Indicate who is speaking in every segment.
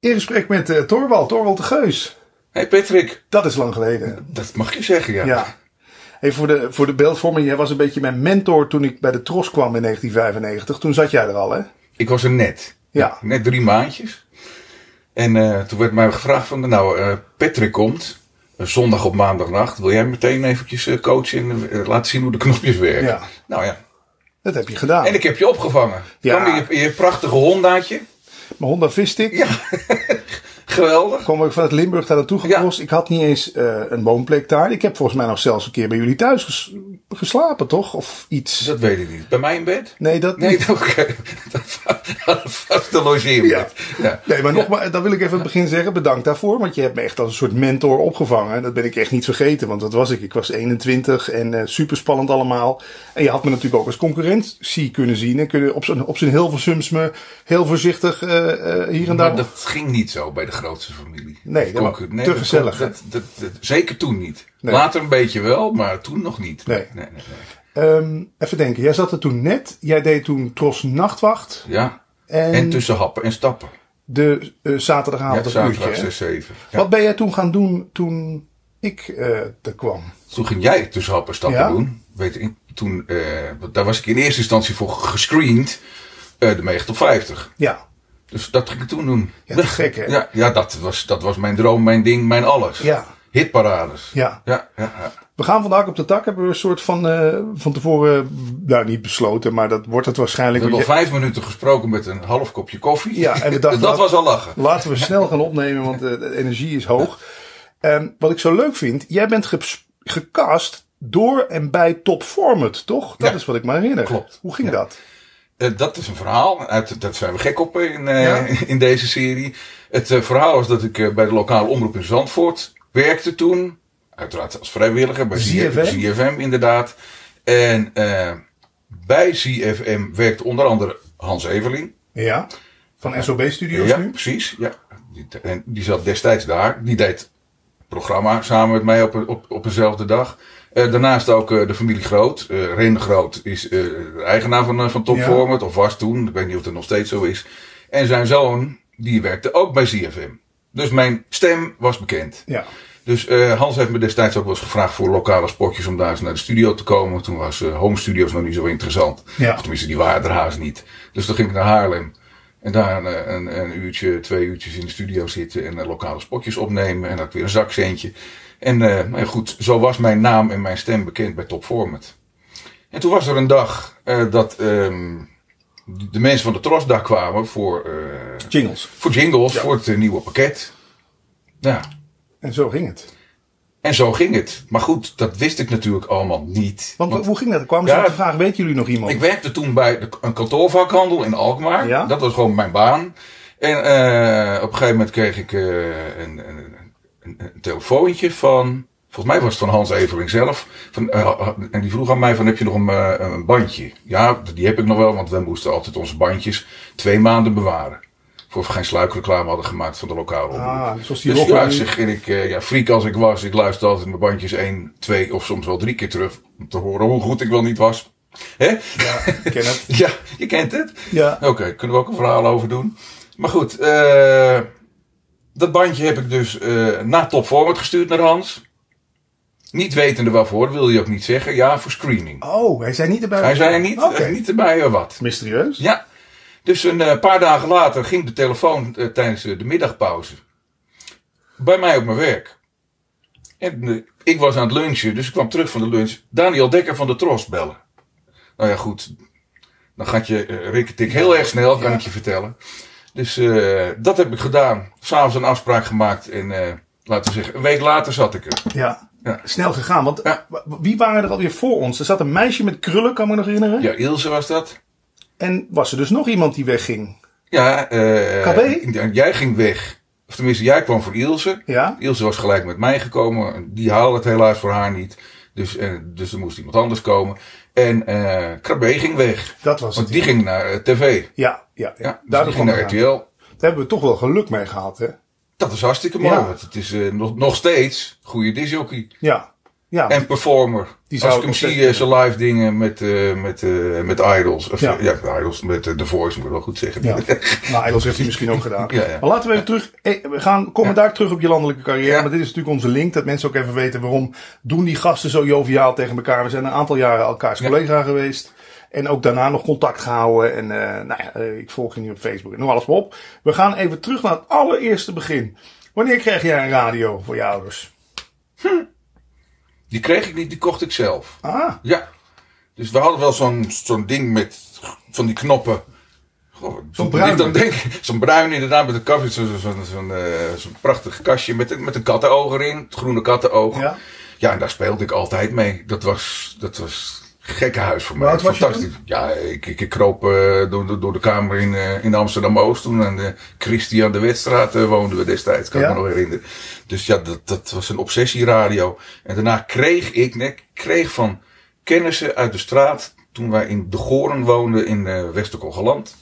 Speaker 1: In gesprek met eh Torwald, Torwald de Geus.
Speaker 2: hey Patrick,
Speaker 1: Dat is lang geleden.
Speaker 2: dat mag je zeggen, ja.
Speaker 1: Ja. Even voor de, voor de beeldvorming. Jij was een beetje mijn mentor toen ik bij de Tros kwam in 1995. Toen zat jij er al, hè?
Speaker 2: Ik was er net.
Speaker 1: Ja.
Speaker 2: Net drie maandjes. En eh, toen werd mij gevraagd van, nou, eh, Patrick komt. eh, zondag op maandagnacht. Wil jij meteen eventjes eh, coachen en eh, laten zien hoe de knopjes werken?
Speaker 1: Ja.
Speaker 2: Nou ja.
Speaker 1: Dat heb je gedaan.
Speaker 2: En ik heb je opgevangen.
Speaker 1: Ja.
Speaker 2: Kwam je, je prachtige Hondaatje.
Speaker 1: Mijn Honda Vistik.
Speaker 2: Ja. Geweldig.
Speaker 1: kwam ik van het Limburg daar naartoe gekost. Ik had niet eens eh, een woonplek daar. Ik heb volgens mij nog zelfs een keer bij jullie thuis ges- geslapen, toch? Of iets.
Speaker 2: Dus Dat weet ik niet. Bij mij in bed?
Speaker 1: Nee, dat
Speaker 2: Nee,
Speaker 1: niet.
Speaker 2: oké. Dat was de logeerbed. Ja.
Speaker 1: Nee, maar nog maar, dat wil ik even aan het begin zeggen. Bedankt daarvoor, want je hebt me echt als een soort mentor opgevangen. Dat ben ik echt niet vergeten, want dat was ik. Ik was 21 en eh super spannend allemaal. En je had me natuurlijk ook als concurrentie kunnen zien. En kunnen op zijn, op zijn Hilversums me heel voorzichtig eh, eh, hier en daar.
Speaker 2: Maar dat ging niet zo bij de grootste familie.
Speaker 1: Nee,
Speaker 2: Dat kon
Speaker 1: dat-
Speaker 2: ik-
Speaker 1: te
Speaker 2: dat kon-
Speaker 1: gezellig, hè?
Speaker 2: Dat, dat, dat- zeker toen niet.
Speaker 1: Nee.
Speaker 2: Later een beetje wel, maar toen nog niet.
Speaker 1: Nee.
Speaker 2: nee, nee, nee.
Speaker 1: Ehm, even denken, jij zat er toen net. Jij deed toen Tros Nachtwacht.
Speaker 2: Ja.
Speaker 1: En,
Speaker 2: En, tussen happen en stappen.
Speaker 1: de eh, zaterdagavond
Speaker 2: ja,
Speaker 1: een
Speaker 2: zaterdag
Speaker 1: uurtje. hè?
Speaker 2: 6, 7. Ja.
Speaker 1: Wat ben jij toen gaan doen toen ik eh, er kwam?
Speaker 2: Toen ging jij tussen happen en stappen
Speaker 1: Ja.
Speaker 2: doen. Weet ik, toen, eh, want daar was ik in eerste instantie voor gescreend. eh de 9 tot 50.
Speaker 1: Ja,
Speaker 2: Dus dat ging ik toen doen.
Speaker 1: Ja, te gek, hè?
Speaker 2: Ja, ja dat, was, dat was mijn droom, mijn ding, mijn alles.
Speaker 1: Ja.
Speaker 2: Hitparades.
Speaker 1: ja.
Speaker 2: Ja, ja, ja.
Speaker 1: We gaan vandaag op de tak. Hebben we een soort van eh, van tevoren, nou niet besloten, maar dat wordt het
Speaker 2: We
Speaker 1: waarschijnlijk.
Speaker 2: hebben al
Speaker 1: want
Speaker 2: vijf minuten gesproken met een half kopje koffie.
Speaker 1: Ja, en we
Speaker 2: dat
Speaker 1: dachten-
Speaker 2: was al lachen.
Speaker 1: je- laten we snel gaan opnemen, want eh, de energie is hoog. Ehm, wat ik zo leuk vind, jij bent geps- gecast door en bij Top Format, toch? Dat
Speaker 2: Ja.
Speaker 1: is wat ik me herinner.
Speaker 2: Klopt.
Speaker 1: Hoe ging dat?
Speaker 2: Eh, dat is een verhaal. Uit, dat zijn we gek op in, eh,
Speaker 1: Ja.
Speaker 2: in deze serie. Het eh, verhaal is dat ik eh, bij de lokale omroep in Zandvoort werkte toen. Uiteraard als vrijwilliger bij
Speaker 1: ZFM.
Speaker 2: ZFM, ZFM inderdaad. En eh, bij ZFM werkt onder andere Hans Everling.
Speaker 1: Ja. Van SOB Studios
Speaker 2: ja,
Speaker 1: nu?
Speaker 2: precies. Ja. Die, en die zat destijds daar. Die deed het programma samen met mij op, op, op dezelfde dag. Eh, daarnaast ook eh, de familie Groot. Eh Ren Groot is eh, de eigenaar van, eh, van Top
Speaker 1: Ja.
Speaker 2: Format. Of was toen. Ik weet niet of dat nog steeds zo is. En zijn zoon, die werkte ook bij ZFM. Dus mijn stem was bekend.
Speaker 1: Ja.
Speaker 2: Dus eh, Hans heeft me destijds ook wel eens gevraagd voor lokale spotjes om daar eens naar de studio te komen. Toen was eh, home studios nog niet zo interessant.
Speaker 1: Ja.
Speaker 2: Of tenminste, die waren er haast niet. Dus toen ging ik naar Haarlem. En daar een, een, een uurtje, twee uurtjes in de studio zitten en eh, lokale spotjes opnemen. En dan weer een zakcentje. En eh, maar ja, goed, zo was mijn naam en mijn stem bekend bij Top Format. En toen was er een dag eh, dat ehm, de mensen van de Tros daar kwamen voor, eh,
Speaker 1: Jingles.
Speaker 2: voor jingles,
Speaker 1: Ja.
Speaker 2: voor het eh, nieuwe pakket. Ja,
Speaker 1: En zo ging het.
Speaker 2: en zo ging het. Maar goed, dat wist ik natuurlijk allemaal niet.
Speaker 1: Want, hoe ging dat? Er kwamen ze
Speaker 2: Ja.
Speaker 1: met de vraag, weten jullie nog iemand?
Speaker 2: Ik werkte toen bij de- een kantoorvakhandel in Alkmaar.
Speaker 1: Ja.
Speaker 2: Dat was gewoon mijn baan. En eh, op een gegeven moment kreeg ik eh, een, een, een, een telefoontje van... Volgens mij was het van Hans Evering zelf. Van, eh, en die vroeg aan mij van, heb je nog een, eh, een bandje? Ja, die heb ik nog wel, want wij moesten altijd onze bandjes twee maanden bewaren. Voor we geen sluikreclame hadden gemaakt van de lokale omroep.
Speaker 1: Ah, zoals die
Speaker 2: Dus
Speaker 1: rocker
Speaker 2: ja,
Speaker 1: nu.
Speaker 2: zeg, en ik, eh, ja, freak als ik was, ik luisterde altijd mijn bandjes één, twee of soms wel drie keer terug. Om te horen hoe goed ik wel niet was. Hè?
Speaker 1: Ja, ik ken het.
Speaker 2: Ja, je kent het.
Speaker 1: Ja.
Speaker 2: Oké, kunnen we ook een verhaal over doen. Maar goed, eh, dat bandje heb ik dus eh na Top Forward gestuurd naar Hans. Niet wetende waarvoor, wil je ook niet zeggen. Ja, voor screening.
Speaker 1: Oh, hij zei niet erbij.
Speaker 2: Hij zei er niet,
Speaker 1: Oké.
Speaker 2: eh, niet erbij eh, wat.
Speaker 1: Mysterieus.
Speaker 2: Ja. Dus een eh, paar dagen later ging de telefoon eh, tijdens eh, de middagpauze bij mij op mijn werk. En eh, ik was aan het lunchen, dus ik kwam terug van de lunch. Daniel Dekker van de Tros bellen. Nou ja, goed. Dan gaat je eh rikketik heel erg snel, kan
Speaker 1: Ja.
Speaker 2: ik je vertellen. Dus eh, dat heb ik gedaan. S'avonds een afspraak gemaakt en eh, laten we zeggen, een week later zat ik er.
Speaker 1: Ja.
Speaker 2: Ja.
Speaker 1: Snel gegaan, want
Speaker 2: Ja.
Speaker 1: w- wie waren er alweer voor ons? Er zat een meisje met krullen, kan me nog herinneren.
Speaker 2: Ja, Ilse was dat.
Speaker 1: En was er dus nog iemand die wegging?
Speaker 2: Ja, eh,
Speaker 1: KB?
Speaker 2: ja, jij ging weg. Of tenminste, jij kwam voor Ilse.
Speaker 1: Ja?
Speaker 2: Ilse was gelijk met mij gekomen. Die haalde het helaas voor haar niet. Dus, eh, dus er moest iemand anders komen. En eh Krabbe ging weg.
Speaker 1: Dat was
Speaker 2: Want
Speaker 1: het.
Speaker 2: die ging naar eh, tv.
Speaker 1: Ja, ja, ja.
Speaker 2: Ja, dus
Speaker 1: daardoor
Speaker 2: die
Speaker 1: kwam
Speaker 2: ging naar
Speaker 1: het aan.
Speaker 2: RTL.
Speaker 1: Daar hebben we toch wel geluk mee gehad, hè?
Speaker 2: Dat is hartstikke mooi.
Speaker 1: Ja.
Speaker 2: Want het is eh, nog, nog steeds goede disjockey.
Speaker 1: Ja. Ja,
Speaker 2: En performer.
Speaker 1: Die zou
Speaker 2: Als ik
Speaker 1: ik
Speaker 2: hem
Speaker 1: nog steeds
Speaker 2: zie, eh, zijn live dingen met, eh, met, eh, met Idols. Of,
Speaker 1: Ja.
Speaker 2: ja. Idols. Met eh, The Voice, moet ik wel goed zeggen.
Speaker 1: Ja. Nou, Engels heeft hij misschien ook gedaan.
Speaker 2: Ja, ja.
Speaker 1: Maar laten we even terug. eh, We gaan commentaar terug op je landelijke carrière.
Speaker 2: Ja.
Speaker 1: Maar dit is natuurlijk onze link. Dat mensen ook even weten waarom doen die gasten zo joviaal tegen elkaar. We zijn een aantal jaren elkaars
Speaker 2: Ja.
Speaker 1: collega geweest. En ook daarna nog contact gehouden. En eh, nou ja, eh, ik volg je nu op Facebook. En noem alles maar op. We gaan even terug naar het allereerste begin. Wanneer kreeg jij een radio voor je ouders?
Speaker 2: Die kreeg ik niet, die kocht ik zelf.
Speaker 1: Ah,
Speaker 2: Ja. Dus we hadden wel zo'n zo'n ding met van die knoppen. Goh, Zo'n
Speaker 1: bruin.
Speaker 2: Dan denk, ik- zo'n bruin inderdaad met een kastje. Zo'n zo, zo, zo'n, eh, zo'n prachtig kastje met, een- met een kattenoog erin. Het groene kattenoog.
Speaker 1: Ja.
Speaker 2: ja, en daar speelde ik altijd mee. Dat was, dat was gekkenhuis voor mij.
Speaker 1: oud was je
Speaker 2: Fantastisch. Ja, ik, ik, ik kroop eh, door, door, door de kamer in, eh, in Amsterdam-Oost. Toen aan de Christian de Wetstraat eh, woonden we destijds. Kan
Speaker 1: Ja.
Speaker 2: ik me nog herinneren. Dus ja, dat, dat was een obsessieradio. En daarna kreeg ik, nee, ik kreeg van kennissen uit de straat. Toen wij in De Goren woonden in eh Wester-Kogeland.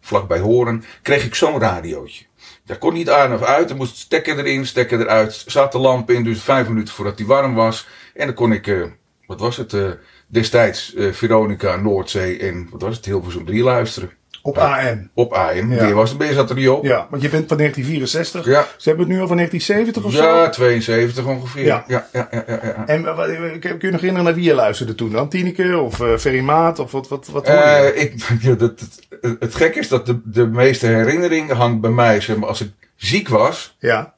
Speaker 2: Vlakbij Horen. Kreeg ik zo'n radiootje. Daar kon niet aan of uit. Er moest stekker erin, stekker eruit. Zat de lamp in, dus vijf minuten voordat die warm was. En dan kon ik, eh, wat was het, eh, destijds eh, Veronica, Noordzee en wat was het, Hilversum 3 luisteren.
Speaker 1: op AM.
Speaker 2: Op AM,
Speaker 1: Ja.
Speaker 2: weer was het, ben je zat er niet op.
Speaker 1: Ja, want je bent van 1964.
Speaker 2: Ja.
Speaker 1: Ze hebben het nu al van 1970 of zo.
Speaker 2: Ja, 72 ongeveer.
Speaker 1: Ja.
Speaker 2: Ja. Ja, ja, ja, ja,
Speaker 1: En eh, wat- eh, kun je nog herinneren naar wie je luisterde toen dan? Tineke of eh Ferry Maat of wat, wat, wat hoor je?
Speaker 2: Eh, ik, ja, dat, het, het gek is dat de, de meeste herinnering hangt bij mij. Zeg maar, als ik ziek was,
Speaker 1: Ja,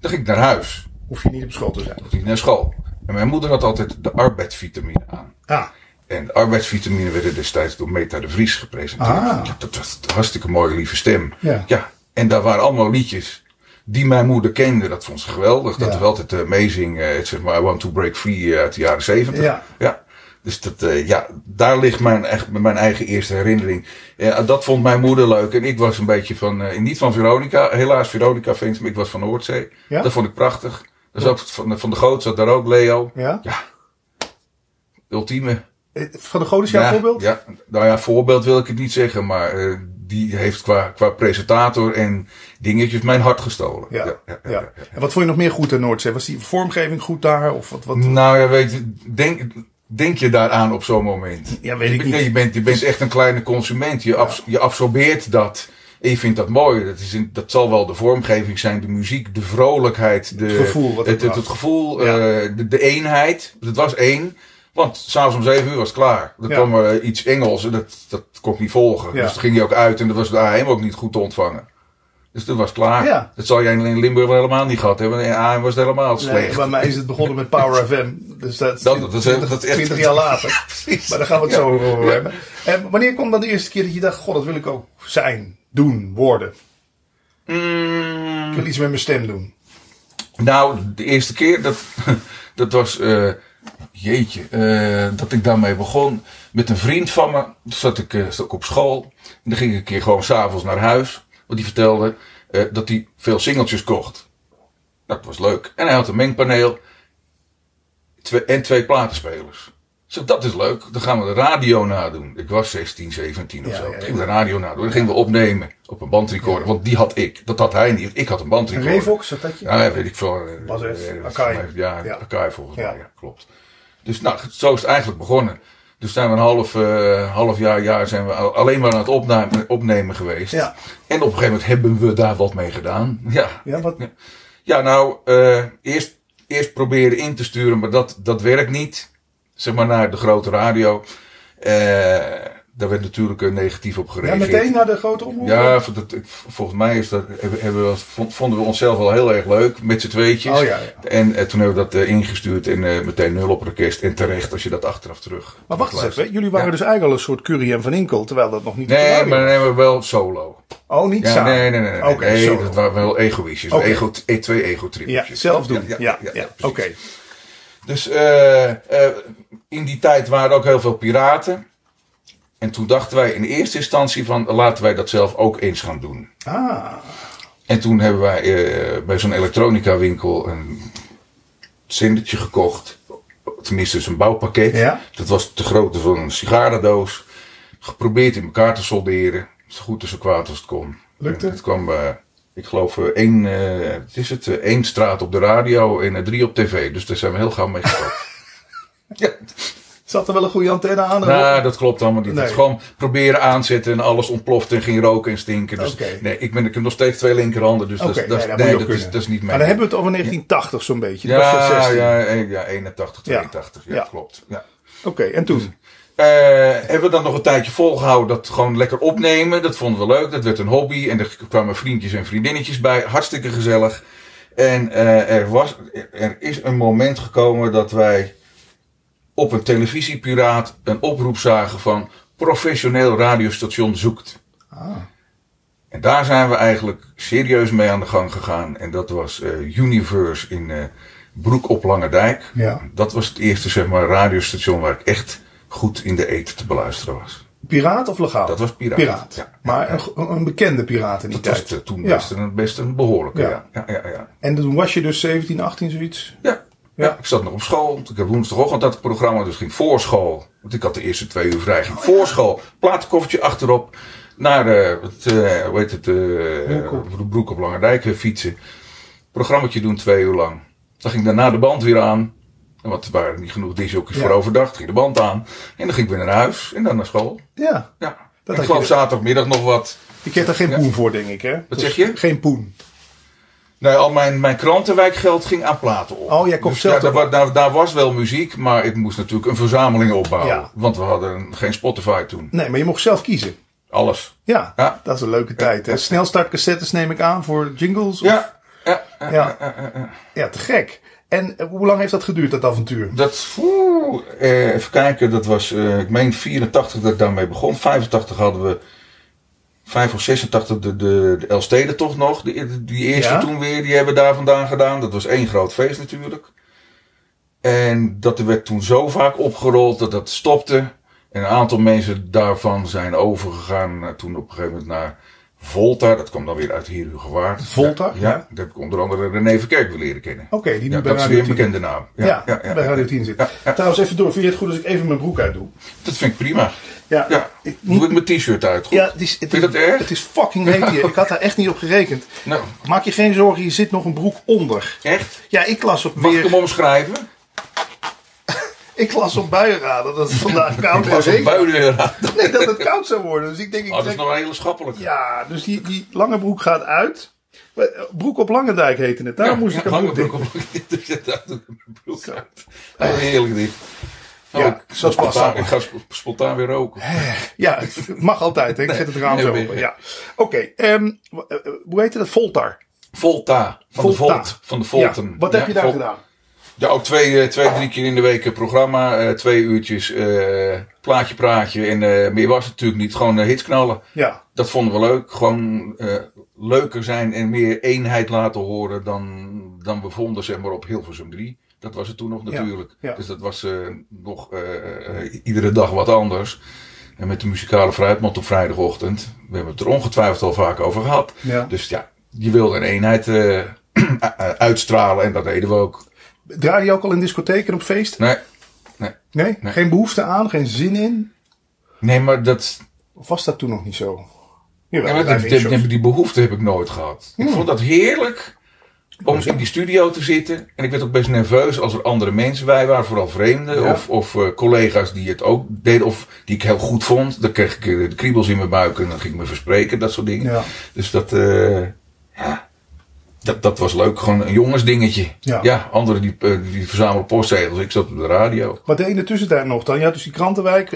Speaker 2: dan ging ik naar huis.
Speaker 1: hoef je niet op school te zijn.
Speaker 2: Dan ging ik naar school. En mijn moeder had altijd de arbeidsvitamine aan.
Speaker 1: Ah,
Speaker 2: En de arbeidsvitamine werden destijds door Meta de Vries gepresenteerd.
Speaker 1: Ah.
Speaker 2: Ja, dat was een hartstikke mooie, lieve stem.
Speaker 1: Ja.
Speaker 2: en daar waren allemaal liedjes die mijn moeder kende. Dat vond ze geweldig. Dat
Speaker 1: Ja.
Speaker 2: is altijd eh, amazing. eh, zeg maar, I Want to Break Free eh, uit de jaren zeventig.
Speaker 1: Ja.
Speaker 2: Dus dat, eh, ja, daar ligt mijn, echt, mijn eigen eerste herinnering. Ja, dat vond mijn moeder leuk. En ik was een beetje van, eh, niet van Veronica. Helaas Veronica fans, maar ik was van Noordzee.
Speaker 1: Ja?
Speaker 2: Dat vond ik prachtig. Dat is ook van, van de Goot zat daar ook Leo.
Speaker 1: ja?
Speaker 2: Ja. Ultieme.
Speaker 1: Eh, Van de God is jouw
Speaker 2: Ja,
Speaker 1: voorbeeld?
Speaker 2: Ja, nou ja, voorbeeld wil ik het niet zeggen, maar eh, die heeft qua, qua presentator en dingetjes mijn hart gestolen.
Speaker 1: Ja, ja. En wat vond je nog meer goed aan Noordzee? Was die vormgeving goed daar? Of wat, wat?
Speaker 2: Nou ja, weet je, denk, denk je daaraan op zo'n moment?
Speaker 1: Ja, weet ik
Speaker 2: Nee,
Speaker 1: niet.
Speaker 2: je, bent, je bent echt een kleine consument. Je, abs- je absorbeert dat. En je vindt dat mooi. Dat, is in- dat zal wel de vormgeving zijn, de muziek, de vrolijkheid, de,
Speaker 1: Het gevoel wat het
Speaker 2: het, het,
Speaker 1: bracht.
Speaker 2: het gevoel
Speaker 1: Ja.
Speaker 2: eh, de, de eenheid. Het was één. Want s'avonds om zeven uur was het klaar. Dan
Speaker 1: Ja.
Speaker 2: kwam er iets Engels en dat, dat kon ik niet volgen.
Speaker 1: Ja.
Speaker 2: Dus toen ging je ook uit en dat was de AM ook niet goed te ontvangen. Dus toen was het klaar.
Speaker 1: Ja.
Speaker 2: Dat zal jij in Limburg wel helemaal niet gehad hebben. In AM was het helemaal
Speaker 1: Nee,
Speaker 2: slecht.
Speaker 1: bij mij is het begonnen met Power FM. Dus dat,
Speaker 2: Dat- dat is- dat is echt-
Speaker 1: 20 jaar later. Maar daar gaan we het zo over
Speaker 2: Ja.
Speaker 1: hebben. En wanneer kwam dan de eerste keer dat je dacht: God, dat wil ik ook zijn, doen, worden?
Speaker 2: Mm.
Speaker 1: Ik wil iets met mijn stem doen.
Speaker 2: Nou, de eerste keer, dat, dat was, eh, jeetje, eh, dat ik daarmee begon. Met een vriend van me, Toen zat ik, eh, zat ik op school. En dan ging ik een keer gewoon s'avonds naar huis. Want die vertelde eh, dat hij veel singeltjes kocht. Dat was leuk. En hij had een mengpaneel twee, en twee platenspelers. Zo, dat is leuk. Dan gaan we de radio nadoen. Ik was 16, 17 of
Speaker 1: Ja,
Speaker 2: zo.
Speaker 1: ja,
Speaker 2: Ik
Speaker 1: ja.
Speaker 2: ging de radio nadoen. Dan gingen we opnemen op een bandrecorder. Want die had ik. Dat had hij niet. Ik had een
Speaker 1: Een
Speaker 2: bandrecorder.
Speaker 1: Revox, zat dat je?
Speaker 2: Ja, weet ik veel. eh,
Speaker 1: Bas F.
Speaker 2: eh, eh,
Speaker 1: Akai.
Speaker 2: Ja,
Speaker 1: Ja.
Speaker 2: Akai volgens
Speaker 1: Ja.
Speaker 2: mij, ja, klopt. Dus nou, zo is het eigenlijk begonnen. Dus zijn we een half, eh, half jaar, jaar zijn we al- alleen maar aan het opnemen, opnemen geweest.
Speaker 1: Ja.
Speaker 2: En op een gegeven moment hebben we daar wat mee gedaan. Ja,
Speaker 1: Ja, wat?
Speaker 2: ja nou, eh, eerst, eerst proberen in te sturen, maar dat, dat werkt niet. Zeg maar naar de grote radio. Eh, daar werd natuurlijk eh, negatief op
Speaker 1: Ja,
Speaker 2: gereageerd.
Speaker 1: meteen naar de grote omroep?
Speaker 2: Ja, v- dat, ik- volgens mij is dat, hebben, hebben we, vond- vonden we onszelf wel heel erg leuk met z'n tweetjes.
Speaker 1: Oh ja, ja.
Speaker 2: En eh, toen hebben we dat eh, ingestuurd en eh, meteen nul op orkest. En terecht als je dat achteraf terug.
Speaker 1: Maar wacht eens
Speaker 2: terugluistert.
Speaker 1: even, jullie waren
Speaker 2: Ja.
Speaker 1: dus eigenlijk al een soort Curie en Van Inkel, terwijl dat nog niet op de
Speaker 2: Nee,
Speaker 1: radio
Speaker 2: maar dan hebben we wel solo.
Speaker 1: was. Oh, niet
Speaker 2: Ja,
Speaker 1: samen?
Speaker 2: nee, nee, nee. nee,
Speaker 1: Oké,
Speaker 2: nee,
Speaker 1: solo.
Speaker 2: dat waren wel egoïstjes.
Speaker 1: Oké.
Speaker 2: Ego, eh, twee ego
Speaker 1: Ja, zelf doen. Ja, ja,
Speaker 2: precies.
Speaker 1: oké.
Speaker 2: Dus eh, eh, in die tijd waren er ook heel veel piraten. En toen dachten wij in eerste instantie van laten wij dat zelf ook eens gaan doen.
Speaker 1: Ah,
Speaker 2: En toen hebben wij eh, bij zo'n elektronica winkel een zendertje gekocht. Tenminste, dus een bouwpakket.
Speaker 1: Ja.
Speaker 2: Dat was de grootte van een sigarendoos. Geprobeerd in elkaar te solderen. Zo goed en zo kwaad als het kon.
Speaker 1: Lukte?
Speaker 2: En Het kwam eh, Ik geloof eh, één, eh, het is het, eh, één straat op de radio en eh, drie op tv. Dus daar zijn we heel gauw mee gestart. ja,
Speaker 1: Zat er wel een goede antenne aan?
Speaker 2: nou, dat klopt allemaal niet.
Speaker 1: Nee.
Speaker 2: Het is gewoon proberen aanzetten en alles ontploft en ging roken en stinken. Dus
Speaker 1: Oké.
Speaker 2: nee, ik, ben, ik heb nog steeds twee linkerhanden. Dus dat,
Speaker 1: Oké,
Speaker 2: is- dat, is-
Speaker 1: nee, dat moet
Speaker 2: nee,
Speaker 1: ook
Speaker 2: dat, is,
Speaker 1: kunnen.
Speaker 2: dat is niet
Speaker 1: maar
Speaker 2: mijn
Speaker 1: dan hebben we het over 1980 zo'n beetje. Dat was
Speaker 2: ja,
Speaker 1: 16.
Speaker 2: ja, eh, ja, 81,
Speaker 1: Ja.
Speaker 2: 82. Ja,
Speaker 1: Ja.
Speaker 2: klopt. Ja.
Speaker 1: Oké, en toen?
Speaker 2: Eh, hebben we dan nog een tijdje volgehouden dat gewoon lekker opnemen. Dat vonden we leuk. Dat werd een hobby. En er kwamen vriendjes en vriendinnetjes bij. Hartstikke gezellig. En eh, er, was, er is een moment gekomen dat wij op een televisiepiraat een oproep zagen van professioneel radiostation zoekt.
Speaker 1: Ah,
Speaker 2: En daar zijn we eigenlijk serieus mee aan de gang gegaan. En dat was eh, Universe in eh, Broek op Lange Dijk.
Speaker 1: ja.
Speaker 2: Dat was het eerste zeg maar, radiostation waar ik echt goed in de eten te beluisteren was.
Speaker 1: Piraat of legaal?
Speaker 2: Dat was Piraat.
Speaker 1: Piraat.
Speaker 2: Ja.
Speaker 1: Maar een, go- een bekende piraat in die
Speaker 2: Dat
Speaker 1: tijd.
Speaker 2: was eh, toen
Speaker 1: Ja.
Speaker 2: best, een, best een behoorlijke.
Speaker 1: Ja.
Speaker 2: Ja. Ja, ja, ja, ja.
Speaker 1: En toen was je dus 17, 18, zoiets?
Speaker 2: Ja.
Speaker 1: Ja.
Speaker 2: ik zat nog op school. Ik heb woensdagochtend dat programma, dus ging voor school. Want ik had de eerste twee uur vrij. Ging voor school, platenkoffertje achterop. Naar, eh het, eh, hoe heet het, eh,
Speaker 1: Broek
Speaker 2: Broek op Lange Dijk eh, fietsen. Programmaatje doen twee uur lang. Dan ging daarna de band weer aan. Want er waren niet genoeg disjockeys
Speaker 1: Ja.
Speaker 2: voor overdag. Dan ging de band aan. En dan ging ik weer naar huis. En dan naar school.
Speaker 1: Ja.
Speaker 2: Ja.
Speaker 1: Dat
Speaker 2: ik
Speaker 1: had
Speaker 2: geloof
Speaker 1: je-
Speaker 2: zaterdagmiddag nog wat.
Speaker 1: Je kreeg daar geen
Speaker 2: Ja.
Speaker 1: poen voor, denk ik, hè? Wat
Speaker 2: zeg je?
Speaker 1: Geen poen.
Speaker 2: Nee, al mijn, mijn krantenwijkgeld ging aan platen op. Dus
Speaker 1: Oh, jij kocht zelf
Speaker 2: ja, daar,
Speaker 1: toch
Speaker 2: wa- daar, daar was wel muziek, maar ik moest natuurlijk een verzameling opbouwen.
Speaker 1: Ja.
Speaker 2: Want we hadden geen Spotify toen.
Speaker 1: Nee, maar je mocht zelf kiezen.
Speaker 2: Alles.
Speaker 1: Ja,
Speaker 2: Ja.
Speaker 1: dat is een leuke tijd. Hè? Snelstartcassettes neem ik aan voor jingles. of-
Speaker 2: Ja, ja, ja.
Speaker 1: Ja.
Speaker 2: ja, ja, ja.
Speaker 1: ja, te gek. En eh, hoe lang heeft dat geduurd, dat avontuur?
Speaker 2: Dat, oeh, eh, even kijken, dat was, eh, ik meen 84 dat ik daarmee begon. 85 hadden we, 5 of 86 de, de, de Elsteden toch nog. Die, die eerste
Speaker 1: Ja.
Speaker 2: toen weer, die hebben we daar vandaan gedaan. Dat was één groot feest natuurlijk. En dat werd toen zo vaak opgerold dat dat stopte. En een aantal mensen daarvan zijn overgegaan eh, toen op een gegeven moment naar Volta. Dat kwam dan weer uit hier Gewaard.
Speaker 1: Volta,
Speaker 2: Ja,
Speaker 1: ja.
Speaker 2: dat heb ik onder andere René Verkerk weer leren kennen.
Speaker 1: Oké, die nu
Speaker 2: Ja,
Speaker 1: bij
Speaker 2: dat is
Speaker 1: Radio
Speaker 2: weer een
Speaker 1: 10.
Speaker 2: bekende naam.
Speaker 1: Ja, bij Radio 10 zit. Trouwens, even door. Vind je het goed als ik even mijn broek uitdoe?
Speaker 2: Dat vind ik prima.
Speaker 1: Ja,
Speaker 2: Ja,
Speaker 1: Ik-
Speaker 2: doe ik mijn t-shirt uit. Goed.
Speaker 1: ja het is, het
Speaker 2: Vind je
Speaker 1: is-
Speaker 2: dat erg?
Speaker 1: Het is fucking heet hier. Ik had daar echt niet op gerekend.
Speaker 2: Nou,
Speaker 1: Maak je geen zorgen, hier zit nog een broek onder.
Speaker 2: echt?
Speaker 1: Ja, ik las op
Speaker 2: Mag ik hem
Speaker 1: weer.
Speaker 2: omschrijven?
Speaker 1: Ik las op buienraden dat het vandaag
Speaker 2: Ik
Speaker 1: koud
Speaker 2: was
Speaker 1: was.
Speaker 2: een buiden.
Speaker 1: Nee, dat het koud zou worden. Dus ik denk, ik
Speaker 2: Oh, dat is
Speaker 1: trek-
Speaker 2: nog een hele schappelijke.
Speaker 1: Ja, dus die, die lange broek gaat uit. Maar, eh, Broek op Langendijk heette het. Daar
Speaker 2: Ja,
Speaker 1: moest ik
Speaker 2: ja,
Speaker 1: aan
Speaker 2: lange broek
Speaker 1: denken.
Speaker 2: op. Dus je dacht, doe ik mijn broek uit. Oh, heerlijk dit. Oh,
Speaker 1: Ja,
Speaker 2: ik,
Speaker 1: zo past
Speaker 2: spontaan,
Speaker 1: dat.
Speaker 2: ik ga sp- spontaan weer roken.
Speaker 1: Ja, het mag altijd. Hè? Ik zet het raam
Speaker 2: nee,
Speaker 1: zo
Speaker 2: nee,
Speaker 1: open.
Speaker 2: nee.
Speaker 1: Ja. Oké, ehm, w- eh, eh, hoe heette dat? Voltar.
Speaker 2: Volta. Van de
Speaker 1: Volta.
Speaker 2: Volt. Van de
Speaker 1: Ja.
Speaker 2: Volten.
Speaker 1: Wat heb
Speaker 2: Ja,
Speaker 1: je daar
Speaker 2: Vol-
Speaker 1: gedaan?
Speaker 2: Ja, ook twee, eh, twee, drie keer in de week een programma. eh, twee uurtjes eh, plaatje, praatje. En eh, meer was het natuurlijk niet. Gewoon eh, hits knallen.
Speaker 1: Ja,
Speaker 2: Dat vonden we leuk. Gewoon eh, leuker zijn en meer eenheid laten horen dan, dan we vonden zeg maar, op Hilversum 3. Dat was het toen nog natuurlijk.
Speaker 1: ja.
Speaker 2: Dus dat was eh, nog eh, eh, iedere dag wat anders. En met de muzikale fruitmand op vrijdagochtend. We hebben het er ongetwijfeld al vaak over gehad.
Speaker 1: ja.
Speaker 2: Dus ja, je wilde een eenheid eh, uitstralen en dat deden we ook.
Speaker 1: Draai je ook al in discotheken op feesten?
Speaker 2: Nee,
Speaker 1: Nee?
Speaker 2: Nee.
Speaker 1: Geen behoefte aan, geen zin in?
Speaker 2: nee maar dat,
Speaker 1: Of was dat toen nog niet zo?
Speaker 2: Ja,
Speaker 1: Jawel,
Speaker 2: maar
Speaker 1: drive-in
Speaker 2: dat- dat-
Speaker 1: shows.
Speaker 2: die behoefte heb ik nooit gehad. Ik vond dat heerlijk om in die studio te zitten. En ik werd ook best nerveus als er andere mensen bij waren, vooral vreemden.
Speaker 1: Ja.
Speaker 2: Of, of eh, collega's die het ook deden, of die ik heel goed vond. Dan kreeg ik eh, de kriebels in mijn buik en dan ging ik me verspreken, dat soort dingen.
Speaker 1: Ja.
Speaker 2: Dus dat, eh, ja, dat, dat was leuk. Gewoon een jongensdingetje.
Speaker 1: Ja.
Speaker 2: anderen die, eh, die verzamelen postzegels. Ik zat op de radio.
Speaker 1: Wat deed je in de tussentijd nog dan? Ja, dus die krantenwijk.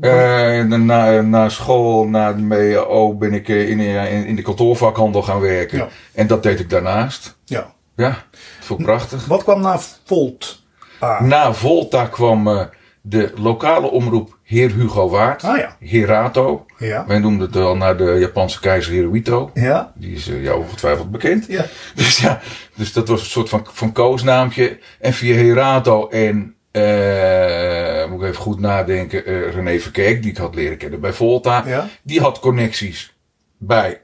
Speaker 1: eh,
Speaker 2: Eh, na, na school, na de MEO, ben ik eh, in, in, in de kantoorvakhandel gaan werken.
Speaker 1: Ja.
Speaker 2: En dat deed ik daarnaast.
Speaker 1: ja.
Speaker 2: Ja, dat vond ik prachtig.
Speaker 1: Wat kwam na Volt aan?
Speaker 2: Na Volta kwam eh, de lokale omroep Heer Hugo Waard.
Speaker 1: Ah ja.
Speaker 2: Herato.
Speaker 1: Ja.
Speaker 2: Wij noemden het al naar de Japanse keizer Hirohito.
Speaker 1: Ja?
Speaker 2: Die is eh, jou ongetwijfeld bekend.
Speaker 1: Ja.
Speaker 2: Dus ja, dus dat was een soort van, van koosnaampje. En via Herato en, eh, moet ik even goed nadenken, eh, René Verkerk, die ik had leren kennen bij Volta.
Speaker 1: Ja.
Speaker 2: Die had connecties bij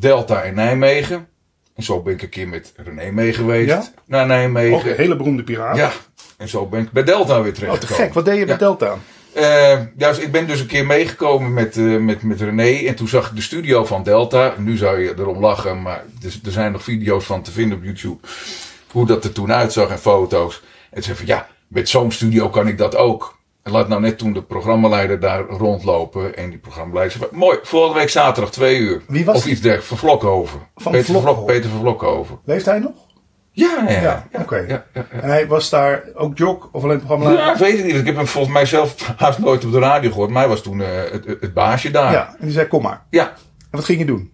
Speaker 2: Delta en Nijmegen. En zo ben ik een keer met René mee geweest
Speaker 1: Ja?
Speaker 2: naar Nijmegen.
Speaker 1: Ook een hele beroemde piraat.
Speaker 2: Ja, en zo ben ik bij Delta
Speaker 1: Oh,
Speaker 2: weer
Speaker 1: te
Speaker 2: terechtgekomen.
Speaker 1: gek. Wat deed je bij
Speaker 2: Ja.
Speaker 1: Delta?
Speaker 2: Eh, ja, dus ik ben dus een keer meegekomen met, eh, met, met René. En toen zag ik de studio van Delta. Nu zou je erom lachen, maar dus, er, er zijn nog video's van te vinden op YouTube. Hoe dat er toen uitzag en foto's. En zei van ja, met zo'n studio kan ik dat ook. En laat nou net toen de programmaleider daar rondlopen. En die programmaleider zei van, mooi, volgende week zaterdag twee uur.
Speaker 1: Wie was
Speaker 2: of
Speaker 1: die?
Speaker 2: iets dergelijks, van Vlokhoven.
Speaker 1: Van
Speaker 2: Peter, Vlok-
Speaker 1: Vlokhoven.
Speaker 2: Peter van Vlokhoven.
Speaker 1: Leeft hij nog?
Speaker 2: Ja, ja, ja. ja,
Speaker 1: oké.
Speaker 2: ja, ja, ja.
Speaker 1: En hij was daar ook jock of alleen programma?
Speaker 2: Ja, ik weet het niet. Ik heb hem volgens mij zelf haast nooit op de radio gehoord. Maar hij was toen eh, het, het, het baasje daar.
Speaker 1: Ja, en die zei kom maar.
Speaker 2: Ja.
Speaker 1: En wat ging je doen?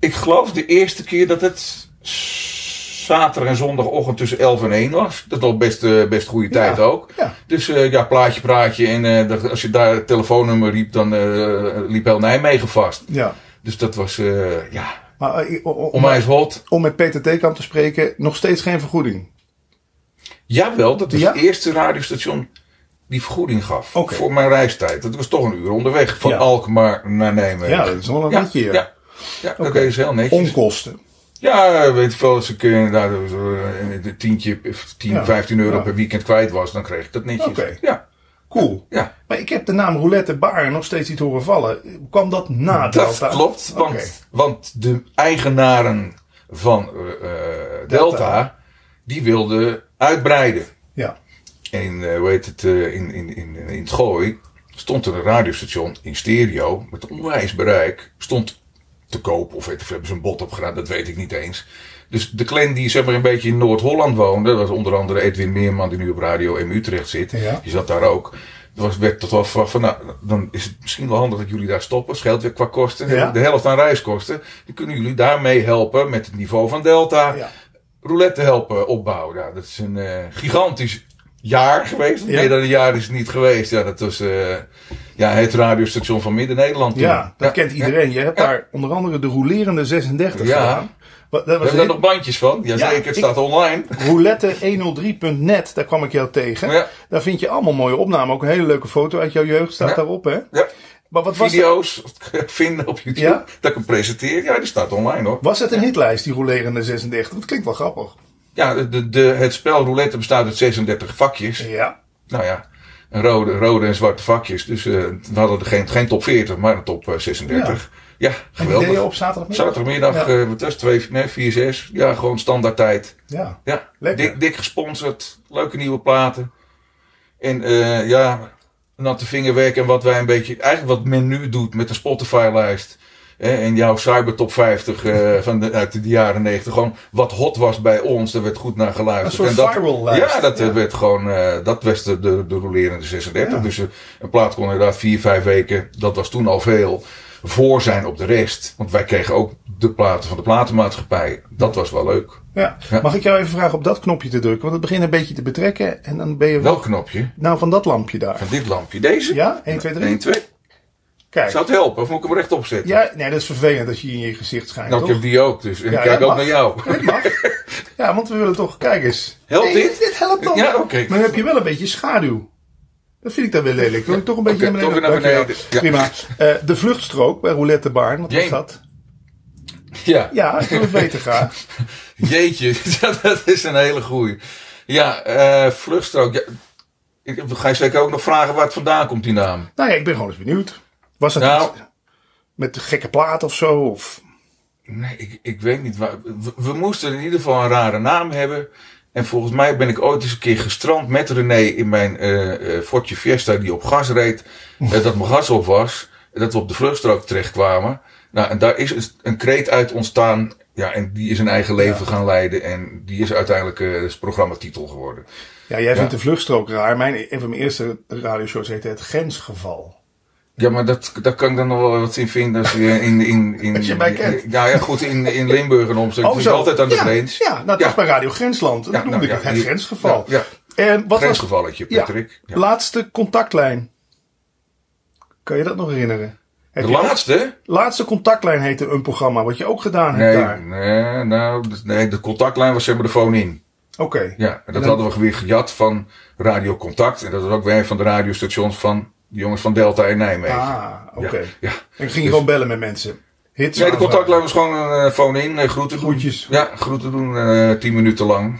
Speaker 2: Ik geloof de eerste keer dat het s- zaterdag en zondagochtend tussen 11 en 1 was. Dat was best, eh, best goede tijd ook.
Speaker 1: Ja.
Speaker 2: Dus eh, ja, plaatje, praatje. En eh, dat- als je daar het telefoonnummer riep, dan eh, liep heel Nijmegen vast.
Speaker 1: ja.
Speaker 2: Dus dat was, eh ja,
Speaker 1: Maar eh, o- o- om,
Speaker 2: onwijs hot.
Speaker 1: om met Peter Teekamp te spreken, nog steeds geen vergoeding.
Speaker 2: Jawel, dat was
Speaker 1: Ja?
Speaker 2: het eerste radiostation die vergoeding gaf.
Speaker 1: Oké.
Speaker 2: Voor mijn reistijd. Dat was toch een uur onderweg van
Speaker 1: Ja.
Speaker 2: Alkmaar naar Nijmegen.
Speaker 1: Ja, dat is wel een
Speaker 2: Ja,
Speaker 1: beetje.
Speaker 2: ja.
Speaker 1: ja.
Speaker 2: ja. dat
Speaker 1: Oké.
Speaker 2: is heel netjes.
Speaker 1: Onkosten.
Speaker 2: Ja, weet je wel, als ik eh, inderdaad eh, een tientje, of 10,
Speaker 1: Ja.
Speaker 2: 15 euro
Speaker 1: Ja.
Speaker 2: per weekend kwijt was, dan kreeg ik dat netjes.
Speaker 1: Oké.
Speaker 2: Ja,
Speaker 1: Cool.
Speaker 2: ja.
Speaker 1: Maar ik heb de naam Roulette Bar nog steeds niet horen vallen. Kwam dat na
Speaker 2: dat
Speaker 1: Delta?
Speaker 2: klopt. Want,
Speaker 1: Oké.
Speaker 2: want de eigenaren van eh, eh, Delta,
Speaker 1: Delta.
Speaker 2: die wilden uitbreiden.
Speaker 1: Ja.
Speaker 2: En eh, hoe heet het, eh, in, in, in, in het Gooi stond er een radiostation in stereo met onwijs bereik. Stond te koop of weet ik, veel, hebben ze een bod op gedaan, dat weet ik niet eens. Dus de clan die zeg maar een beetje in Noord-Holland woonde, dat was onder andere Edwin Meerman die nu op Radio M Utrecht zit.
Speaker 1: Ja.
Speaker 2: Die zat daar ook. Er was, werd tot wel verwacht van, nou, dan is het misschien wel handig dat jullie daar stoppen. Scheelt weer qua kosten.
Speaker 1: Ja.
Speaker 2: De helft aan reiskosten. Dan kunnen jullie daarmee helpen met het niveau van Delta
Speaker 1: ja.
Speaker 2: roulette helpen opbouwen. Ja, dat is een eh, gigantisch jaar geweest.
Speaker 1: Ja.
Speaker 2: Meer dan een jaar is het niet geweest. Ja, dat was eh, ja, het radiostation van Midden-Nederland. toen.
Speaker 1: Ja, dat kent iedereen. Je hebt
Speaker 2: Ja.
Speaker 1: daar onder andere de rolerende 36
Speaker 2: Ja.
Speaker 1: gedaan. Wat- Dat
Speaker 2: We
Speaker 1: was
Speaker 2: hebben daar
Speaker 1: heel-
Speaker 2: nog bandjes van. Jazeker,
Speaker 1: Ja,
Speaker 2: het
Speaker 1: ik-
Speaker 2: staat online.
Speaker 1: roulette103.net, daar kwam ik jou tegen.
Speaker 2: Ja.
Speaker 1: Daar vind je allemaal mooie opnamen. Ook een hele leuke foto uit jouw jeugd staat
Speaker 2: Ja.
Speaker 1: daarop. Hè?
Speaker 2: Ja,
Speaker 1: Maar wat was het?
Speaker 2: video's vinden op YouTube.
Speaker 1: Ja.
Speaker 2: Dat ik hem presenteer. Ja, die staat online hoor.
Speaker 1: Was het een hitlijst, die rolerende 36? Dat klinkt wel grappig.
Speaker 2: Ja, de, de, het spel roulette bestaat uit 36 vakjes.
Speaker 1: Ja,
Speaker 2: Nou ja, een rode, rode en zwarte vakjes. Dus eh, we hadden er geen, geen top 40, maar een top eh, 36. Ja,
Speaker 1: en die
Speaker 2: geweldig.
Speaker 1: deed je op zaterdagmiddag? Ja.
Speaker 2: Zaterdagmiddag, eh wat was het, twee, nee, vier, zes. Ja, gewoon standaard tijd.
Speaker 1: Ja,
Speaker 2: Ja,
Speaker 1: Lekker.
Speaker 2: dik, dik gesponsord, leuke nieuwe platen. En eh ja, natte vingerwerk en wat wij een beetje, eigenlijk wat men nu doet met een Spotify-lijst. Hè, en jouw cybertop 50 eh, van de, uit de jaren 90. Gewoon wat hot was bij ons, daar werd goed naar
Speaker 1: een
Speaker 2: geluisterd.
Speaker 1: soort
Speaker 2: en dat,
Speaker 1: viral lijst.
Speaker 2: ja, dat eh, werd gewoon, eh, dat was de, de, de rolerende 36.
Speaker 1: Ja.
Speaker 2: Dus eh, een plaat kon inderdaad vier, vijf weken, dat was toen al veel, voor zijn op de rest. Want wij kregen ook de platen van de platenmaatschappij. Dat was wel leuk.
Speaker 1: Ja.
Speaker 2: Ja.
Speaker 1: Mag ik jou even vragen op dat knopje te drukken? Want het begint een beetje te betrekken en dan ben je wel...
Speaker 2: Welk knopje?
Speaker 1: Nou, van dat lampje daar.
Speaker 2: Van dit lampje. Deze?
Speaker 1: Ja, 1, 2, 3.
Speaker 2: 1, 2.
Speaker 1: Kijk.
Speaker 2: Zou het helpen? Of moet ik hem rechtop zetten?
Speaker 1: Ja, nee, dat is vervelend dat je in je gezicht schijnt,
Speaker 2: Nou, ik
Speaker 1: toch?
Speaker 2: heb die ook dus. En
Speaker 1: Ja,
Speaker 2: ik kijk
Speaker 1: dat
Speaker 2: ook
Speaker 1: mag.
Speaker 2: naar jou.
Speaker 1: Dat mag. Ja, want we willen toch... Kijk eens.
Speaker 2: Helpt
Speaker 1: Nee,
Speaker 2: dit?
Speaker 1: Dit helpt dan.
Speaker 2: Ja, oké.
Speaker 1: Maar dan heb je wel een beetje schaduw. Dat vind ik dan weer lelijk. Wil ik toch een beetje
Speaker 2: Oké,
Speaker 1: naar beneden?
Speaker 2: toch weer naar
Speaker 1: Dankjewel.
Speaker 2: beneden.
Speaker 1: Prima. Eh, de vluchtstrook bij Roulette Barn. Wat was
Speaker 2: Jane.
Speaker 1: dat?
Speaker 2: Ja.
Speaker 1: Ja, ik wil het weten graag.
Speaker 2: Jeetje, ja, dat is een hele goeie. Ja, eh vluchtstrook. Ja. Ik ga je zeker ook nog vragen waar het vandaan komt, die naam.
Speaker 1: Nou ja, ik ben gewoon eens benieuwd. Was dat
Speaker 2: Nou.
Speaker 1: iets met de gekke plaat of zo? Of...
Speaker 2: Nee, ik, ik weet niet. Waar. We, we moesten in ieder geval een rare naam hebben. En volgens mij ben ik ooit eens een keer gestrand met René in mijn eh eh Fortje Fiesta die op gas reed. Eh, dat mijn gas op was. En Dat we op de vluchtstrook terechtkwamen. Nou, en daar is een- een kreet uit ontstaan. Ja, en die is een eigen leven gaan leiden. En die is uiteindelijk eh dus programmatitel geworden.
Speaker 1: Ja, jij vindt de vluchtstrook raar. Mijn, een van mijn eerste radioshows heette Het Grensgeval.
Speaker 2: Ja, maar dat, daar kan ik dan nog wel wat in vinden als je in... in, in
Speaker 1: Als je mij kent.
Speaker 2: Ja, ja, goed, in, in Limburg en omstreken. Oh, altijd aan de
Speaker 1: ja,
Speaker 2: grens.
Speaker 1: Ja, nou, dat
Speaker 2: Ja.
Speaker 1: was bij Radio Grensland. Dat
Speaker 2: Ja,
Speaker 1: noemde
Speaker 2: nou,
Speaker 1: ik
Speaker 2: ja,
Speaker 1: het, het
Speaker 2: die-
Speaker 1: grensgeval.
Speaker 2: Ja,
Speaker 1: En wat was
Speaker 2: grensgevalletje,
Speaker 1: Ja.
Speaker 2: Patrick. Ja.
Speaker 1: Laatste contactlijn. Kan je dat nog herinneren? Heb
Speaker 2: De
Speaker 1: je-
Speaker 2: laatste?
Speaker 1: Laatste contactlijn heette een programma wat je ook gedaan hebt
Speaker 2: Nee,
Speaker 1: Ah, daar.
Speaker 2: nee, nou, d- nee, de contactlijn was zeg maar de phone in.
Speaker 1: Oké.
Speaker 2: Ja, en dat
Speaker 1: dan-
Speaker 2: hadden we weer gejat van Radio Contact. En dat was ook weer een van de radiostations van de jongens van Delta in Nijmegen.
Speaker 1: Ah, oké.
Speaker 2: Ja, ja.
Speaker 1: En ging je gewoon bellen met mensen. Hits.
Speaker 2: Nee,
Speaker 1: aanvragen.
Speaker 2: de eh, contactlijn was gewoon een phone in, groeten doen.
Speaker 1: Groetjes.
Speaker 2: Ja, groeten doen, eh tien minuten lang.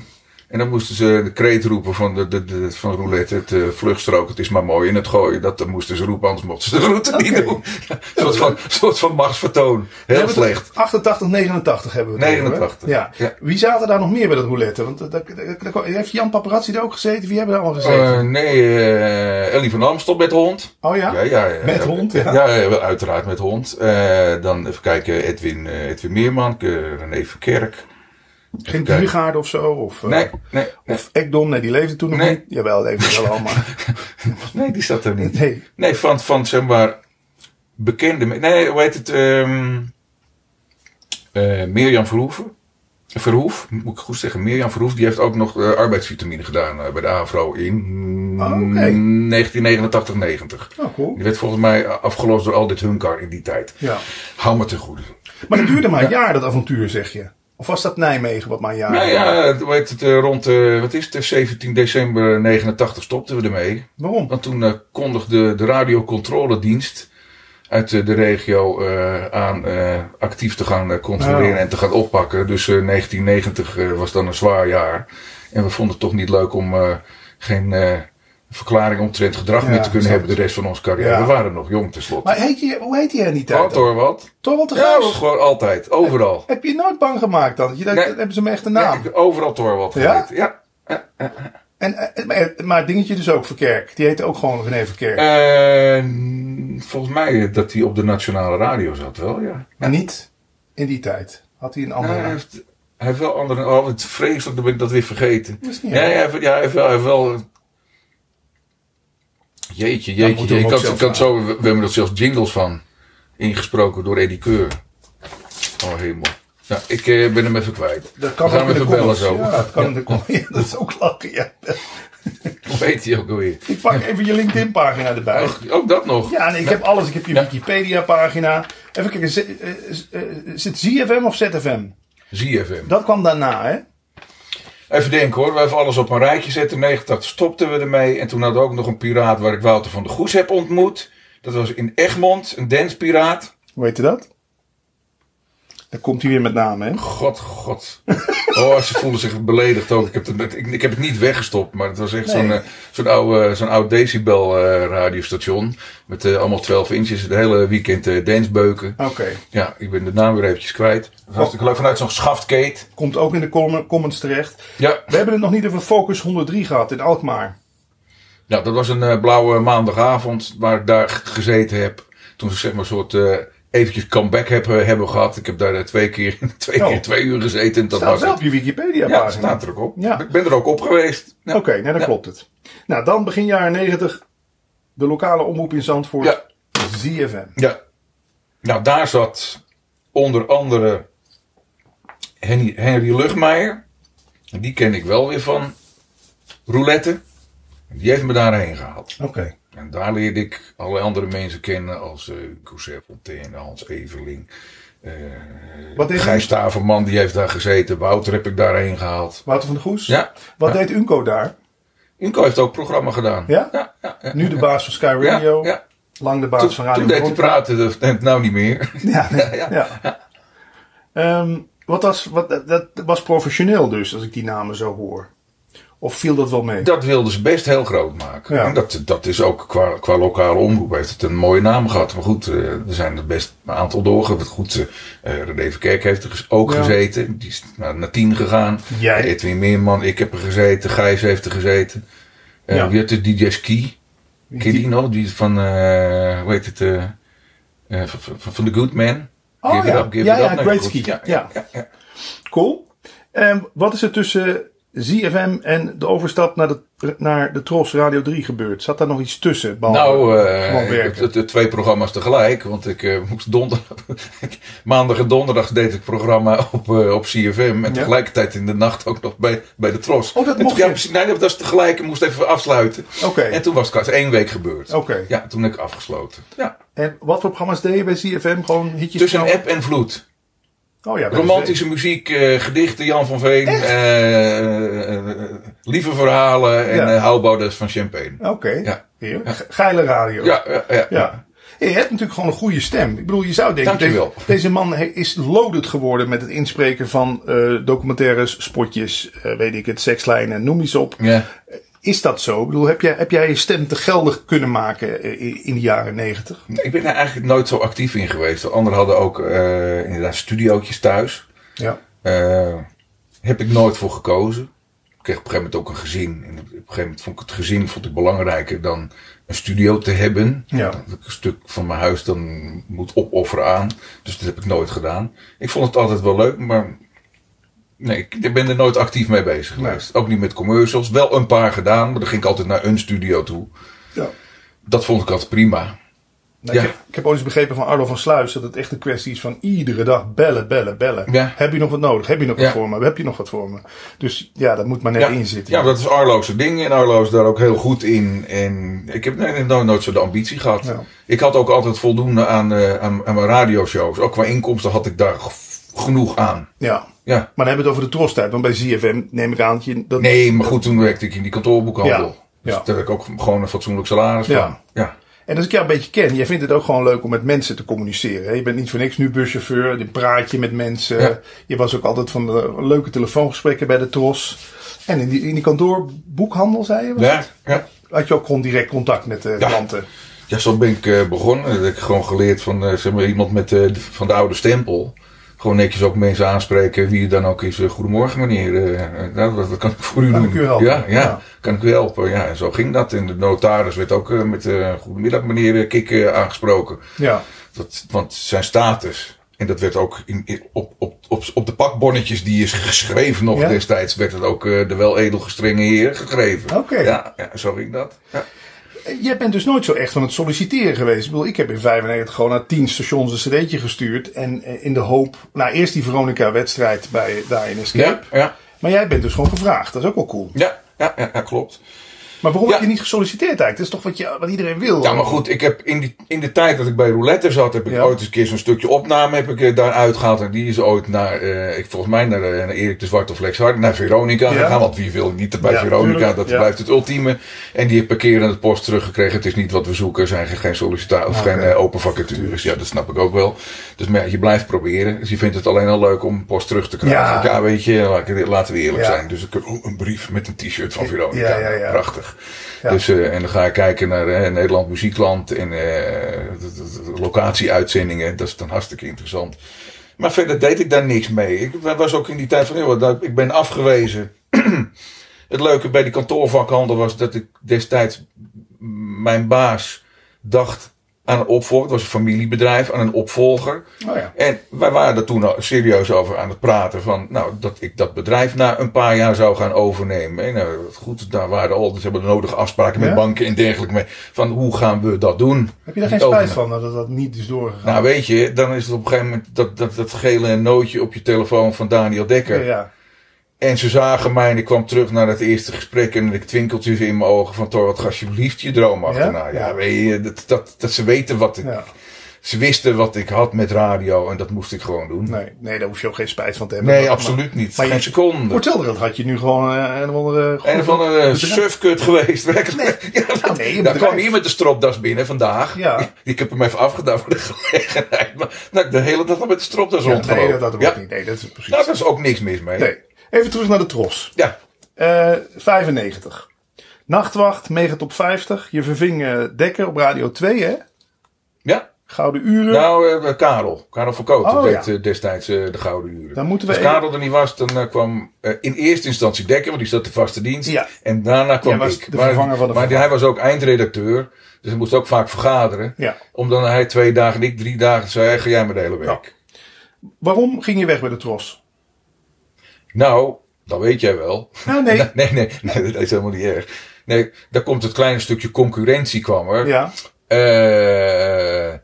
Speaker 2: En dan moesten ze de kreet roepen van, de, de, de- van roulette, het eh, vluchtstrook, het is maar mooi in het gooien. Dat eh, moesten ze roepen, anders mochten ze de route niet
Speaker 1: Oké.
Speaker 2: doen. Een soort, van, soort van machtsvertoon. Heel
Speaker 1: We hebben het
Speaker 2: slecht.
Speaker 1: 88, 89 hebben we het
Speaker 2: 89.
Speaker 1: over, hè? Ja.
Speaker 2: Ja.
Speaker 1: Wie zaten daar nog meer bij dat roulette? Want eh, daar- daar- daar- heeft Jan Paparazzi er ook gezeten? Wie hebben daar allemaal gezeten?
Speaker 2: Eh, nee, eh, Ellie van Amstel met hond.
Speaker 1: oh ja?
Speaker 2: Eh, Ja, ja, ja.
Speaker 1: Met hond, ja.
Speaker 2: Ja, ja, wel, uiteraard met hond. Eh, dan even kijken, Edwin, eh, Edwin Meerman, eh, René van Kerk.
Speaker 1: Geen
Speaker 2: Kijk.
Speaker 1: Diergaard of zo? Of, eh,
Speaker 2: Nee, nee, nee,
Speaker 1: Of Ekdom? Nee, die leefde toen nog
Speaker 2: Nee.
Speaker 1: niet. Jawel, leefde wel allemaal.
Speaker 2: nee, die zat er niet.
Speaker 1: Nee.
Speaker 2: Nee, van, van zeg maar bekende. me- Nee, hoe heet het? ehm, eh, Mirjam Verhoeven. Verhoef, moet ik goed zeggen. Mirjam Verhoef, die heeft ook nog eh, arbeidsvitamine gedaan eh, bij de AVRO in
Speaker 1: Oh,
Speaker 2: mm,
Speaker 1: oké.
Speaker 2: 1989-90.
Speaker 1: Oh, cool.
Speaker 2: Die werd volgens mij afgelost door al dit hunkar in die tijd.
Speaker 1: Ja.
Speaker 2: Hou me ten goede.
Speaker 1: Maar dat duurde maar een jaar, dat avontuur, zeg je. Of was dat Nijmegen wat maar een jaar?
Speaker 2: Nou ja, het- hoe heet het, eh, rond eh, wat is het, eh, 17 december 89 stopten we ermee.
Speaker 1: Waarom?
Speaker 2: Want toen eh, kondigde de radiocontroledienst uit eh, de regio eh, aan eh, actief te gaan eh, controleren
Speaker 1: Oh.
Speaker 2: en te gaan oppakken. Dus eh, 1990 eh, was dan een zwaar jaar. En we vonden het toch niet leuk om eh, geen eh, verklaring omtrent gedrag
Speaker 1: Ja,
Speaker 2: meer te kunnen
Speaker 1: snap
Speaker 2: hebben de rest van onze carrière.
Speaker 1: Ja.
Speaker 2: We waren nog jong tenslotte.
Speaker 1: Maar heet je, hoe heet hij in die tijd?
Speaker 2: Wat hoor, wat?
Speaker 1: Torwald de
Speaker 2: Ja,
Speaker 1: Graaf?
Speaker 2: gewoon altijd, overal.
Speaker 1: Heb je je nooit bang gemaakt dan? Je denkt,
Speaker 2: Nee.
Speaker 1: dat hebben ze mijn echte
Speaker 2: Ja,
Speaker 1: naam.
Speaker 2: ik- overal Torwald
Speaker 1: Nou. Ja?
Speaker 2: geheten. Ja?
Speaker 1: En, eh, maar, eh, maar het dingetje dus ook Verkerk. Die heette ook gewoon René Verkerk.
Speaker 2: Eh, volgens mij dat hij op de nationale radio zat wel, ja.
Speaker 1: Maar niet in die tijd. Had hij een
Speaker 2: Nee,
Speaker 1: andere
Speaker 2: hij, heeft, hij heeft wel andere... Oh, wat vreselijk, dan ben ik dat weer vergeten.
Speaker 1: Dat is niet
Speaker 2: Ja,
Speaker 1: erg.
Speaker 2: hij heeft, ja, hij heeft wel... Hij heeft wel jeetje, jeetje.
Speaker 1: moeten we hem
Speaker 2: Ik
Speaker 1: ook
Speaker 2: had,
Speaker 1: zelf
Speaker 2: ik had zo, we we hebben er zelfs jingles van ingesproken door Eddie Keur. Oh, hemel. Nou, ik eh, ben hem even kwijt.
Speaker 1: Dat kan
Speaker 2: we gaan
Speaker 1: ook
Speaker 2: hem
Speaker 1: in de
Speaker 2: even bellen
Speaker 1: comments.
Speaker 2: zo.
Speaker 1: Ja, dat kan in de comments. Ja, dat is ook lachen. Ja.
Speaker 2: Hoe heet hij ook alweer?
Speaker 1: Ik pak even je LinkedIn pagina erbij.
Speaker 2: Ook, ook dat nog.
Speaker 1: Ja, nee, ik heb alles. Ik heb je
Speaker 2: Ja.
Speaker 1: Wikipedia pagina. Even kijken. Z- eh, z- eh, Zit ZFM of ZFM?
Speaker 2: ZFM.
Speaker 1: Dat kwam daarna, hè?
Speaker 2: Even denken hoor, we hebben alles op een rijtje zetten. 89 stopten we ermee. En toen hadden we ook nog een piraat waar ik Wouter van de Goes heb ontmoet. Dat was in Egmond, een danspiraat.
Speaker 1: Hoe heet je dat? Dan komt hij weer met namen, hè?
Speaker 2: God, god. Oh, ze voelden zich beledigd ook. Ik heb het, ik, ik heb het niet weggestopt, maar het was echt
Speaker 1: Nee.
Speaker 2: zo'n eh, zo'n oude, zo'n oud decibel eh, radiostation. Met eh, allemaal 12 inches, het hele weekend eh dansbeuken.
Speaker 1: Oké.
Speaker 2: Ja, ik ben de naam weer eventjes kwijt. Dat was natuurlijk leuk vanuit zo'n schaftkeet.
Speaker 1: Komt ook in de com- comments terecht.
Speaker 2: Ja,
Speaker 1: We hebben het nog niet over Focus 103 gehad in Alkmaar.
Speaker 2: Ja, dat was een eh, blauwe maandagavond waar ik daar g- gezeten heb. Toen ze zeg maar een soort eh, eventjes comeback hebben, hebben gehad. Ik heb daar eh, twee keer, twee,
Speaker 1: Oh.
Speaker 2: keer twee uur gezeten. En dat
Speaker 1: staat
Speaker 2: was
Speaker 1: wel
Speaker 2: het.
Speaker 1: op je Wikipedia
Speaker 2: Ja, het
Speaker 1: pagina.
Speaker 2: staat er ook op.
Speaker 1: Ja.
Speaker 2: Ik ben er ook op geweest. Ja.
Speaker 1: Oké, nou dan
Speaker 2: Ja.
Speaker 1: klopt het. Nou, dan begin jaren 90. De lokale omroep in Zandvoort.
Speaker 2: Ja.
Speaker 1: ZFM.
Speaker 2: Ja. Nou, daar zat onder andere Henny, Henry Lugmeijer. En Die ken ik wel weer van roulette. En Die heeft me daarheen gehaald.
Speaker 1: Oké.
Speaker 2: En daar leerde ik allerlei andere mensen kennen als eh Cousset Fontaine, Hans Everling. eh
Speaker 1: Wat deed
Speaker 2: Gijs Staverman, die heeft daar gezeten. Wouter heb ik daarheen gehaald.
Speaker 1: Wouter van de Goes.
Speaker 2: Ja,
Speaker 1: Wat
Speaker 2: Ja.
Speaker 1: deed Unco daar?
Speaker 2: Inco heeft ook programma gedaan.
Speaker 1: Ja?
Speaker 2: Ja, ja, ja.
Speaker 1: Nu de baas van Sky
Speaker 2: Ja,
Speaker 1: Radio.
Speaker 2: ja.
Speaker 1: Lang de
Speaker 2: Toen,
Speaker 1: baas van Radio
Speaker 2: toen deed hij
Speaker 1: Bron.
Speaker 2: praten, dat neemt nou niet meer.
Speaker 1: Ja, nee, ja.
Speaker 2: Ja,
Speaker 1: Ehm, wat was, wat, dat- dat was professioneel dus, als ik die namen zo hoor. Of viel dat wel mee?
Speaker 2: Dat wilden ze best heel groot maken.
Speaker 1: Ja.
Speaker 2: En dat, dat is ook qua, qua lokale omroep heeft het een mooie naam gehad. Maar goed, eh, er zijn er best een aantal doorgegaan. Goed, eh René Verkerk heeft er ges- ook
Speaker 1: Ja.
Speaker 2: gezeten. Die is naar, naar tien gegaan.
Speaker 1: Jij?
Speaker 2: Edwin Meerman, ik heb er gezeten. Gijs heeft er gezeten. Eh
Speaker 1: Ja.
Speaker 2: Wie had de DJ Ski? Ken je die nog? Die van, eh, hoe heet het, eh, eh, van, van, van The Good Man.
Speaker 1: Oh
Speaker 2: Give it
Speaker 1: ja.
Speaker 2: up, give
Speaker 1: Ja,
Speaker 2: it
Speaker 1: ja,
Speaker 2: up. Nou,
Speaker 1: Great
Speaker 2: goed.
Speaker 1: Ski.
Speaker 2: Ja,
Speaker 1: Ja.
Speaker 2: ja, ja, ja.
Speaker 1: Cool. Ehm, wat is er tussen ZFM en de overstap naar de, naar de Tros Radio 3 gebeurd? Zat daar nog iets tussen? behalve
Speaker 2: Nou,
Speaker 1: gewoon
Speaker 2: eh
Speaker 1: werken?
Speaker 2: de, twee programma's tegelijk. Want ik eh, moest donderdag. maandag en donderdag deed ik het programma op, eh, op CFM. En tegelijkertijd in de nacht ook nog bij, bij de Tros.
Speaker 1: Oh, dat
Speaker 2: En toen-
Speaker 1: mocht
Speaker 2: ja,
Speaker 1: je?
Speaker 2: precies. Nee, dat was tegelijk. Ik moest even afsluiten.
Speaker 1: Oké.
Speaker 2: En toen was eh, het kwart één week gebeurd.
Speaker 1: Oké.
Speaker 2: Ja, toen heb ik afgesloten. Ja.
Speaker 1: En wat voor programma's deed je bij ZFM? Gewoon hitjes?
Speaker 2: Tussen
Speaker 1: knallen?
Speaker 2: app en vloed.
Speaker 1: Oh nou- ja, bij de zee.
Speaker 2: Romantische muziek, eh, gedichten, Jan van Veen. eh, eh, eh, lieve verhalen en
Speaker 1: Ja.
Speaker 2: eh, houdbouders van champagne.
Speaker 1: Oké.
Speaker 2: Ja.
Speaker 1: Heerlijk. Ge- Geile radio.
Speaker 2: Ja, ja, ja.
Speaker 1: Ja. Je hebt natuurlijk gewoon een goede stem. Ik bedoel, je zou denken, deze,
Speaker 2: Dankjewel.
Speaker 1: deze man he- is loaded geworden met het inspreken van eh, documentaires, spotjes, eh, weet ik het, sekslijnen, noem eens op.
Speaker 2: Ja.
Speaker 1: Is dat zo? Ik bedoel, heb jij, heb jij je stem te geldig kunnen maken eh, in, in de jaren negentig?
Speaker 2: Ik ben daar eigenlijk nooit zo actief in geweest. De Anderen hadden ook eh, inderdaad studiootjes thuis.
Speaker 1: Ja.
Speaker 2: Eh, heb ik nooit voor gekozen. Ik kreeg op een gegeven moment ook een gezin. En op een gegeven moment vond ik het gezin vond ik belangrijker dan een studio te hebben.
Speaker 1: Ja.
Speaker 2: Dat ik een stuk van mijn huis dan moet opofferen aan. Dus dat heb ik nooit gedaan. Ik vond het altijd wel leuk, maar nee, ik- ik ben er nooit actief mee bezig
Speaker 1: Nee.
Speaker 2: geweest. Ook niet met commercials. Wel een paar gedaan, maar dan ging ik altijd naar een studio toe.
Speaker 1: ja.
Speaker 2: Dat vond ik altijd prima.
Speaker 1: Nou, ik,
Speaker 2: Ja.
Speaker 1: heb, ik heb ooit eens begrepen van Arlo van Sluis dat het echt een kwestie is van iedere dag bellen, bellen, bellen.
Speaker 2: Ja.
Speaker 1: Heb je nog wat nodig? Heb je nog
Speaker 2: Ja.
Speaker 1: wat voor me? Heb je nog wat voor me? Dus ja, dat moet maar net in zitten.
Speaker 2: Ja, dat is Arlo's ding en Arlo is daar ook heel goed in. En ik heb nee, nee, nooit, nooit zo de ambitie gehad.
Speaker 1: Ja.
Speaker 2: Ik had ook altijd voldoende aan, eh, aan, aan mijn radioshows. Ook qua inkomsten had ik daar g- genoeg aan.
Speaker 1: Ja.
Speaker 2: Ja.
Speaker 1: Maar dan hebben we het over de trostijd. Want bij ZFM neem ik aan dat je... Dat,
Speaker 2: Nee, maar goed, toen werkte ik in die kantoorboekhandel.
Speaker 1: Ja.
Speaker 2: Dus
Speaker 1: Ja.
Speaker 2: daar heb ik ook gewoon een fatsoenlijk salaris
Speaker 1: Ja.
Speaker 2: van. Ja.
Speaker 1: En als ik jou een beetje ken, jij vindt het ook gewoon leuk om met mensen te communiceren. hè? Je bent niet voor niks nu buschauffeur, dan praat je met mensen.
Speaker 2: Ja.
Speaker 1: Je was ook altijd van de leuke telefoongesprekken bij de Tros. En in die, in die kantoorboekhandel, zei je? was
Speaker 2: Ja,
Speaker 1: het?
Speaker 2: ja.
Speaker 1: Had je ook gewoon direct contact met de
Speaker 2: Ja.
Speaker 1: klanten?
Speaker 2: ja, zo ben ik eh, begonnen. Dat heb ik gewoon geleerd van eh, zeg maar, iemand met, eh, de- van de oude stempel. Gewoon netjes ook mensen aanspreken, wie je dan ook is. eh, Goedemorgen meneer, eh, eh, nou, wat, wat kan ik voor u
Speaker 1: Kan
Speaker 2: doen?
Speaker 1: ik u helpen?
Speaker 2: Ja, ja,
Speaker 1: Ja.
Speaker 2: kan ik u helpen? Ja, en zo ging dat. En de notaris werd ook eh, met eh, goedemiddag meneer eh, Kik eh, aangesproken.
Speaker 1: Ja.
Speaker 2: Dat, want zijn status, en dat werd ook in, in- op, op, op, op de pakbonnetjes die is geschreven nog
Speaker 1: Ja?
Speaker 2: destijds, werd het ook eh, de wel edelgestrenge heer geschreven.
Speaker 1: Oké.
Speaker 2: Ja, ja, zo ging dat. Ja.
Speaker 1: Jij bent dus nooit zo echt van het solliciteren geweest. Ik bedoel, ik heb in 95 gewoon naar 10 stations een cd'tje gestuurd. En eh, in de hoop, nou eerst die Veronica-wedstrijd bij, daar in Escape.
Speaker 2: Ja, ja,
Speaker 1: Maar jij bent dus gewoon gevraagd. Dat is ook wel cool.
Speaker 2: ja, ja, ja, ja, klopt.
Speaker 1: Maar waarom
Speaker 2: Ja.
Speaker 1: heb je niet gesolliciteerd eigenlijk? Dat is toch wat, je, wat iedereen wil?
Speaker 2: Ja, maar goed, ik heb in, die, in de tijd dat ik bij Roulette zat, heb ik
Speaker 1: Ja.
Speaker 2: ooit eens een keer zo'n stukje opname heb ik eh, daaruit gehaald. En die is ooit naar, eh, ik, volgens mij naar, eh, naar Erik de Zwart of Lex Hard, naar Veronica
Speaker 1: Ja.
Speaker 2: gegaan. Want wie wil niet bij
Speaker 1: Ja,
Speaker 2: Veronica,
Speaker 1: tuurlijk,
Speaker 2: dat
Speaker 1: ja.
Speaker 2: blijft het ultieme. En die heb ik keer aan het post teruggekregen. Het is niet wat we zoeken, er zijn geen sollicitaties of
Speaker 1: Ah, Oké.
Speaker 2: geen eh, open vacatures. Ja, dat snap ik ook wel. Dus maar ja, je blijft proberen. Dus je vindt het alleen al leuk om post terug te krijgen.
Speaker 1: Ja.
Speaker 2: Ja, weet je, laat ik- laten we eerlijk
Speaker 1: Ja.
Speaker 2: zijn. Dus ik heb oh, een brief met een t-shirt van Veronica.
Speaker 1: Ja, ja, ja.
Speaker 2: Prachtig.
Speaker 1: Ja.
Speaker 2: Dus, eh, en dan ga ik kijken naar eh, Nederland Muziekland en eh, d- d- d- locatieuitzendingen. Dat is dan hartstikke interessant. Maar verder deed ik daar niks mee. Ik wa- was ook in die tijd van, joh, dat- ik ben afgewezen. Het leuke bij die kantoorvakhandel was dat ik destijds m- mijn baas dacht aan een opvolger. Het was een familiebedrijf, aan een opvolger.
Speaker 1: Oh ja.
Speaker 2: En wij waren er toen al serieus over aan het praten van, nou, dat ik dat bedrijf na een paar jaar zou gaan overnemen. En nou, goed, daar waren al, dus hebben de nodige afspraken met
Speaker 1: Ja.
Speaker 2: banken en dergelijke mee. Van hoe gaan we dat doen?
Speaker 1: Heb je daar geen
Speaker 2: Het
Speaker 1: spijt
Speaker 2: overnemen.
Speaker 1: van dat dat niet is doorgegaan?
Speaker 2: Nou, weet je, dan is het op een gegeven moment dat, dat, dat gele nootje op je telefoon van Daniel Dekker.
Speaker 1: ja.
Speaker 2: En ze zagen mij en ik kwam terug naar het eerste gesprek en ik twinkeltjes in mijn ogen van, Thor, wat ga alsjeblieft je droom achterna. Ja,
Speaker 1: Ja? Ja.
Speaker 2: weet je, dat, dat, dat ze weten wat ik,
Speaker 1: ja.
Speaker 2: ze wisten wat ik had met radio en dat moest ik gewoon doen.
Speaker 1: Nee, nee, daar hoef je ook geen spijt van te hebben.
Speaker 2: Nee,
Speaker 1: Maar-
Speaker 2: absoluut niet.
Speaker 1: maar
Speaker 2: Geen
Speaker 1: je-
Speaker 2: seconde.
Speaker 1: Voor hetzelfde geld had je nu gewoon eh, een of andere...
Speaker 2: Een van een sufkut geweest.
Speaker 1: Nee.
Speaker 2: werkelijk. Ja,
Speaker 1: Nou, nee, een
Speaker 2: daar
Speaker 1: bedrijf.
Speaker 2: kwam hier met de stropdas binnen vandaag.
Speaker 1: Ja.
Speaker 2: Ik heb hem even afgedaan voor de gelegenheid. Maar dat ik de hele dag al met de stropdas
Speaker 1: Ja,
Speaker 2: rondgelopen.
Speaker 1: nee, dat, dat
Speaker 2: ja.
Speaker 1: ook niet. Nee, dat is precies...
Speaker 2: Nou, daar is ook niks mis mee.
Speaker 1: Nee. Even terug naar de tros.
Speaker 2: Ja.
Speaker 1: Eh, 95. Nachtwacht, megatop 50. Je verving eh, Dekker op Radio 2, hè?
Speaker 2: Ja.
Speaker 1: Gouden uren.
Speaker 2: Nou, eh, Karel. Karel van Koot.
Speaker 1: Oh,
Speaker 2: dat deed
Speaker 1: ja.
Speaker 2: eh, destijds eh, de Gouden Uren.
Speaker 1: Dan moeten we
Speaker 2: Als
Speaker 1: even-
Speaker 2: Karel er niet was, dan eh, kwam eh, in eerste instantie Dekker, want die zat de vaste dienst.
Speaker 1: Ja.
Speaker 2: En daarna kwam
Speaker 1: Jij was
Speaker 2: ik.
Speaker 1: de vervanger van de
Speaker 2: maar die-
Speaker 1: vervanger.
Speaker 2: hij was ook eindredacteur. Dus hij moest ook vaak vergaderen.
Speaker 1: Ja.
Speaker 2: Omdat hij twee dagen en ik drie dagen zei, "Hey, ga jij maar de hele week.
Speaker 1: Waarom ging je weg bij de tros?
Speaker 2: Nou, dat weet jij wel.
Speaker 1: Nou, nee.
Speaker 2: Nee, nee, nee, dat is helemaal niet erg. Nee, daar komt het kleine stukje concurrentie kwam er.
Speaker 1: Ja.
Speaker 2: Eh,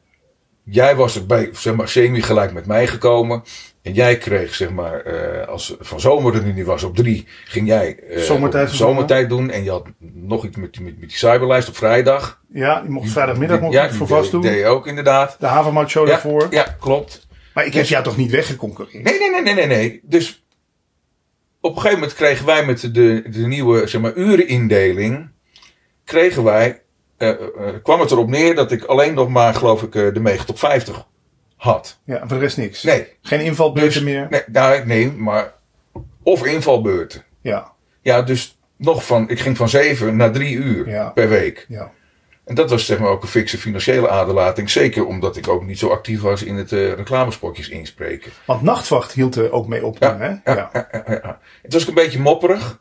Speaker 2: jij was er bij, zeg maar, semi gelijk met mij gekomen. En jij kreeg, zeg maar, eh, als van zomer er nu niet was op drie, ging jij eh,
Speaker 1: Zomertijd
Speaker 2: op-
Speaker 1: verzonnen.
Speaker 2: zomertijd doen. En je had nog iets met, die- met, met die cyberlijst op vrijdag.
Speaker 1: Ja, die mocht vrijdagmiddag mocht je
Speaker 2: ja,
Speaker 1: het voor
Speaker 2: die
Speaker 1: vast
Speaker 2: deed-
Speaker 1: doen.
Speaker 2: deed je ook inderdaad.
Speaker 1: De Havermout Show
Speaker 2: Ja,
Speaker 1: daarvoor.
Speaker 2: ja, klopt.
Speaker 1: Maar ik heb jou toch niet weggeconcureerd?
Speaker 2: Nee, nee, nee, nee, nee, nee. Dus op een gegeven moment kregen wij met de, de nieuwe zeg maar, urenindeling. kregen wij eh, eh, kwam het erop neer dat ik alleen nog maar, geloof ik, eh, de megatop 50 had.
Speaker 1: Ja, en voor de rest niks.
Speaker 2: Nee.
Speaker 1: Geen invalbeurten meer.
Speaker 2: Nee, nou, nee, maar. Of invalbeurten.
Speaker 1: Ja,
Speaker 2: Ja, dus nog van. Ik ging van 7 naar 3 uur
Speaker 1: Ja.
Speaker 2: per week.
Speaker 1: ja.
Speaker 2: En dat was zeg maar ook een fikse financiële aderlating. Zeker omdat ik ook niet zo actief was in het eh, reclamespotjes inspreken.
Speaker 1: Want nachtwacht hield er ook mee op. toen, hè?
Speaker 2: ja, ja, ja, ja. Het was ook een beetje mopperig.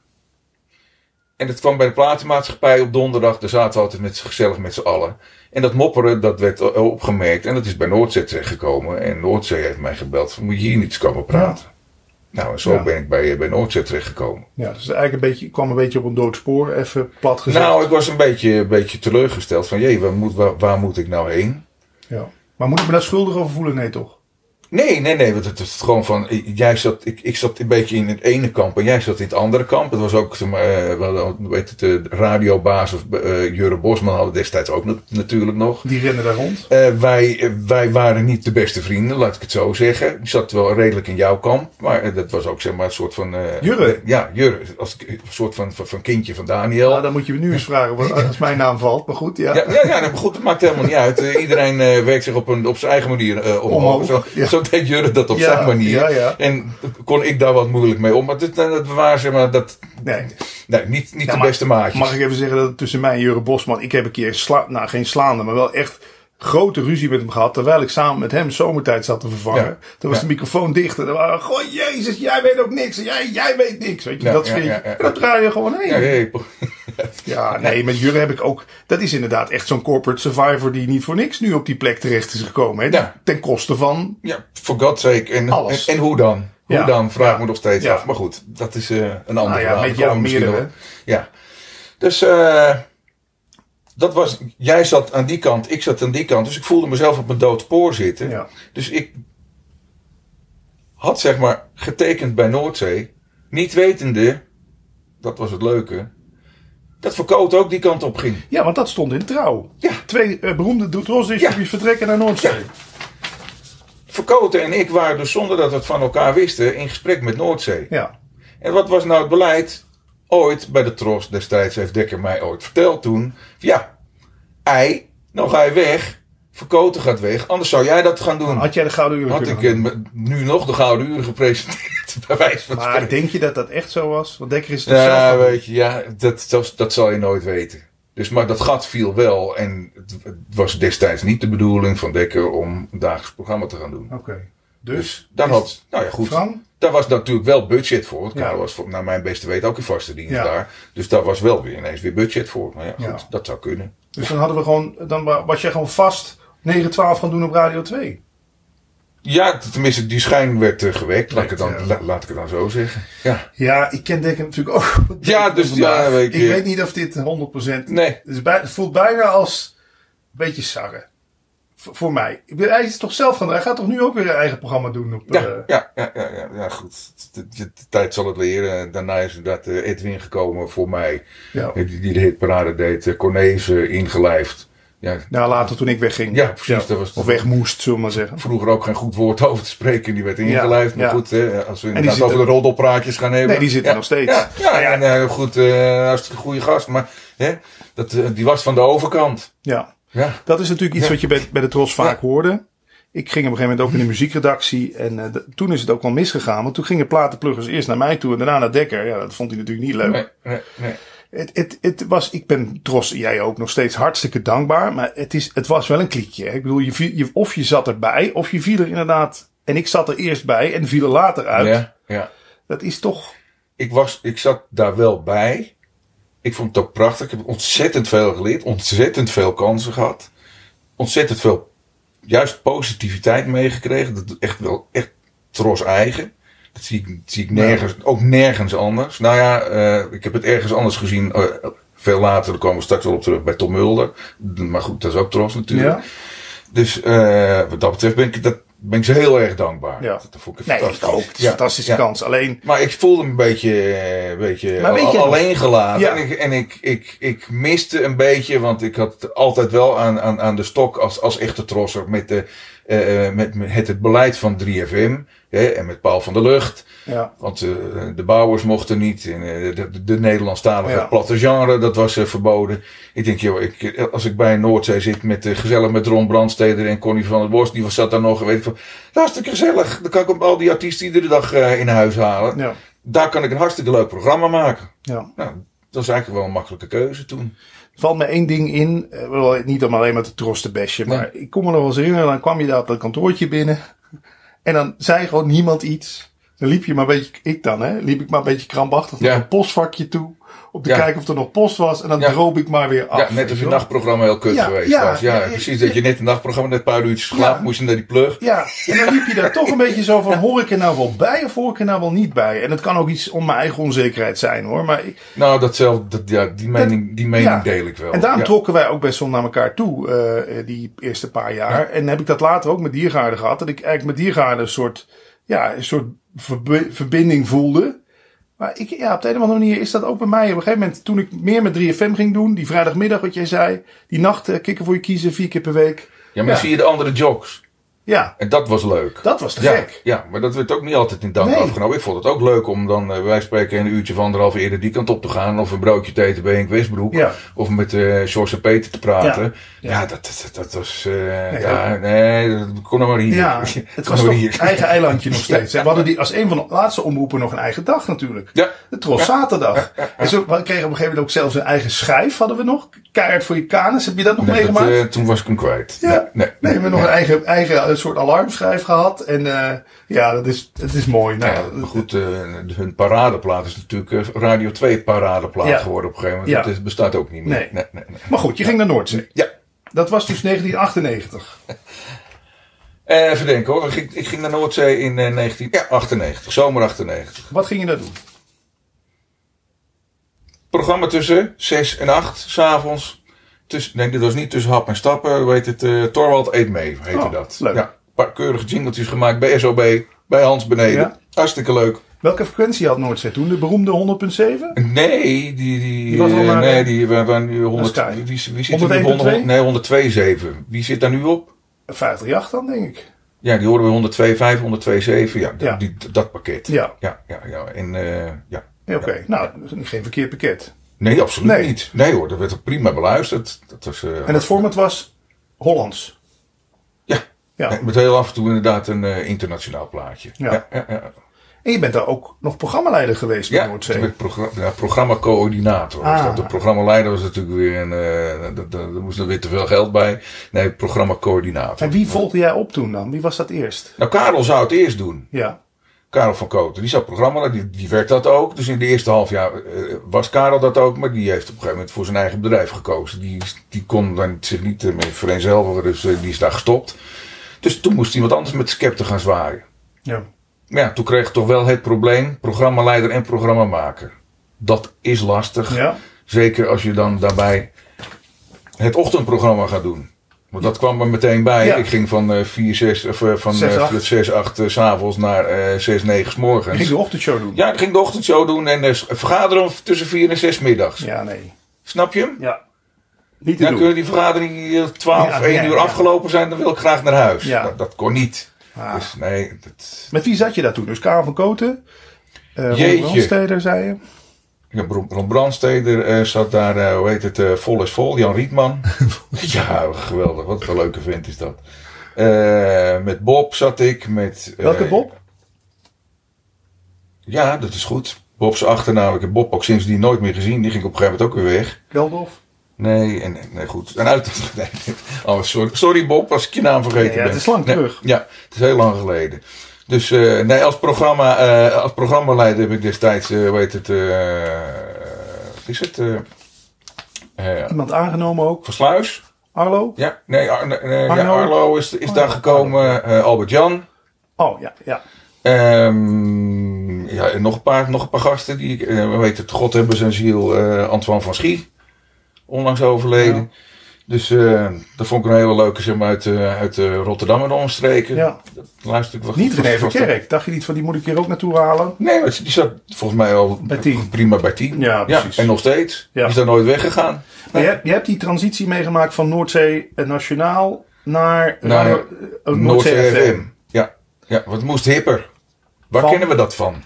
Speaker 2: En dat kwam bij de platenmaatschappij op donderdag. Daar zaten we altijd met z'n- gezellig met z'n allen. En dat mopperen, dat werd o- opgemerkt. En dat is bij Noordzee terechtgekomen. En Noordzee heeft mij gebeld. van, Moet je hier niet eens komen praten? Nou, en zo
Speaker 1: Ja.
Speaker 2: ben ik bij, eh, bij Noordzee terechtgekomen.
Speaker 1: Ja, dus eigenlijk een beetje, kwam een beetje op een dood spoor, even plat gezegd.
Speaker 2: Nou, ik was een beetje, een beetje teleurgesteld. Van, jee, waar moet, waar, waar moet ik nou heen?
Speaker 1: ja. Maar moet ik me daar schuldig over voelen? Nee, toch?
Speaker 2: Nee, nee, nee. Want het is gewoon van. Jij zat, ik, ik zat een beetje in het ene kamp en jij zat in het andere kamp. Het was ook. zeg maar, eh, we hadden, hoe heet het, de radiobaas of eh Jure Bosman hadden we destijds ook nat- natuurlijk nog.
Speaker 1: Die rennen daar rond.
Speaker 2: Eh, wij, eh, wij waren niet de beste vrienden, laat ik het zo zeggen. Ik zat wel redelijk in jouw kamp, maar eh, dat was ook zeg maar een soort van. eh,
Speaker 1: Jurre? Ah,
Speaker 2: Ja, Jurre. Als, een soort van, van, van kindje van Daniel.
Speaker 1: Ja, dan moet je me nu eens vragen wat, als mijn naam valt. Maar goed, ja.
Speaker 2: Ja, ja, ja, nou, goed, dat maakt helemaal niet uit. Eh, iedereen eh, werkt zich op, een, op zijn eigen manier eh omhoog.
Speaker 1: Omhoog,
Speaker 2: Zo,
Speaker 1: ja.
Speaker 2: zo deed Jurre dat op
Speaker 1: Ja,
Speaker 2: zijn manier.
Speaker 1: ja, ja.
Speaker 2: En kon ik daar wat moeilijk mee om. Maar dit, eh, dat waren zeg maar, dat,
Speaker 1: Nee.
Speaker 2: nee, niet, niet
Speaker 1: Ja,
Speaker 2: de
Speaker 1: maar-
Speaker 2: beste maatjes.
Speaker 1: Mag ik even zeggen dat het tussen mij en Jure Bosman, ik heb een keer, sla, nou geen slaande, maar wel echt grote ruzie met hem gehad. Terwijl ik samen met hem zomertijd zat te vervangen.
Speaker 2: Ja.
Speaker 1: Toen was
Speaker 2: Ja.
Speaker 1: de microfoon dicht en dan waren we, goh, jezus, jij weet ook niks. en Jij, jij weet niks. Weet je,
Speaker 2: Ja,
Speaker 1: dat
Speaker 2: ja,
Speaker 1: vind
Speaker 2: ja,
Speaker 1: ik.
Speaker 2: ja.
Speaker 1: En dat draai je gewoon heen.
Speaker 2: Ja,
Speaker 1: Ja,
Speaker 2: ja, ik-
Speaker 1: nee, met Jure heb ik ook, dat is inderdaad echt zo'n corporate survivor die niet voor niks nu op die plek terecht is gekomen. Hè?
Speaker 2: Ja.
Speaker 1: Ten koste van,
Speaker 2: ja, for God's sake. En,
Speaker 1: Alles.
Speaker 2: en, en hoe dan? Hoe
Speaker 1: Ja.
Speaker 2: dan? Vraag me nog steeds
Speaker 1: Ja.
Speaker 2: af. Maar goed, dat is eh, een andere
Speaker 1: nou ja,
Speaker 2: vraag.
Speaker 1: met
Speaker 2: Daar
Speaker 1: jou
Speaker 2: komen we misschien
Speaker 1: meerdere.
Speaker 2: nog- Ja. Dus eh, dat was, jij zat aan die kant, ik zat aan die kant. Dus ik voelde mezelf op mijn dood spoor zitten.
Speaker 1: Ja.
Speaker 2: Dus ik had zeg maar getekend bij Noordzee, niet wetende, dat was het leuke, dat Verkoot ook die kant op ging.
Speaker 1: ja, want dat stond in trouw.
Speaker 2: Ja.
Speaker 1: Twee eh, beroemde doetrosdichtjes
Speaker 2: Ja.
Speaker 1: die vertrekken naar Noordzee.
Speaker 2: Ja. Verkoten en ik waren dus zonder dat we het van elkaar wisten in gesprek met Noordzee.
Speaker 1: ja.
Speaker 2: En wat was nou het beleid? Ooit bij de Tros destijds heeft Dekker mij ooit verteld toen. Ja, ei, nou ga je weg. Verkoten gaat weg, anders zou jij dat gaan doen.
Speaker 1: Had jij de gouden uren
Speaker 2: Had
Speaker 1: kunnen
Speaker 2: ik eh, me- nu nog de Gouden Uren gepresenteerd, bij wijze van
Speaker 1: Maar
Speaker 2: spreken.
Speaker 1: denk je dat dat echt zo was? Want Dekker is toch
Speaker 2: Ja,
Speaker 1: zelf...
Speaker 2: weet je, ja, dat, dat, dat zal je nooit weten. Dus, maar dat gat viel wel en het, het was destijds niet de bedoeling van Dekker om een dagelijks programma te gaan doen.
Speaker 1: Oké. Dus,
Speaker 2: Dus daar
Speaker 1: is
Speaker 2: had, nou ja goed,
Speaker 1: Frank?
Speaker 2: daar was natuurlijk wel budget voor. Het
Speaker 1: Ja.
Speaker 2: kader was voor, naar mijn beste weten ook in vaste dienst
Speaker 1: Ja.
Speaker 2: daar. Dus daar was wel weer ineens weer budget voor. Maar ja, goed,
Speaker 1: Ja.
Speaker 2: dat zou kunnen.
Speaker 1: Dus dan hadden we gewoon... Dan wa- was jij gewoon vast 9-12 gaan doen op Radio 2.
Speaker 2: Ja, t- tenminste, die schijn werd eh, gewekt, laat ik, het dan,
Speaker 1: Ja.
Speaker 2: la- laat ik het dan zo zeggen. Ja,
Speaker 1: Ja, ik ken Dekker natuurlijk ook.
Speaker 2: Ja, dus
Speaker 1: Vandaag.
Speaker 2: ja, weet je.
Speaker 1: Ik weet niet of dit 100%...
Speaker 2: nee.
Speaker 1: Het, is bij, het voelt bijna als... Een beetje sarre. V- voor mij. Ik ben- Hij is toch zelf gaan... Hij gaat toch nu ook weer een eigen programma doen op... eh,
Speaker 2: Ja, ja, ja, ja, ja, ja, goed. De, de- de tijd zal het leren. Daarna is inderdaad eh, Edwin gekomen voor mij.
Speaker 1: ja.
Speaker 2: Die, die de hitparade deed. eh, Cornezen ingelijfd. Ja,
Speaker 1: Nou, later toen ik wegging.
Speaker 2: ja precies. Dat was
Speaker 1: Of weg moest, zullen we maar zeggen.
Speaker 2: vroeger ook geen goed woord over te spreken. Die werd ingelijfd. maar
Speaker 1: ja.
Speaker 2: goed, hè, als we inderdaad
Speaker 1: zit
Speaker 2: over
Speaker 1: er-
Speaker 2: de roddelpraatjes gaan hebben.
Speaker 1: Nee, die zit er
Speaker 2: Ja,
Speaker 1: nog steeds.
Speaker 2: Ja, ja,
Speaker 1: Nou ja.
Speaker 2: en, eh, goed. eh hartstikke goede gast. Maar hè, dat, eh, die was van de overkant.
Speaker 1: Ja.
Speaker 2: Ja,
Speaker 1: Dat is natuurlijk iets
Speaker 2: Ja.
Speaker 1: wat je bij, bij de Tros vaak
Speaker 2: Ja.
Speaker 1: hoorde. Ik ging op een gegeven moment ook in de muziekredactie. En eh, d- toen is het ook wel misgegaan. Want toen gingen platenpluggers eerst naar mij toe en daarna naar Dekker. Ja, dat vond hij natuurlijk niet leuk.
Speaker 2: nee, nee, nee.
Speaker 1: Het, het, het was, ik ben Tros, jij ook, nog steeds hartstikke dankbaar. Maar het, is, het was wel een kliekje. hè. Ik bedoel, je, viel- je, of je zat erbij, of je viel er inderdaad... En ik zat er eerst bij en viel er later uit.
Speaker 2: Ja, ja.
Speaker 1: Dat is toch...
Speaker 2: ik, was, ik zat daar wel bij. Ik vond het ook prachtig. Ik heb ontzettend veel geleerd. Ontzettend veel kansen gehad. Ontzettend veel juist positiviteit meegekregen. Dat is echt wel echt tros eigen. Dat zie ik, dat zie ik nergens, ook nergens anders. Nou ja, eh, ik heb het ergens anders gezien. eh, veel later, daar komen we straks wel op terug bij Tom Mulder. Maar goed, dat is ook tros natuurlijk.
Speaker 1: Ja?
Speaker 2: Dus eh, wat dat betreft ben ik, dat, ben ik ze heel erg dankbaar.
Speaker 1: Ja.
Speaker 2: Dat vond ik
Speaker 1: Nee, ik
Speaker 2: fantastisch.
Speaker 1: ook. Het is een
Speaker 2: Ja,
Speaker 1: fantastische
Speaker 2: ja.
Speaker 1: kans. Alleen,
Speaker 2: Maar ik voelde me een beetje, eh, een beetje
Speaker 1: Maar weet
Speaker 2: al-
Speaker 1: je-
Speaker 2: alleen gelaten.
Speaker 1: Ja.
Speaker 2: En, ik, en ik, ik, ik miste een beetje, want ik had altijd wel aan, aan, aan de stok als, als echte trosser met, de, eh, eh, met, met het beleid van 3FM. Hè, en met Paul van der Lucht.
Speaker 1: Ja.
Speaker 2: Want eh, de bouwers mochten niet. En, eh, de, de, de Nederlandstalige
Speaker 1: Ja.
Speaker 2: platte genre, dat was eh, verboden. Ik denk, joh, ik, eh, als ik bij Noordzee zit met eh, gezellig met Ron Brandsteder en Connie van der Bos, die was zat daar nog. en Weet ik van, hartstikke gezellig. Dan kan ik ook al die artiesten iedere dag eh, in huis halen.
Speaker 1: Ja.
Speaker 2: Daar kan ik een hartstikke leuk programma maken.
Speaker 1: ja.
Speaker 2: Nou, dat is eigenlijk wel een makkelijke keuze toen.
Speaker 1: Valt me één ding in, eh, wel, niet om alleen maar te trosten besje, maar ik kom me nog wel eens herinneren, dan kwam je daar op dat kantoortje binnen en dan zei gewoon niemand iets. Dan liep je maar een beetje, ik dan hè, liep ik maar een beetje krampachtig
Speaker 2: Ja.
Speaker 1: naar een postvakje toe, om te
Speaker 2: Ja.
Speaker 1: kijken of er nog post was en dan
Speaker 2: Ja.
Speaker 1: droop ik maar weer af.
Speaker 2: ja, net
Speaker 1: weet
Speaker 2: als
Speaker 1: je
Speaker 2: je
Speaker 1: wel.
Speaker 2: nachtprogramma heel kut
Speaker 1: Ah, Ja,
Speaker 2: geweest
Speaker 1: ja,
Speaker 2: was. Ja,
Speaker 1: ja,
Speaker 2: precies.
Speaker 1: ja.
Speaker 2: Dat je net een nachtprogramma, net een paar uurtjes geslapen,
Speaker 1: Ja.
Speaker 2: moest je naar die plug.
Speaker 1: Ja, en dan liep je daar toch een beetje zo van, hoor ik er nou wel bij of hoor ik er nou wel niet bij? En het kan ook iets om mijn eigen onzekerheid zijn hoor, maar ik-
Speaker 2: Nou, datzelfde, dat, ja, die mening, die mening
Speaker 1: ja.
Speaker 2: deel ik wel.
Speaker 1: En daarom
Speaker 2: ja.
Speaker 1: trokken wij ook best wel naar elkaar toe eh, eh, die eerste paar jaar. En heb ik dat later ook met diergaarden gehad. Dat ik eigenlijk met diergaarden een soort, ja, een soort verb- verbinding voelde. Maar ik, ja, op de een of andere manier is dat ook bij mij. Op een gegeven moment, toen ik meer met 3FM ging doen, die vrijdagmiddag wat jij zei, die nachten eh, kikken voor je kiezen, vier keer per week.
Speaker 2: ja, maar
Speaker 1: ja.
Speaker 2: zie je de andere jocks.
Speaker 1: Ja,
Speaker 2: En dat was leuk.
Speaker 1: dat was te
Speaker 2: ja,
Speaker 1: gek.
Speaker 2: ja, maar dat werd ook niet altijd in dank
Speaker 1: Nee.
Speaker 2: afgenomen. Ik vond het ook leuk om dan, eh, wij spreken een uurtje van anderhalf eerder die kant op te gaan. Of een broodje te eten bij Henk Westbroek.
Speaker 1: Ja.
Speaker 2: Of met eh George en Peter te praten. Ja,
Speaker 1: Ja.
Speaker 2: dat, dat, dat was, eh,
Speaker 1: Nee,
Speaker 2: ja, nee, dat kon nou maar hier.
Speaker 1: Ja,
Speaker 2: Kon
Speaker 1: het
Speaker 2: nou
Speaker 1: was
Speaker 2: maar
Speaker 1: toch
Speaker 2: hier.
Speaker 1: eigen eilandje nog steeds. hè. We hadden die als een van de laatste omroepen nog een eigen dag natuurlijk.
Speaker 2: Ja,
Speaker 1: De Tros Zaterdag. En zo, we kregen op een gegeven moment ook zelfs een eigen schijf, hadden we nog. Keihard voor je kanus. Heb je dat nog
Speaker 2: Nee, dat,
Speaker 1: meegemaakt?
Speaker 2: eh, toen was ik hem kwijt.
Speaker 1: Ja.
Speaker 2: Nee,
Speaker 1: nee, we hebben nog een eigen, eigen eh, soort alarmschijf gehad. En eh, ja, dat is, dat is mooi. Nou,
Speaker 2: Ja, maar goed, eh, hun paradeplaat is natuurlijk eh, Radio 2 paradeplaat
Speaker 1: Ja.
Speaker 2: geworden op een gegeven moment.
Speaker 1: Ja.
Speaker 2: Dat is- bestaat ook niet meer.
Speaker 1: Nee.
Speaker 2: Nee, nee, nee.
Speaker 1: Maar goed, je ging naar Noordzee.
Speaker 2: Ja,
Speaker 1: Dat was dus 1998.
Speaker 2: Eh, even denken hoor. Ik ging, ik ging naar Noordzee in eh, 1998, zomer 98.
Speaker 1: Wat ging je daar doen?
Speaker 2: Programma tussen 6 en 8, s'avonds. Nee, dit was niet tussen hap en stappen. Hoe heet het? eh Torwald Eet Mee heette
Speaker 1: Oh,
Speaker 2: dat.
Speaker 1: leuk.
Speaker 2: Ja, een paar keurige jingeltjes gemaakt bij SOB, bij Hans beneden.
Speaker 1: Ja.
Speaker 2: Hartstikke leuk.
Speaker 1: Welke frequentie had Noordzee toen? De beroemde 100.7?
Speaker 2: Nee, die, die,
Speaker 1: Die was al
Speaker 2: eh,
Speaker 1: naar-
Speaker 2: nee, die we waren nu 100,
Speaker 1: Sky.
Speaker 2: wie, wie zit er nu
Speaker 1: 101.2?
Speaker 2: op 100, nee, 102,7. Wie zit daar nu op?
Speaker 1: 538 dan, denk ik.
Speaker 2: Ja, die horen we 102,5, 102,7. Ja, d-
Speaker 1: Ja.
Speaker 2: Die, d- dat pakket.
Speaker 1: Ja,
Speaker 2: ja, ja. ja. En, eh, ja.
Speaker 1: Ja, oké. Nou, dat is geen verkeerd pakket.
Speaker 2: Nee, absoluut
Speaker 1: Nee.
Speaker 2: niet. Nee hoor, dat werd ook prima beluisterd. Dat was, eh,
Speaker 1: En het format was Hollands.
Speaker 2: Ja.
Speaker 1: ja.
Speaker 2: eh, met heel af en toe inderdaad een eh, internationaal plaatje.
Speaker 1: Ja.
Speaker 2: ja, ja, ja.
Speaker 1: En je bent daar ook nog programmaleider geweest bij
Speaker 2: Ja,
Speaker 1: Noordzee.
Speaker 2: toen werd programma, ja, programmacoördinator. was
Speaker 1: Ah.
Speaker 2: dat. De programmaleider was natuurlijk weer een... eh, dat- dat- er moest er weer te veel geld bij. Nee, programmacoördinator.
Speaker 1: En wie volgde jij op toen dan? Wie was dat eerst?
Speaker 2: Nou, Karel zou het eerst doen.
Speaker 1: Ja.
Speaker 2: Karel van Koten, die zat programma, die, die werd dat ook. Dus in de eerste half jaar eh, was Karel dat ook, maar die heeft op een gegeven moment voor zijn eigen bedrijf gekozen. Die, die kon dan zich niet eh, meer vereenzelvigen, dus eh, die is daar gestopt. Dus toen moest iemand anders met scepter gaan zwaaien.
Speaker 1: ja.
Speaker 2: Maar ja, toen kreeg ik toch wel het probleem, programmaleider en programmamaker. Dat is lastig,
Speaker 1: Ja.
Speaker 2: zeker als je dan daarbij het ochtendprogramma gaat doen. Want dat kwam er meteen bij.
Speaker 1: Ja.
Speaker 2: Ik ging van eh 4, 6, of eh, van
Speaker 1: Zes,
Speaker 2: 6,
Speaker 1: acht.
Speaker 2: 8, 6, 8 eh, 's s'avonds naar eh 6, 9 's
Speaker 1: Ik
Speaker 2: morgens.
Speaker 1: ging de ochtendshow doen.
Speaker 2: Ja, ik ging de ochtendshow doen en eh, vergaderen om tussen vier en zes middags.
Speaker 1: Ja, nee.
Speaker 2: Snap je hem?
Speaker 1: Ja. Niet te
Speaker 2: Dan kun
Speaker 1: doen.
Speaker 2: je die vergadering eh, 12,
Speaker 1: Ja,
Speaker 2: 1
Speaker 1: ja,
Speaker 2: uur
Speaker 1: ja.
Speaker 2: afgelopen zijn, dan wil ik graag naar huis.
Speaker 1: Ja.
Speaker 2: Dat, dat kon niet.
Speaker 1: Ah.
Speaker 2: Dus nee, dat,
Speaker 1: Met wie zat je daar toen? Dus Karel van Koten. eh Ron
Speaker 2: Jeetje.
Speaker 1: Brandsteder, zei je.
Speaker 2: ja, Ron- Ron Brandsteder eh, zat daar, eh, hoe heet het, eh, vol is vol, Jan Rietman. ja, geweldig, wat een leuke vent is dat. Eh, met Bob zat ik, met... eh,
Speaker 1: Welke Bob?
Speaker 2: Ja, dat is goed. Bob's achternaam, ik heb Bob ook sindsdien nooit meer gezien, die ging op een gegeven moment ook weer weg.
Speaker 1: Geldof.
Speaker 2: Nee, en, nee goed. En uit. Nee, oh, sorry, sorry Bob, als ik je naam vergeten
Speaker 1: Nee, ja,
Speaker 2: ben.
Speaker 1: het is lang
Speaker 2: Nee,
Speaker 1: terug.
Speaker 2: Ja, het is heel lang geleden. Dus eh, nee, als, programma, eh, als programmaleider heb ik destijds, eh, hoe heet het, eh, wat is het? eh, eh,
Speaker 1: Iemand aangenomen ook.
Speaker 2: Versluis?
Speaker 1: Arlo.
Speaker 2: Ja, nee, Ar- nee, nee, ja,
Speaker 1: Arno.
Speaker 2: Arlo is, is
Speaker 1: Oh,
Speaker 2: daar
Speaker 1: ja,
Speaker 2: gekomen. eh, Albert Jan.
Speaker 1: Oh, ja. ja.
Speaker 2: Ehm, ja, en nog een paar, nog een paar gasten die ik, eh, we weten het, God hebben zijn ziel, eh, Antoine van Schie, onlangs overleden. Dus eh, dat vond ik een hele leuke, zeg maar, uit, eh, uit eh, Rotterdam en de omstreken.
Speaker 1: ja.
Speaker 2: Dat luister ik wel
Speaker 1: Niet
Speaker 2: goed.
Speaker 1: René
Speaker 2: Was- was-
Speaker 1: Verkerk. Dacht je niet van die moet ik hier ook naartoe halen?
Speaker 2: Nee, maar die zat volgens mij al
Speaker 1: Bij tien.
Speaker 2: prima bij 10.
Speaker 1: Ja, precies.
Speaker 2: en nog steeds.
Speaker 1: Ja.
Speaker 2: Die is daar nooit weggegaan.
Speaker 1: Maar Je, hebt, je hebt die transitie meegemaakt van Noordzee eh, Nationaal naar
Speaker 2: Naar
Speaker 1: Radio- eh, Noordzee FM.
Speaker 2: Ja. ja, want het moest hipper. Waar
Speaker 1: Van?
Speaker 2: kennen we dat van?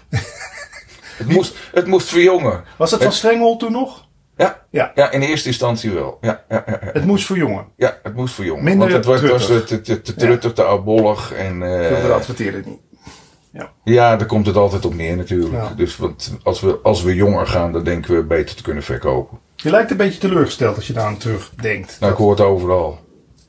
Speaker 2: het, moest, het moest verjongen.
Speaker 1: Was dat van Strengel toen nog?
Speaker 2: Ja,
Speaker 1: Ja.
Speaker 2: ja, in eerste instantie wel. Ja, ja, ja, ja.
Speaker 1: Het moest voor jongen.
Speaker 2: ja het moest verjongen.
Speaker 1: Minder
Speaker 2: Want het was, was
Speaker 1: truttig.
Speaker 2: te, te, te truttig, te oudbollig. En, eh,
Speaker 1: Wilde de adverteerder niet.
Speaker 2: ja, daar komt het altijd op neer natuurlijk.
Speaker 1: Ja.
Speaker 2: Dus want als, we, als we jonger gaan, dan denken we beter te kunnen verkopen.
Speaker 1: Je lijkt een beetje teleurgesteld als je daar aan terugdenkt.
Speaker 2: Nou, ik hoor het overal.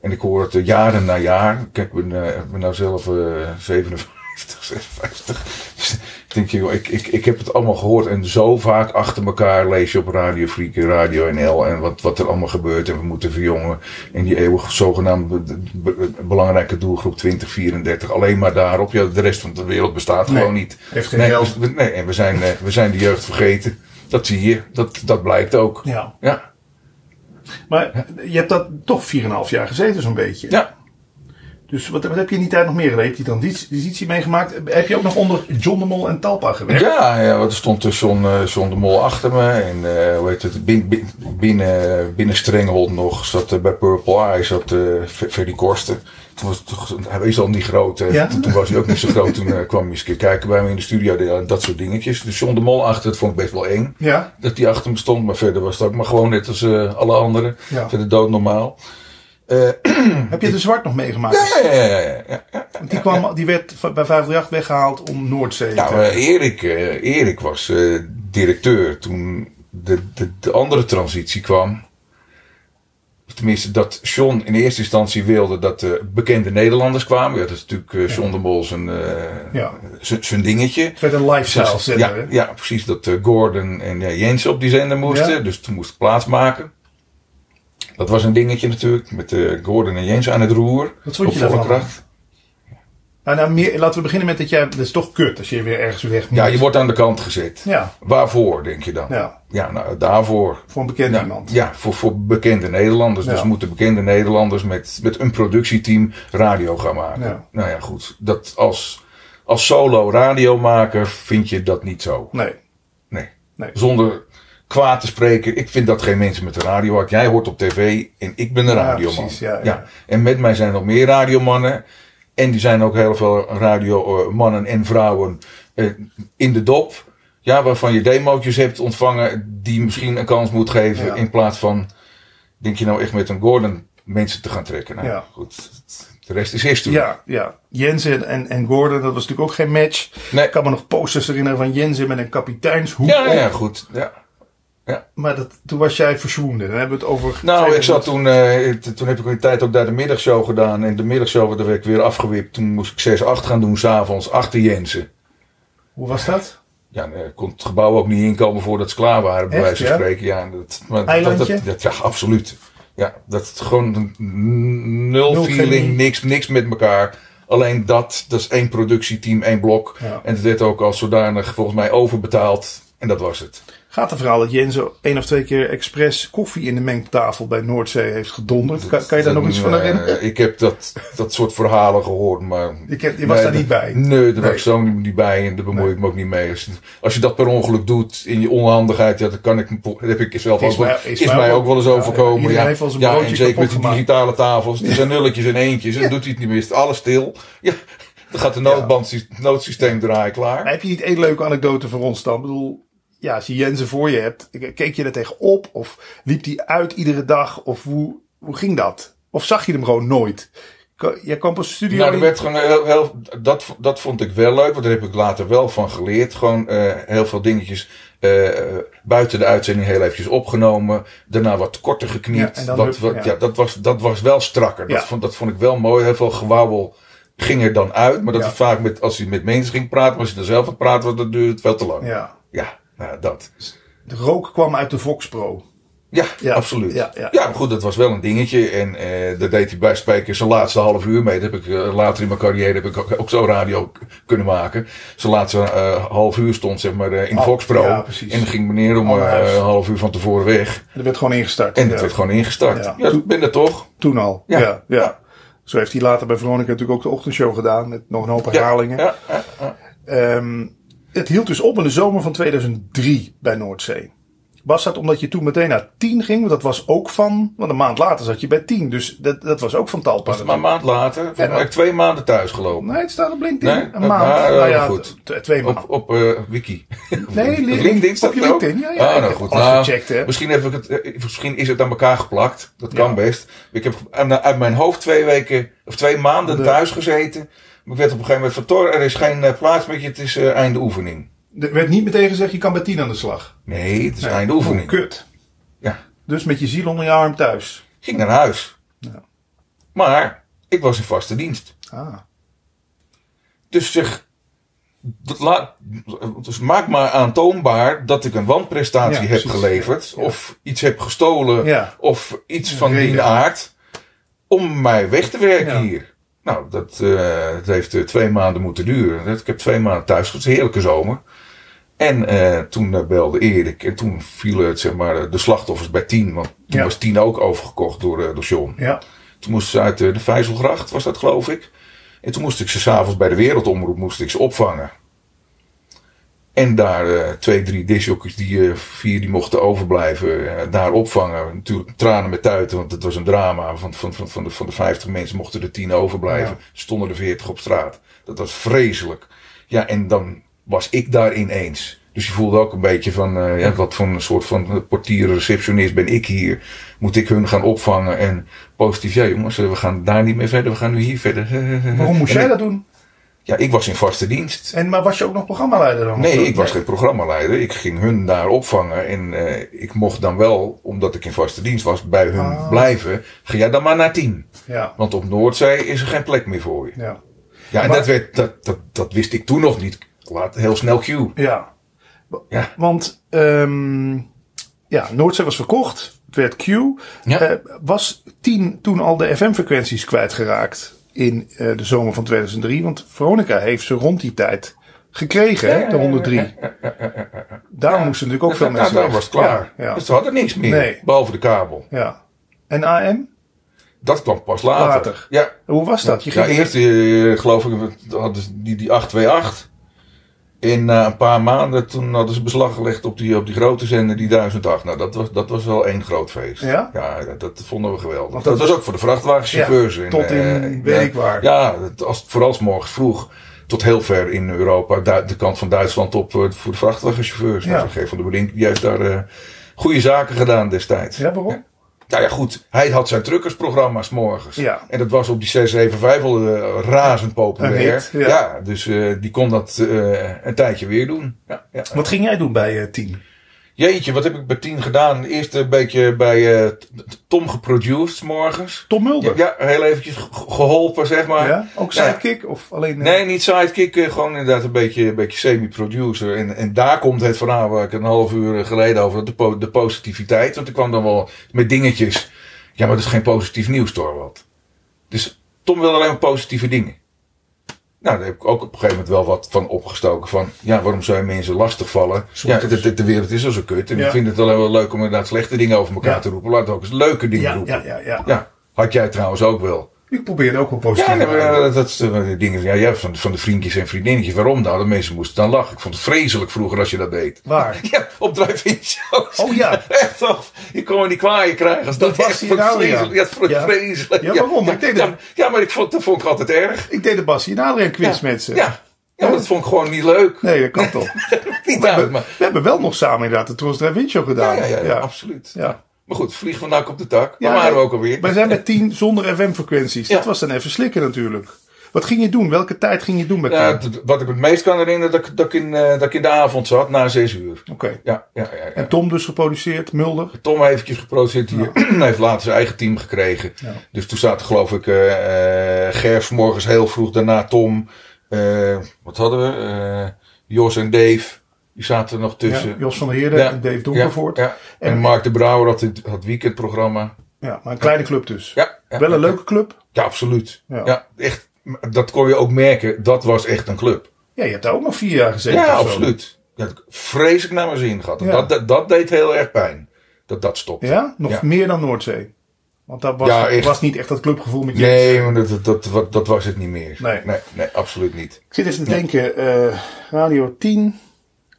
Speaker 2: En ik hoor het eh, jaren na jaar. Kijk, ik ben, eh, ik ben nou zelf eh 57, 56. Dus ik denk, joh, ik, ik, ik heb het allemaal gehoord. En zo vaak achter elkaar lees je op Radio Freak, en Radio NL. En wat, wat er allemaal gebeurt. En we moeten verjongen. En die eeuwig zogenaamd be- be- belangrijke doelgroep 2034. Alleen maar daarop. Ja, de rest van de wereld bestaat
Speaker 1: Nee,
Speaker 2: gewoon niet.
Speaker 1: heeft geen
Speaker 2: nee, dus
Speaker 1: geld.
Speaker 2: we- nee, en we zijn, eh, we zijn de jeugd vergeten. Dat zie je. Dat, dat blijkt ook.
Speaker 1: Ja.
Speaker 2: Ja.
Speaker 1: Maar je hebt dat toch 4,5 jaar gezeten zo'n beetje.
Speaker 2: ja.
Speaker 1: Dus wat, wat heb je in die tijd nog meer gedaan? Heb je dan die transitie meegemaakt? Heb je ook nog onder John de Mol en Talpa gewerkt?
Speaker 2: Ja, ja, want er stond dus John, eh, John de Mol achter me. En eh, hoe heet het? Bin, bin- binnen, binnen Strenghold nog zat eh, bij Purple Eye zat eh, Fer- Ferdy Korsten. Toen was het toch, hij was al niet groot. eh.
Speaker 1: Ja?
Speaker 2: Toen, toen was hij ook niet zo groot. Toen eh, kwam hij eens een keer kijken bij me in de studio. de- eh, Dat soort dingetjes. Dus John de Mol achter, dat vond ik best wel eng.
Speaker 1: Ja.
Speaker 2: Dat die achter me stond. Maar verder was het ook maar gewoon net als eh, alle anderen.
Speaker 1: Ja.
Speaker 2: Verder doodnormaal.
Speaker 1: Heb je de Zwart nog meegemaakt?
Speaker 2: Hm. Ja, ja, ja, ja, ja.
Speaker 1: Want die, kwam, die werd v- bij 538 weggehaald om Noordzee
Speaker 2: Nou,
Speaker 1: te...
Speaker 2: eh, Erik, eh, Erik was eh, directeur toen de, de, de andere transitie kwam. Tenminste, dat John in eerste instantie wilde dat de bekende Nederlanders kwamen. Ja, dat is natuurlijk eh, John de Mol zijn, eh,
Speaker 1: Ja.
Speaker 2: zijn- zijn dingetje.
Speaker 1: Het werd een lifestyle
Speaker 2: ja,
Speaker 1: zender. hè?
Speaker 2: ja, precies. Dat eh, Gordon en eh, Jensen op die zender moesten.
Speaker 1: Ja.
Speaker 2: Dus toen moest ik plaatsmaken. Dat was een dingetje natuurlijk. Met eh, Gordon en Jensen aan het roer.
Speaker 1: Wat vond je
Speaker 2: op volle
Speaker 1: daarvan?
Speaker 2: kracht.
Speaker 1: Nou, nou, meer, laten we beginnen met dat jij... Dat is toch kut als je weer ergens weg moet.
Speaker 2: Ja, je wordt aan de kant gezet.
Speaker 1: Ja,
Speaker 2: Waarvoor, denk je dan?
Speaker 1: ja,
Speaker 2: Ja, nou, daarvoor.
Speaker 1: voor een bekend
Speaker 2: Ja,
Speaker 1: iemand.
Speaker 2: ja, voor, voor bekende Nederlanders.
Speaker 1: Ja.
Speaker 2: Dus moeten bekende Nederlanders met, met een productieteam radio gaan maken.
Speaker 1: Ja.
Speaker 2: Nou ja, goed. Dat als, als solo radiomaker vind je dat niet zo.
Speaker 1: Nee.
Speaker 2: Nee.
Speaker 1: Nee.
Speaker 2: Zonder kwaad te spreken. Ik vind dat geen mensen met de radio hard. Jij hoort op tv en ik ben een
Speaker 1: Ja,
Speaker 2: radioman.
Speaker 1: precies, ja, ja.
Speaker 2: En met mij zijn nog meer radiomannen. En die zijn ook heel veel radiomannen en vrouwen eh, in de dop. Ja, waarvan je demootjes hebt ontvangen die misschien een kans moet geven.
Speaker 1: Ja.
Speaker 2: In plaats van, denk je nou echt met een Gordon mensen te gaan trekken. Nou,
Speaker 1: Ja.
Speaker 2: goed. De rest is history.
Speaker 1: Ja, ja. Jensen en, en Gordon, dat was natuurlijk ook geen match.
Speaker 2: Nee.
Speaker 1: Ik kan me nog posters herinneren van Jensen met een kapiteinshoek
Speaker 2: Ja, ja, ja,
Speaker 1: op.
Speaker 2: goed. Ja.
Speaker 1: Maar dat, toen was jij verswoenden. Dan hebben we het over...
Speaker 2: Nou, ik zat toen, eh, t- toen heb ik een tijd ook daar de middagshow gedaan. En de middagshow werd ik weer afgewipt. Toen moest ik 6-8 gaan doen, s'avonds, achter Jensen.
Speaker 1: Hoe was dat?
Speaker 2: Ja, en, eh, kon het gebouw ook niet inkomen voordat ze klaar waren, bij
Speaker 1: Echt,
Speaker 2: wijze van
Speaker 1: ja?
Speaker 2: spreken. Ja, en dat, maar dat- dat,
Speaker 1: Eilandje?
Speaker 2: dat, ja, absoluut. Ja, dat is gewoon een n- nul
Speaker 1: Nul chemie.
Speaker 2: feeling, niks, niks met elkaar. Alleen dat, dat is één productieteam, één blok.
Speaker 1: Ja.
Speaker 2: En het werd ook als zodanig volgens mij overbetaald. En dat was het.
Speaker 1: Gaat het verhaal dat Jensen één of twee keer expres koffie in de mengtafel bij Noordzee heeft gedonderd? Kan, kan je daar nog iets van
Speaker 2: Eh,
Speaker 1: herinneren?
Speaker 2: Ik heb dat, dat soort verhalen gehoord, maar...
Speaker 1: Ik heb- je was
Speaker 2: Nee,
Speaker 1: daar niet
Speaker 2: dat-
Speaker 1: bij.
Speaker 2: Nee, daar
Speaker 1: Nee.
Speaker 2: was ik zo niet, niet bij en daar bemoei ik me ook niet mee. Als, als je dat per ongeluk doet in je onhandigheid, ja, dan kan ik, me- dat heb ik zelf
Speaker 1: Is
Speaker 2: ook, wel-
Speaker 1: mij- is
Speaker 2: is,
Speaker 1: mij
Speaker 2: mij
Speaker 1: ook-
Speaker 2: ook wel eens
Speaker 1: ja,
Speaker 2: overkomen.
Speaker 1: iedereen
Speaker 2: Ja,
Speaker 1: heeft wel zijn
Speaker 2: ja,
Speaker 1: broodje
Speaker 2: en zeker met die
Speaker 1: kapot gemaakt.
Speaker 2: digitale tafels. Er zijn nulletjes en eentjes en doet hij het niet meer. Is het alles stil? Ja, dan gaat de noodband, noodsysteem draaien klaar.
Speaker 1: Maar heb je niet één leuke anekdote voor ons dan? Ik bedoel, ja, als je Jensen voor je hebt, keek je er tegen op? Of liep die uit iedere dag? Of hoe, hoe ging dat? Of zag je hem gewoon nooit? Ko- Jij kwam pas studio
Speaker 2: Nou, er
Speaker 1: in-
Speaker 2: werd gewoon heel, heel, dat, v- dat vond ik wel leuk, want daar heb ik later wel van geleerd. Gewoon eh, heel veel dingetjes eh, buiten de uitzending heel eventjes opgenomen. Daarna wat korter
Speaker 1: Ja,
Speaker 2: geknipt.
Speaker 1: en dan
Speaker 2: wat,
Speaker 1: hup,
Speaker 2: wat,
Speaker 1: ja.
Speaker 2: ja. dat, was, dat was wel strakker.
Speaker 1: Ja.
Speaker 2: Dat, vond, dat vond ik wel mooi. Heel veel gewauwel ging er dan uit. Maar dat
Speaker 1: Ja.
Speaker 2: was vaak met, als je met mensen ging praten, als je dan zelf aan het praten was, dat duurde het veel te lang. Ja,
Speaker 1: Ja,
Speaker 2: nou, dat.
Speaker 1: de rook kwam uit de Vox Pro.
Speaker 2: Ja,
Speaker 1: Ja,
Speaker 2: absoluut.
Speaker 1: ja,
Speaker 2: Ja,
Speaker 1: ja.
Speaker 2: maar goed, dat was wel een dingetje. En eh daar deed hij bij Spijker zijn laatste half uur mee. Dat heb ik eh, later in mijn carrière heb ik ook, ook zo radio k- kunnen maken. Zijn laatste eh, half uur stond zeg maar eh, in
Speaker 1: Oh,
Speaker 2: Fox Pro.
Speaker 1: ja, precies.
Speaker 2: en dan ging meneer om
Speaker 1: Al naar
Speaker 2: eh,
Speaker 1: huis.
Speaker 2: een half uur van tevoren weg.
Speaker 1: En dat werd gewoon ingestart.
Speaker 2: En
Speaker 1: Ja,
Speaker 2: het werd gewoon ingestart.
Speaker 1: Ja.
Speaker 2: Ja, ik ben er toch.
Speaker 1: Toen al. Ja.
Speaker 2: Ja.
Speaker 1: Ja, Zo heeft hij later bij Veronica natuurlijk ook de ochtendshow gedaan. Met nog een hoop
Speaker 2: Ja,
Speaker 1: herhalingen.
Speaker 2: Ja, ja.
Speaker 1: Ehm, het hield dus op in de zomer van 2003 bij Noordzee. Was dat omdat je toen meteen naar 10 ging? Want dat was ook van. Want een maand later zat je bij 10. Dus dat, dat was ook van
Speaker 2: Was
Speaker 1: Talpa.
Speaker 2: het maar een maand later? Volgens mij heb ik twee maanden thuis gelopen.
Speaker 1: Nee, het staat op LinkedIn.
Speaker 2: Nee?
Speaker 1: Een maand.
Speaker 2: Ah,
Speaker 1: nou ja,
Speaker 2: goed.
Speaker 1: t- twee maanden.
Speaker 2: Op, op eh, Wiki.
Speaker 1: Nee,
Speaker 2: Op
Speaker 1: link-
Speaker 2: LinkedIn staat
Speaker 1: op je
Speaker 2: het ook?
Speaker 1: LinkedIn, ja, ja. Ik
Speaker 2: Ah, nou
Speaker 1: heb
Speaker 2: goed.
Speaker 1: alles
Speaker 2: Nou,
Speaker 1: gecheckt, hè.
Speaker 2: Misschien, heb ik het, eh, misschien is het aan elkaar geplakt. Dat kan
Speaker 1: Ja.
Speaker 2: best. Ik heb uit- uit mijn hoofd twee weken of twee maanden
Speaker 1: De-
Speaker 2: thuis gezeten. Maar Ik werd op een gegeven moment van Tor, er is geen eh, plaats met je, het is eh, einde oefening.
Speaker 1: Er werd niet meteen gezegd, je kan bij 10 aan de slag.
Speaker 2: Nee, het is
Speaker 1: Nee.
Speaker 2: einde
Speaker 1: Oh,
Speaker 2: oefening.
Speaker 1: Kut.
Speaker 2: Ja.
Speaker 1: Dus met je ziel onder je arm thuis.
Speaker 2: Ging naar huis.
Speaker 1: Ja.
Speaker 2: Maar ik was in vaste dienst.
Speaker 1: Ah.
Speaker 2: Dus zeg, dat la- dus maak maar aantoonbaar dat ik een wanprestatie
Speaker 1: Ja,
Speaker 2: heb
Speaker 1: precies.
Speaker 2: geleverd.
Speaker 1: Ja.
Speaker 2: Of iets heb gestolen.
Speaker 1: Ja.
Speaker 2: Of iets van die
Speaker 1: Reden.
Speaker 2: aard. Om mij weg te werken
Speaker 1: Ja.
Speaker 2: hier. Nou, dat, eh, dat heeft eh, twee maanden moeten duren. Dat- Ik heb twee maanden thuis gezeten. Heerlijke zomer. En eh, toen eh, belde Erik. En toen vielen het, zeg maar, eh, de slachtoffers bij tien. Want toen
Speaker 1: Ja.
Speaker 2: was tien ook overgekocht door, eh, door John.
Speaker 1: Ja.
Speaker 2: Toen moest ze uit eh, de Vijzelgracht, was dat geloof ik. En toen moest ik ze s'avonds bij de Wereldomroep moest ik ze opvangen. En daar eh, twee, drie disjockeys, die eh, vier die mochten overblijven, eh, daar opvangen. Natuurlijk tranen met tuiten, want het was een drama. Van, van, van, van, de, van de 50 mensen mochten er tien overblijven. Stonden er 40 op straat. Dat was vreselijk. Ja, en dan was ik daar ineens. Dus je voelde ook een beetje van, eh, ja, wat voor een soort van portier, receptionist ben ik hier? Moet ik hun gaan opvangen? En positief, ja jongens, eh, we gaan daar niet meer verder, we gaan nu hier verder.
Speaker 1: Waarom moest
Speaker 2: En
Speaker 1: jij
Speaker 2: ik-
Speaker 1: dat doen?
Speaker 2: Ja, ik was in vaste dienst.
Speaker 1: En, maar was je ook nog programmaleider dan?
Speaker 2: Nee,
Speaker 1: Of, eh,
Speaker 2: ik was geen programmaleider. Ik ging hun daar opvangen. En eh, ik mocht dan wel, omdat ik in vaste dienst was, bij hun
Speaker 1: Ah.
Speaker 2: blijven. Ga jij dan maar naar tien.
Speaker 1: Ja.
Speaker 2: Want op Noordzee is er geen plek meer voor je.
Speaker 1: Ja.
Speaker 2: Ja, en
Speaker 1: Maar-
Speaker 2: dat, werd, dat, dat, dat wist ik toen nog niet. Laat, heel snel
Speaker 1: Eh,
Speaker 2: cue.
Speaker 1: ja.
Speaker 2: Ja.
Speaker 1: Want ehm ja, Noordzee was verkocht. Het werd Q.
Speaker 2: Ja.
Speaker 1: Eh, was 10 toen al de FM-frequenties kwijtgeraakt in eh, de zomer van 2003? Want Veronica heeft ze rond die tijd gekregen, hè, de 103. Daar moesten natuurlijk ook veel mensen
Speaker 2: nou, daar
Speaker 1: weg.
Speaker 2: was het klaar.
Speaker 1: Ja, ja.
Speaker 2: Dus ze hadden niks meer.
Speaker 1: Nee.
Speaker 2: Behalve de kabel.
Speaker 1: ja. En AM?
Speaker 2: Dat kwam pas later.
Speaker 1: Later.
Speaker 2: Ja,
Speaker 1: Hoe was dat? Je
Speaker 2: ja,
Speaker 1: ging
Speaker 2: eerst eh, geloof ik hadden ze die, die 828. En na eh, een paar maanden toen hadden ze beslag gelegd op die, op die grote zender, die 1008. Nou, dat was, dat was wel één groot feest.
Speaker 1: Ja?
Speaker 2: dat, dat vonden we geweldig. Dat,
Speaker 1: Want dat
Speaker 2: was ook voor de vrachtwagenchauffeurs.
Speaker 1: Ja,
Speaker 2: en,
Speaker 1: tot in
Speaker 2: eh,
Speaker 1: weet
Speaker 2: ja,
Speaker 1: ik waar.
Speaker 2: Ja, dat- als, vooral 's morgens vroeg. Tot heel ver in Europa, du- de kant van Duitsland op eh, voor de vrachtwagenchauffeurs.
Speaker 1: Ja.
Speaker 2: Nou, G. van der Brink die heeft daar eh, goede zaken gedaan destijds.
Speaker 1: Ja, waarom?
Speaker 2: Nou ja, goed. Hij had zijn truckersprogramma's morgens.
Speaker 1: Ja.
Speaker 2: En dat was op die 675 al eh, razend
Speaker 1: Een
Speaker 2: populair.
Speaker 1: hit, ja.
Speaker 2: dus eh, die kon dat eh, een tijdje weer doen. Ja, ja.
Speaker 1: Wat ging jij doen bij eh 10?
Speaker 2: Jeetje, wat heb ik bij 10 gedaan? Eerst een beetje bij eh, t- t- Tom geproduced 's morgens.
Speaker 1: Tom
Speaker 2: Ja,
Speaker 1: Mulder?
Speaker 2: ja, heel eventjes ge- geholpen, zeg maar.
Speaker 1: Ja? Ook
Speaker 2: Nou ja.
Speaker 1: sidekick? Of alleen... eh,
Speaker 2: Nee, niet sidekick. eh, Gewoon inderdaad een beetje, een beetje semi-producer. En, en daar komt het vandaan waar ik een half uur geleden over had. De, po- de positiviteit. Want ik kwam dan wel met dingetjes. Ja, maar dat is geen positief nieuws, Torwald. Dus Tom wilde alleen maar positieve dingen. Nou, daar heb ik ook op een gegeven moment wel wat van opgestoken. Van, ja, waarom zou je mensen lastigvallen? Ja,
Speaker 1: Soms.
Speaker 2: de, de- de wereld is al zo kut. En
Speaker 1: Ja.
Speaker 2: ik vind het alleen wel leuk om inderdaad slechte dingen over elkaar
Speaker 1: Ja.
Speaker 2: te roepen. Laat ook eens leuke dingen
Speaker 1: Ja,
Speaker 2: roepen.
Speaker 1: ja, ja, ja.
Speaker 2: ja, had jij trouwens ook wel.
Speaker 1: Ik probeerde ook wel positief
Speaker 2: Ja, nee,
Speaker 1: te
Speaker 2: maar,
Speaker 1: zijn.
Speaker 2: eh, dat is de dingen ja, ja, van, van de vriendjes en vriendinnetjes. Waarom nou? De mensen moesten dan lachen. Ik vond het vreselijk vroeger als je dat deed.
Speaker 1: Waar?
Speaker 2: Ja, op drive-in shows.
Speaker 1: Oh ja.
Speaker 2: Echt toch? Je kon me niet kwaaien krijgen. Als dat
Speaker 1: Dat was
Speaker 2: echt
Speaker 1: hier
Speaker 2: vond ik
Speaker 1: nou, ja.
Speaker 2: vreselijk. Ja, dat vond ik
Speaker 1: Ja.
Speaker 2: vreselijk.
Speaker 1: Ja, waarom?
Speaker 2: Ja,
Speaker 1: Ik deed
Speaker 2: ja,
Speaker 1: het.
Speaker 2: ja, maar ik vond, dat vond ik altijd erg.
Speaker 1: Ik deed de Bassie en Adrien quiz met ze.
Speaker 2: Ja. ja, maar dat vond ik gewoon niet leuk.
Speaker 1: Nee, dat kan toch.
Speaker 2: Niet uit, maar...
Speaker 1: We hebben wel nog samen inderdaad de Tros Dravinshow show
Speaker 2: Ja,
Speaker 1: gedaan.
Speaker 2: ja, ja, absoluut.
Speaker 1: Ja.
Speaker 2: Maar goed, vlieg vandaag op de tak.
Speaker 1: Ja,
Speaker 2: Waar waren we
Speaker 1: nee.
Speaker 2: ook alweer?
Speaker 1: Wij zijn met tien zonder FM-frequenties. Dat
Speaker 2: Ja.
Speaker 1: was dan even slikken natuurlijk. Wat ging je doen? Welke tijd ging je doen met
Speaker 2: Ja,
Speaker 1: tien?
Speaker 2: dat- Eh, wat ik me het meest kan herinneren, dat ik, dat, ik in, eh, dat ik in de avond zat, na zes uur.
Speaker 1: Oké.
Speaker 2: Ja, ja, ja. ja.
Speaker 1: En Tom dus geproduceerd, Mulder.
Speaker 2: Tom eventjes geproduceerd hier. Hij heeft later zijn eigen team gekregen.
Speaker 1: Ja.
Speaker 2: Dus toen zaten geloof ik eh eh, Gerf morgens heel vroeg. Daarna Tom. eh, wat hadden we? Eh, Jos en Dave. Die zaten er nog tussen.
Speaker 1: Ja, Jos van der Heerden
Speaker 2: Dus, eh, Ja,
Speaker 1: en Dave
Speaker 2: ja,
Speaker 1: Donkervoort. Ja,
Speaker 2: ja. En,
Speaker 1: En-
Speaker 2: Mark de Brouwer had het had weekendprogramma.
Speaker 1: maar een kleine club dus.
Speaker 2: Ja, ja,
Speaker 1: wel een
Speaker 2: ja.
Speaker 1: leuke club.
Speaker 2: Ja, absoluut.
Speaker 1: Ja.
Speaker 2: Ja. echt, dat kon je ook merken. Dat was echt een club.
Speaker 1: Ja, je hebt daar ook nog vier jaar gezeten.
Speaker 2: Ja,
Speaker 1: of zo.
Speaker 2: absoluut. Ja, dat- vreselijk naar mijn zin gehad. En
Speaker 1: Ja.
Speaker 2: Dat, dat, dat deed heel erg pijn. Dat dat stopte.
Speaker 1: Ja? Nog
Speaker 2: Ja.
Speaker 1: meer dan Noordzee. Want dat was,
Speaker 2: Ja, echt.
Speaker 1: was niet echt dat clubgevoel met je.
Speaker 2: Nee, maar dat, dat, dat, wat- dat was het niet meer.
Speaker 1: Nee.
Speaker 2: nee, nee, absoluut niet.
Speaker 1: Ik zit even te denken, eh, Radio 10,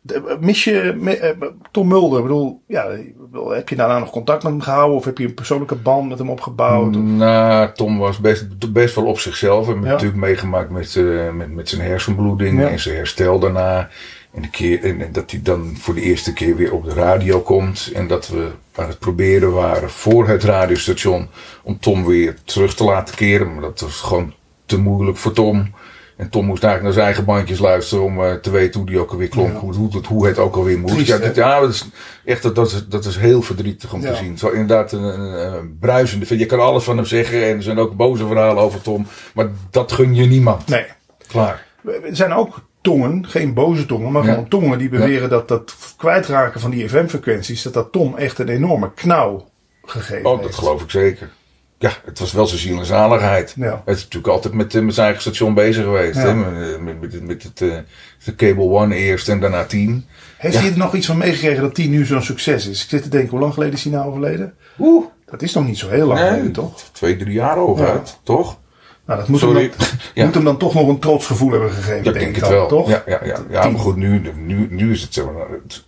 Speaker 1: De- Mis je me- eh, Tom Mulder? Ik bedoel, ja, ik bedoel, heb je daarna nog contact met hem gehouden? Of heb je een persoonlijke band met hem opgebouwd? Of-
Speaker 2: Nou, Tom was best, best wel op zichzelf. We hebben
Speaker 1: Ja.
Speaker 2: natuurlijk meegemaakt met, eh, met, met zijn hersenbloeding
Speaker 1: Ja.
Speaker 2: en zijn herstel daarna. En, de keer, en, en dat hij dan voor de eerste keer weer op de radio komt. En dat we aan het proberen waren voor het radiostation om Tom weer terug te laten keren. Maar dat was gewoon te moeilijk voor Tom. En Tom moest eigenlijk naar zijn eigen bandjes luisteren om eh, te weten hoe die ook alweer klonk.
Speaker 1: Ja.
Speaker 2: Hoe, hoe, het- hoe het ook alweer moest.
Speaker 1: Triest,
Speaker 2: ja,
Speaker 1: hè?
Speaker 2: dat, ja, dat is echt, dat, dat, is, dat is heel verdrietig om
Speaker 1: Ja.
Speaker 2: te zien. Het is wel inderdaad een, een, een bruisende. Je kan alles van hem zeggen en er zijn ook boze verhalen over Tom. Maar dat gun je niemand.
Speaker 1: Nee.
Speaker 2: Klaar.
Speaker 1: Er zijn ook tongen, geen boze tongen, maar
Speaker 2: Ja.
Speaker 1: gewoon tongen die beweren dat dat kwijtraken van die FM-frequenties, dat dat Tom echt een enorme knauw gegeven
Speaker 2: Oh, dat
Speaker 1: heeft.
Speaker 2: geloof ik zeker. Ja, het was wel zijn ziel en zaligheid.
Speaker 1: Ja.
Speaker 2: Hij is natuurlijk altijd met, eh, met zijn eigen station bezig geweest.
Speaker 1: Ja.
Speaker 2: Hè? Met, met, met, met het, eh, de Cable One eerst en daarna 10.
Speaker 1: Heeft hij er nog iets van meegekregen dat die nu zo'n succes is? Ik zit te denken, hoe lang geleden is hij nou overleden?
Speaker 2: Oeh,
Speaker 1: Dat is nog niet zo heel lang
Speaker 2: Oh, Nee.
Speaker 1: geleden, toch?
Speaker 2: twee, drie jaar hooguit, toch?
Speaker 1: Nou, dat moet,
Speaker 2: Sorry.
Speaker 1: Hem, dan,
Speaker 2: Ja.
Speaker 1: moet hem dan toch nog een trots gevoel hebben gegeven,
Speaker 2: Ja, ik
Speaker 1: denk
Speaker 2: denk
Speaker 1: ik
Speaker 2: het
Speaker 1: dan,
Speaker 2: wel.
Speaker 1: toch?
Speaker 2: Ja, ja, ja. ja
Speaker 1: Tien.
Speaker 2: maar goed, nu, nu, nu is het zeg maar, het-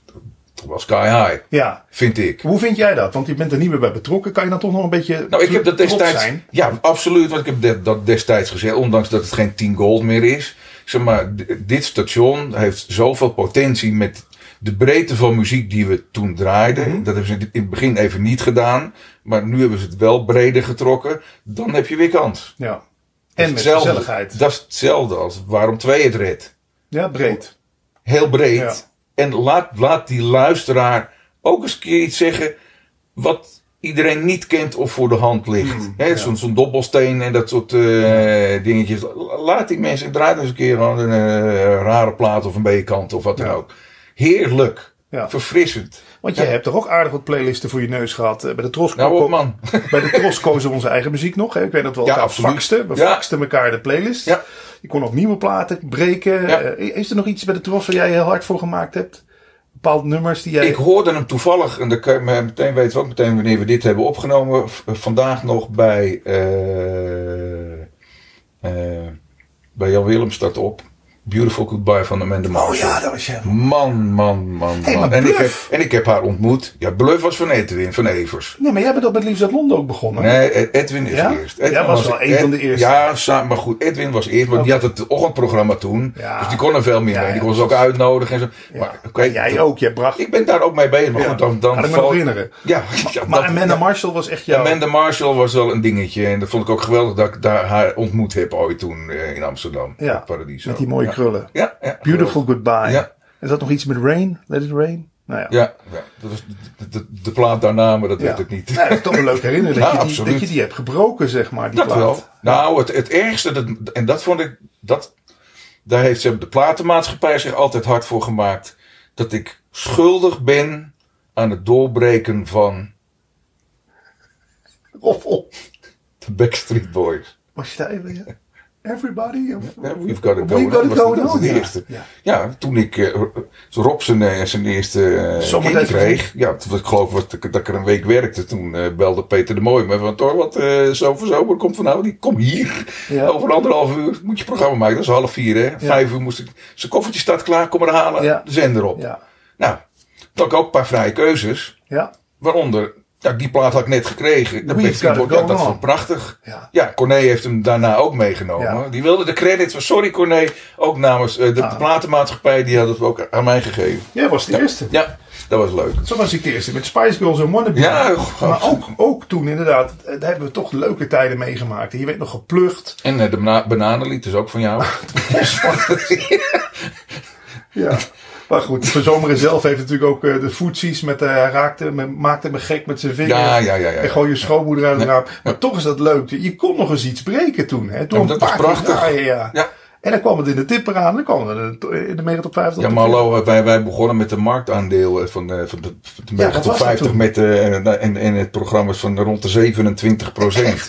Speaker 2: toch wel sky high,
Speaker 1: Ja.
Speaker 2: vind ik.
Speaker 1: Hoe vind jij dat? Want je bent er niet meer bij betrokken. Kan je dan toch nog een beetje
Speaker 2: Nou, ik heb dat
Speaker 1: trots
Speaker 2: destijds.
Speaker 1: zijn?
Speaker 2: Ja, absoluut. Want ik heb de- dat destijds gezegd, ondanks dat het geen 10 gold meer is. Zeg maar, d- dit station heeft zoveel potentie met de breedte van muziek die we toen draaiden.
Speaker 1: Mhm.
Speaker 2: Dat hebben ze in het begin even niet gedaan. Maar nu hebben ze het wel breder getrokken. Dan heb je weer kans.
Speaker 1: Ja.
Speaker 2: Dat
Speaker 1: En
Speaker 2: is
Speaker 1: met
Speaker 2: hetzelfde.
Speaker 1: gezelligheid.
Speaker 2: Dat is hetzelfde als waarom twee het redt.
Speaker 1: Ja, breed.
Speaker 2: heel breed.
Speaker 1: Ja.
Speaker 2: En laat, laat die luisteraar ook eens een keer iets zeggen wat iedereen niet kent of voor de hand ligt.
Speaker 1: Hmm.
Speaker 2: Hè, Zo'n zo'n dobbelsteen en dat soort eh, dingetjes. La- Laat die mensen, draai dus een keer gewoon een eh, rare plaat of een B-kant of wat dan
Speaker 1: Ja.
Speaker 2: ook. Heerlijk.
Speaker 1: Ja.
Speaker 2: Verfrissend.
Speaker 1: Want je hebt toch ook aardig wat playlisten voor je neus gehad. Eh, Bij de Tros,
Speaker 2: Nou op man.
Speaker 1: bij de Tros kozen we onze eigen muziek nog. Hè? Ik weet dat we
Speaker 2: Ja,
Speaker 1: elkaar
Speaker 2: absoluut.
Speaker 1: faxten. We
Speaker 2: Ja.
Speaker 1: faxten elkaar de playlist.
Speaker 2: Ja.
Speaker 1: Je kon ook nieuwe platen breken.
Speaker 2: Ja.
Speaker 1: Eh, is er nog iets bij de Tros waar jij heel hard voor gemaakt hebt? Bepaalde nummers die jij...
Speaker 2: Ik hoorde hem toevallig, en dan kan je me- meteen weten we ook meteen wanneer we dit hebben opgenomen. v- eh, vandaag nog bij, eh eh, bij Jan Willems staat op. Beautiful Goodbye van Amanda
Speaker 1: Oh
Speaker 2: Marshall.
Speaker 1: ja, dat was je.
Speaker 2: Man, man, man,
Speaker 1: Hey,
Speaker 2: man.
Speaker 1: maar
Speaker 2: en, ik heb,
Speaker 1: Bluff?
Speaker 2: en ik heb haar ontmoet. Ja, Bluff was van Edwin, van Evers.
Speaker 1: Nee, maar jij bent dat met Liefst uit Londen ook begonnen.
Speaker 2: Nee, E, Edwin is
Speaker 1: Oh. Ja?
Speaker 2: eerst. Edwin
Speaker 1: Jij was wel een van de
Speaker 2: Ed-
Speaker 1: eerste.
Speaker 2: Ja, sa- maar goed, Edwin was eerst. Maar die had het ochtendprogramma toen.
Speaker 1: Ja.
Speaker 2: Dus die kon er veel meer
Speaker 1: Ja,
Speaker 2: mee. Die
Speaker 1: ja,
Speaker 2: kon ze ook uitnodigen en zo. Maar oké,
Speaker 1: jij
Speaker 2: dat-
Speaker 1: ook. Jij bracht...
Speaker 2: Ik ben daar ook mee bezig. Maar
Speaker 1: Ja,
Speaker 2: goed, dan... dan
Speaker 1: kan ik me
Speaker 2: valt-
Speaker 1: nog herinneren.
Speaker 2: Ja, ja,
Speaker 1: Maar
Speaker 2: dat-
Speaker 1: Amanda
Speaker 2: ja.
Speaker 1: Marshall was echt jouw...
Speaker 2: Amanda Marshall was wel een dingetje. En dat vond ik ook geweldig dat ik daar haar ontmoet heb ooit toen eh, in Amsterdam.
Speaker 1: Ja,
Speaker 2: op Paradiso.
Speaker 1: met die mooie
Speaker 2: ja.
Speaker 1: krullen.
Speaker 2: Ja, ja.
Speaker 1: Beautiful Goodbye.
Speaker 2: Ja.
Speaker 1: Is dat nog iets met Rain? Let It Rain? Nou ja.
Speaker 2: Ja, ja. Dat was de, de, de plaat daarna, maar dat
Speaker 1: Ja.
Speaker 2: weet ik niet.
Speaker 1: Nou, dat is toch een leuk herinneren dat,
Speaker 2: Ja,
Speaker 1: je die,
Speaker 2: absoluut.
Speaker 1: dat je die hebt gebroken, zeg maar. Die
Speaker 2: dat
Speaker 1: plaat.
Speaker 2: wel. Nou, het, het ergste, dat, en dat vond ik, dat, daar heeft ze, de platenmaatschappij zich altijd hard voor gemaakt. Dat ik schuldig ben aan het doorbreken van
Speaker 1: Roffel.
Speaker 2: de Backstreet Boys.
Speaker 1: Was je daar even... ja? Everybody? Of...
Speaker 2: Ja, We've got it
Speaker 1: We've
Speaker 2: going
Speaker 1: got it
Speaker 2: on. was dat-
Speaker 1: going
Speaker 2: dat was
Speaker 1: on,
Speaker 2: de
Speaker 1: ja.
Speaker 2: eerste.
Speaker 1: Ja.
Speaker 2: Ja. toen ik eh, Rob zijn, eh, zijn eerste eh,
Speaker 1: Zomertijd
Speaker 2: kind kreeg. Ja, toen, ik geloof was, dat ik- dat ik er een week werkte. Toen eh, belde Peter de Mooi me van... Thor, wat eh zo voor zomer komt vanavond. Ik kom hier.
Speaker 1: Ja.
Speaker 2: Over anderhalf uur moet je programma maken. Dat is half vier, hè. Vijf uur moest ik... Zijn koffertje staat klaar, kom maar halen.
Speaker 1: Ja.
Speaker 2: De zender op.
Speaker 1: Ja.
Speaker 2: Nou, toen had ik ook een paar vrije keuzes.
Speaker 1: Ja.
Speaker 2: Waaronder... Ja, die plaat had ik net gekregen. Dat
Speaker 1: We've
Speaker 2: beste
Speaker 1: got it
Speaker 2: woord. Ja,
Speaker 1: going
Speaker 2: dat
Speaker 1: on.
Speaker 2: vond ik prachtig.
Speaker 1: Ja.
Speaker 2: Ja, Corné heeft hem daarna ook meegenomen.
Speaker 1: Ja. Ah.
Speaker 2: Die wilde de credits van sorry Corné, ook namens eh, de, de platenmaatschappij, die had het ook aan mij gegeven.
Speaker 1: Jij was de eerste.
Speaker 2: Ja, dat was leuk.
Speaker 1: Zo was ik de eerste. Met Spice Girls en Wannabe.
Speaker 2: Ja, goh.
Speaker 1: maar ook, ook toen inderdaad. eh, Daar hebben we toch leuke tijden meegemaakt. En Je werd nog geplucht.
Speaker 2: En eh, de bana- bananenlied is ook van jou.
Speaker 1: Ja. Maar goed, Van Zomeren zelf heeft natuurlijk ook eh, de footsies met, eh, hij raakte, me- maakte me gek met zijn vinger.
Speaker 2: Ja, ja, ja, ja, ja.
Speaker 1: En gewoon je schoonmoeder uit het raam. Maar toch is dat leuk. Je kon nog eens iets breken toen. Hè? Door
Speaker 2: Ja, maar
Speaker 1: een
Speaker 2: dat
Speaker 1: paar
Speaker 2: was prachtig.
Speaker 1: keer draaien, ja.
Speaker 2: Ja.
Speaker 1: En dan kwam het in de tipper aan. Dan kwam het in de- in de mega top 50.
Speaker 2: Ja, maar hallo, eh, wij, wij begonnen met de marktaandeel eh, van de, van de, van de
Speaker 1: Ja, wat
Speaker 2: tot
Speaker 1: was dat
Speaker 2: 50
Speaker 1: toen?
Speaker 2: met, eh, en, en, en het programma's van rond de 27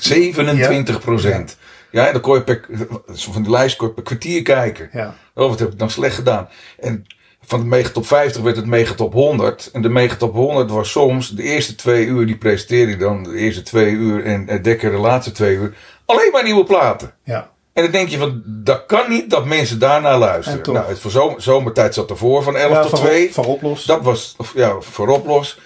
Speaker 2: 27 procent. Ja, en dan kon je per, eh, zo van die lijst kon je per kwartier kijken.
Speaker 1: Ja.
Speaker 2: Oh, wat heb ik dan slecht gedaan? En van de megatop 50 werd het megatop 100. En de megatop 100 was soms de eerste twee uur, die presenteerde je dan de eerste twee uur en eh, Dekker de laatste twee uur. Alleen maar nieuwe platen.
Speaker 1: Ja.
Speaker 2: En dan denk je van, dat kan niet dat mensen daarna
Speaker 1: En
Speaker 2: luisteren.
Speaker 1: toch.
Speaker 2: Nou, het voor zo- zomertijd zat ervoor van 11
Speaker 1: Ja,
Speaker 2: tot
Speaker 1: van,
Speaker 2: 2.
Speaker 1: van Oplos.
Speaker 2: Dat was, of ja, voorop los.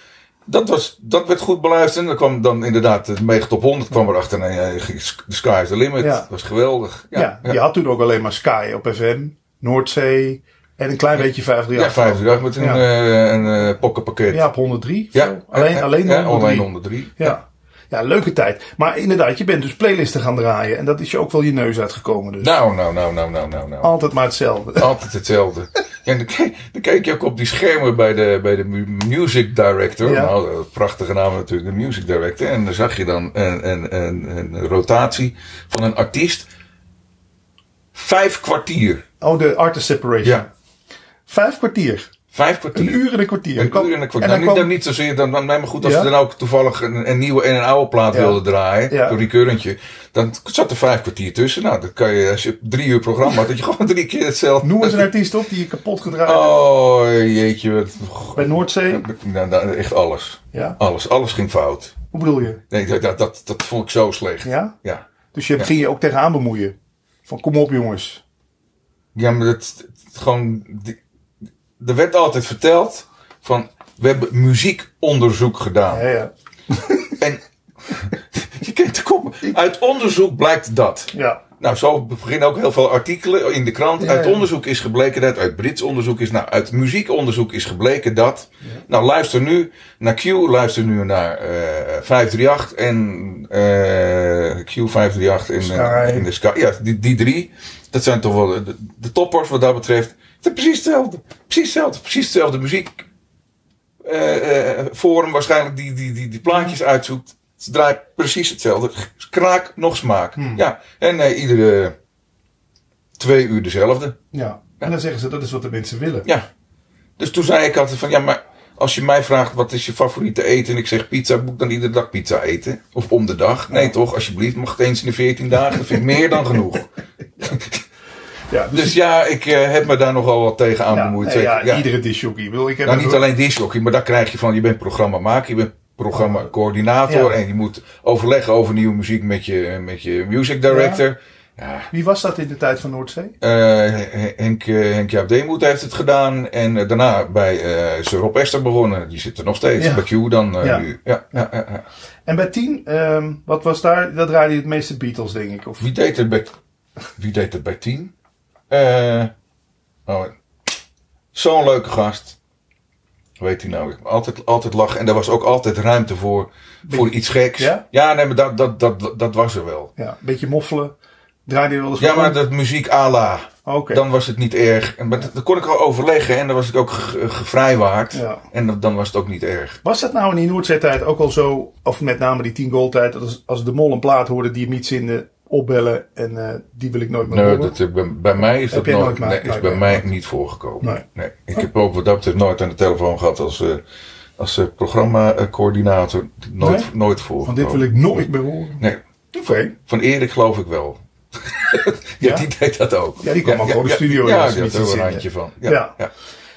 Speaker 2: Dat, was, dat werd goed beluisterd. En dan kwam dan inderdaad de megatop 100 kwam erachter. En ja, ging sk- the sky is the limit.
Speaker 1: Ja.
Speaker 2: Dat was geweldig.
Speaker 1: ja,
Speaker 2: Ja, ja.
Speaker 1: je had toen ook alleen maar Sky op FM, Noordzee en een klein beetje 538.
Speaker 2: Ja, 538 met een,
Speaker 1: Ja.
Speaker 2: eh, een eh, pokkenpakket.
Speaker 1: Ja, op 103.
Speaker 2: Ja,
Speaker 1: Alleen-
Speaker 2: eh, eh,
Speaker 1: alleen
Speaker 2: ja,
Speaker 1: 103.
Speaker 2: alleen 103.
Speaker 1: Ja. ja, leuke tijd. Maar inderdaad, je bent dus playlisten gaan draaien. En dat is je ook wel je neus uitgekomen. Dus
Speaker 2: Nou, nou, nou, nou, nou, nou, nou.
Speaker 1: altijd maar hetzelfde.
Speaker 2: Altijd hetzelfde. Ja, en dan, ke- dan keek je ook op die schermen bij de, bij de mu- music director.
Speaker 1: Ja.
Speaker 2: Nou, eh, prachtige naam natuurlijk, de music director. En dan zag je dan een, een, een, een rotatie van een artiest. Vijf kwartier.
Speaker 1: Oh, de artist separation.
Speaker 2: Ja,
Speaker 1: Vijf kwartier.
Speaker 2: vijf kwartier.
Speaker 1: Een uur en een kwartier.
Speaker 2: Een uur en een kwartier.
Speaker 1: En
Speaker 2: Nou,
Speaker 1: dan
Speaker 2: niet,
Speaker 1: kwam-
Speaker 2: niet zozeer, dan, dan, nee, maar goed, als
Speaker 1: Ja.
Speaker 2: ze dan ook toevallig een, een nieuwe en een oude plaat
Speaker 1: Ja.
Speaker 2: wilden draaien,
Speaker 1: Ja.
Speaker 2: door die keurentje, dan zat er vijf kwartier tussen. Nou, dan kan je, als je drie uur programma had, dat je gewoon drie keer hetzelfde.
Speaker 1: Noem eens een artiest op die je kapot gedraaid hebt.
Speaker 2: Oh, jeetje. Wat,
Speaker 1: Bij Noordzee.
Speaker 2: Nou, nou, echt alles.
Speaker 1: Ja.
Speaker 2: Alles. Alles ging fout.
Speaker 1: Hoe bedoel je?
Speaker 2: Nee, dat, dat, dat, dat vond ik zo slecht.
Speaker 1: Ja?
Speaker 2: Ja,
Speaker 1: Dus je ging je ook tegenaan bemoeien. Van kom op jongens.
Speaker 2: Ja, maar dat, dat gewoon... die- er werd altijd verteld van... We hebben muziekonderzoek gedaan.
Speaker 1: Ja, ja.
Speaker 2: En je kent de kop. Uit onderzoek blijkt dat.
Speaker 1: ja.
Speaker 2: Nou, zo beginnen ook heel veel artikelen in de krant.
Speaker 1: Ja,
Speaker 2: uit
Speaker 1: ja.
Speaker 2: onderzoek is gebleken dat. Uit Brits onderzoek is. Nou, uit muziekonderzoek is gebleken dat. Nou, luister nu naar Q. Luister nu naar eh 538 en eh Q 538 en, eh,
Speaker 1: Sky.
Speaker 2: en de Sky. Ja, die, die drie. Dat zijn toch wel de, de toppers wat dat betreft. Het is precies hetzelfde. Precies hetzelfde. Precies hetzelfde muziek. eh, eh, forum waarschijnlijk die, die, die, die plaatjes uitzoekt. Ze draait precies hetzelfde. Kraak nog smaak. Ja, en eh, iedere twee uur dezelfde.
Speaker 1: ja. En dan zeggen ze dat is wat de mensen willen.
Speaker 2: Ja. Dus toen zei ik altijd van, ja, maar als je mij vraagt wat is je favoriete eten en ik zeg pizza, moet ik dan iedere dag pizza eten? Of om de dag? Nee toch, alsjeblieft, mag het eens in de 14 dagen. Dat vind ik meer dan genoeg.
Speaker 1: Ja, dus,
Speaker 2: Dus ja, ik eh, heb me daar nogal wat tegen aan
Speaker 1: ja,
Speaker 2: bemoeid.
Speaker 1: nee, ja,
Speaker 2: zeker. Ja.
Speaker 1: iedere disjockey. Ik bedoel, ik heb
Speaker 2: Nou,
Speaker 1: dus
Speaker 2: niet
Speaker 1: ook-
Speaker 2: alleen disjockey, maar daar krijg je van, je bent programmamaker, je bent programmacoördinator
Speaker 1: Ja.
Speaker 2: en je moet overleggen over nieuwe muziek met je, met je music director. Ja.
Speaker 1: Wie was dat in de tijd van Noordzee?
Speaker 2: eh, Hen- Henk, eh, Henk Jaap Deemoet heeft het gedaan en eh, daarna bij eh Sir Rob Esther begonnen. Die zit er nog steeds,
Speaker 1: Ja.
Speaker 2: bij Q dan eh,
Speaker 1: Ja.
Speaker 2: nu. Ja, ja, ja, ja.
Speaker 1: En bij 10, ehm, wat was daar? Dat draaide je het meeste Beatles, denk ik. Of
Speaker 2: Wie deed er bij, wie deed er bij 10? Eh, oh, Zo'n leuke gast. Weet hij nou, ik heb altijd, altijd lachen. En er was ook altijd ruimte voor, voor iets geks.
Speaker 1: Ja?
Speaker 2: nee, maar dat, dat, dat, dat was er wel.
Speaker 1: ja, een beetje moffelen. Draaide je wel eens
Speaker 2: Ja,
Speaker 1: wat
Speaker 2: maar
Speaker 1: om?
Speaker 2: dat muziek à la,
Speaker 1: Oké.
Speaker 2: dan was het niet erg. En, maar dat, dat kon ik wel overleggen en dan was ik ook ge- gevrijwaard.
Speaker 1: Ja.
Speaker 2: En dan- dan was het ook niet erg.
Speaker 1: Was dat nou in die Noordzee-tijd ook al zo, of met name die 10 goal tijd, dat als, als de mol een plaat hoorde die hem niet zinde, opbellen en eh, die wil ik nooit meer
Speaker 2: Nee,
Speaker 1: horen?
Speaker 2: dat, eh, bij, bij mij is
Speaker 1: Heb
Speaker 2: dat
Speaker 1: jij
Speaker 2: nooit,
Speaker 1: nooit maar-
Speaker 2: nee, is
Speaker 1: nooit
Speaker 2: bij
Speaker 1: meer
Speaker 2: mij niet voorgekomen.
Speaker 1: Nee. Oh.
Speaker 2: Ik heb ook wat dat betreft nooit aan de telefoon gehad als, eh als eh, programmacoördinator. Nooit,
Speaker 1: Nee?
Speaker 2: nooit voorgekomen.
Speaker 1: Van dit wil ik nooit meer horen.
Speaker 2: Nee,
Speaker 1: Oké.
Speaker 2: van Erik geloof ik wel. ja,
Speaker 1: Ja?
Speaker 2: die deed dat ook.
Speaker 1: Ja, die kwam ook gewoon de studio in
Speaker 2: Ja,
Speaker 1: als ze
Speaker 2: ja, daar
Speaker 1: niet
Speaker 2: had er
Speaker 1: zin
Speaker 2: een
Speaker 1: in.
Speaker 2: randje van. Ja,
Speaker 1: Ja.
Speaker 2: ja.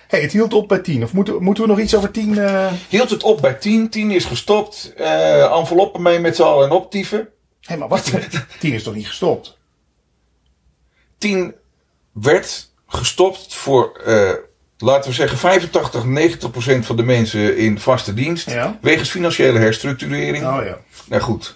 Speaker 1: hey, het hield op bij 10. Of moeten, moeten we nog iets over 10? eh
Speaker 2: Hield het op bij 10. 10 is gestopt. Eh enveloppen mee met z'n allen en optieven.
Speaker 1: Hé, maar wat? 10 is toch niet gestopt?
Speaker 2: 10 werd gestopt voor, eh, laten we zeggen, 85, 90 procent van de mensen in vaste dienst.
Speaker 1: Ja.
Speaker 2: Wegens financiële herstructurering.
Speaker 1: Oh ja.
Speaker 2: Nou goed,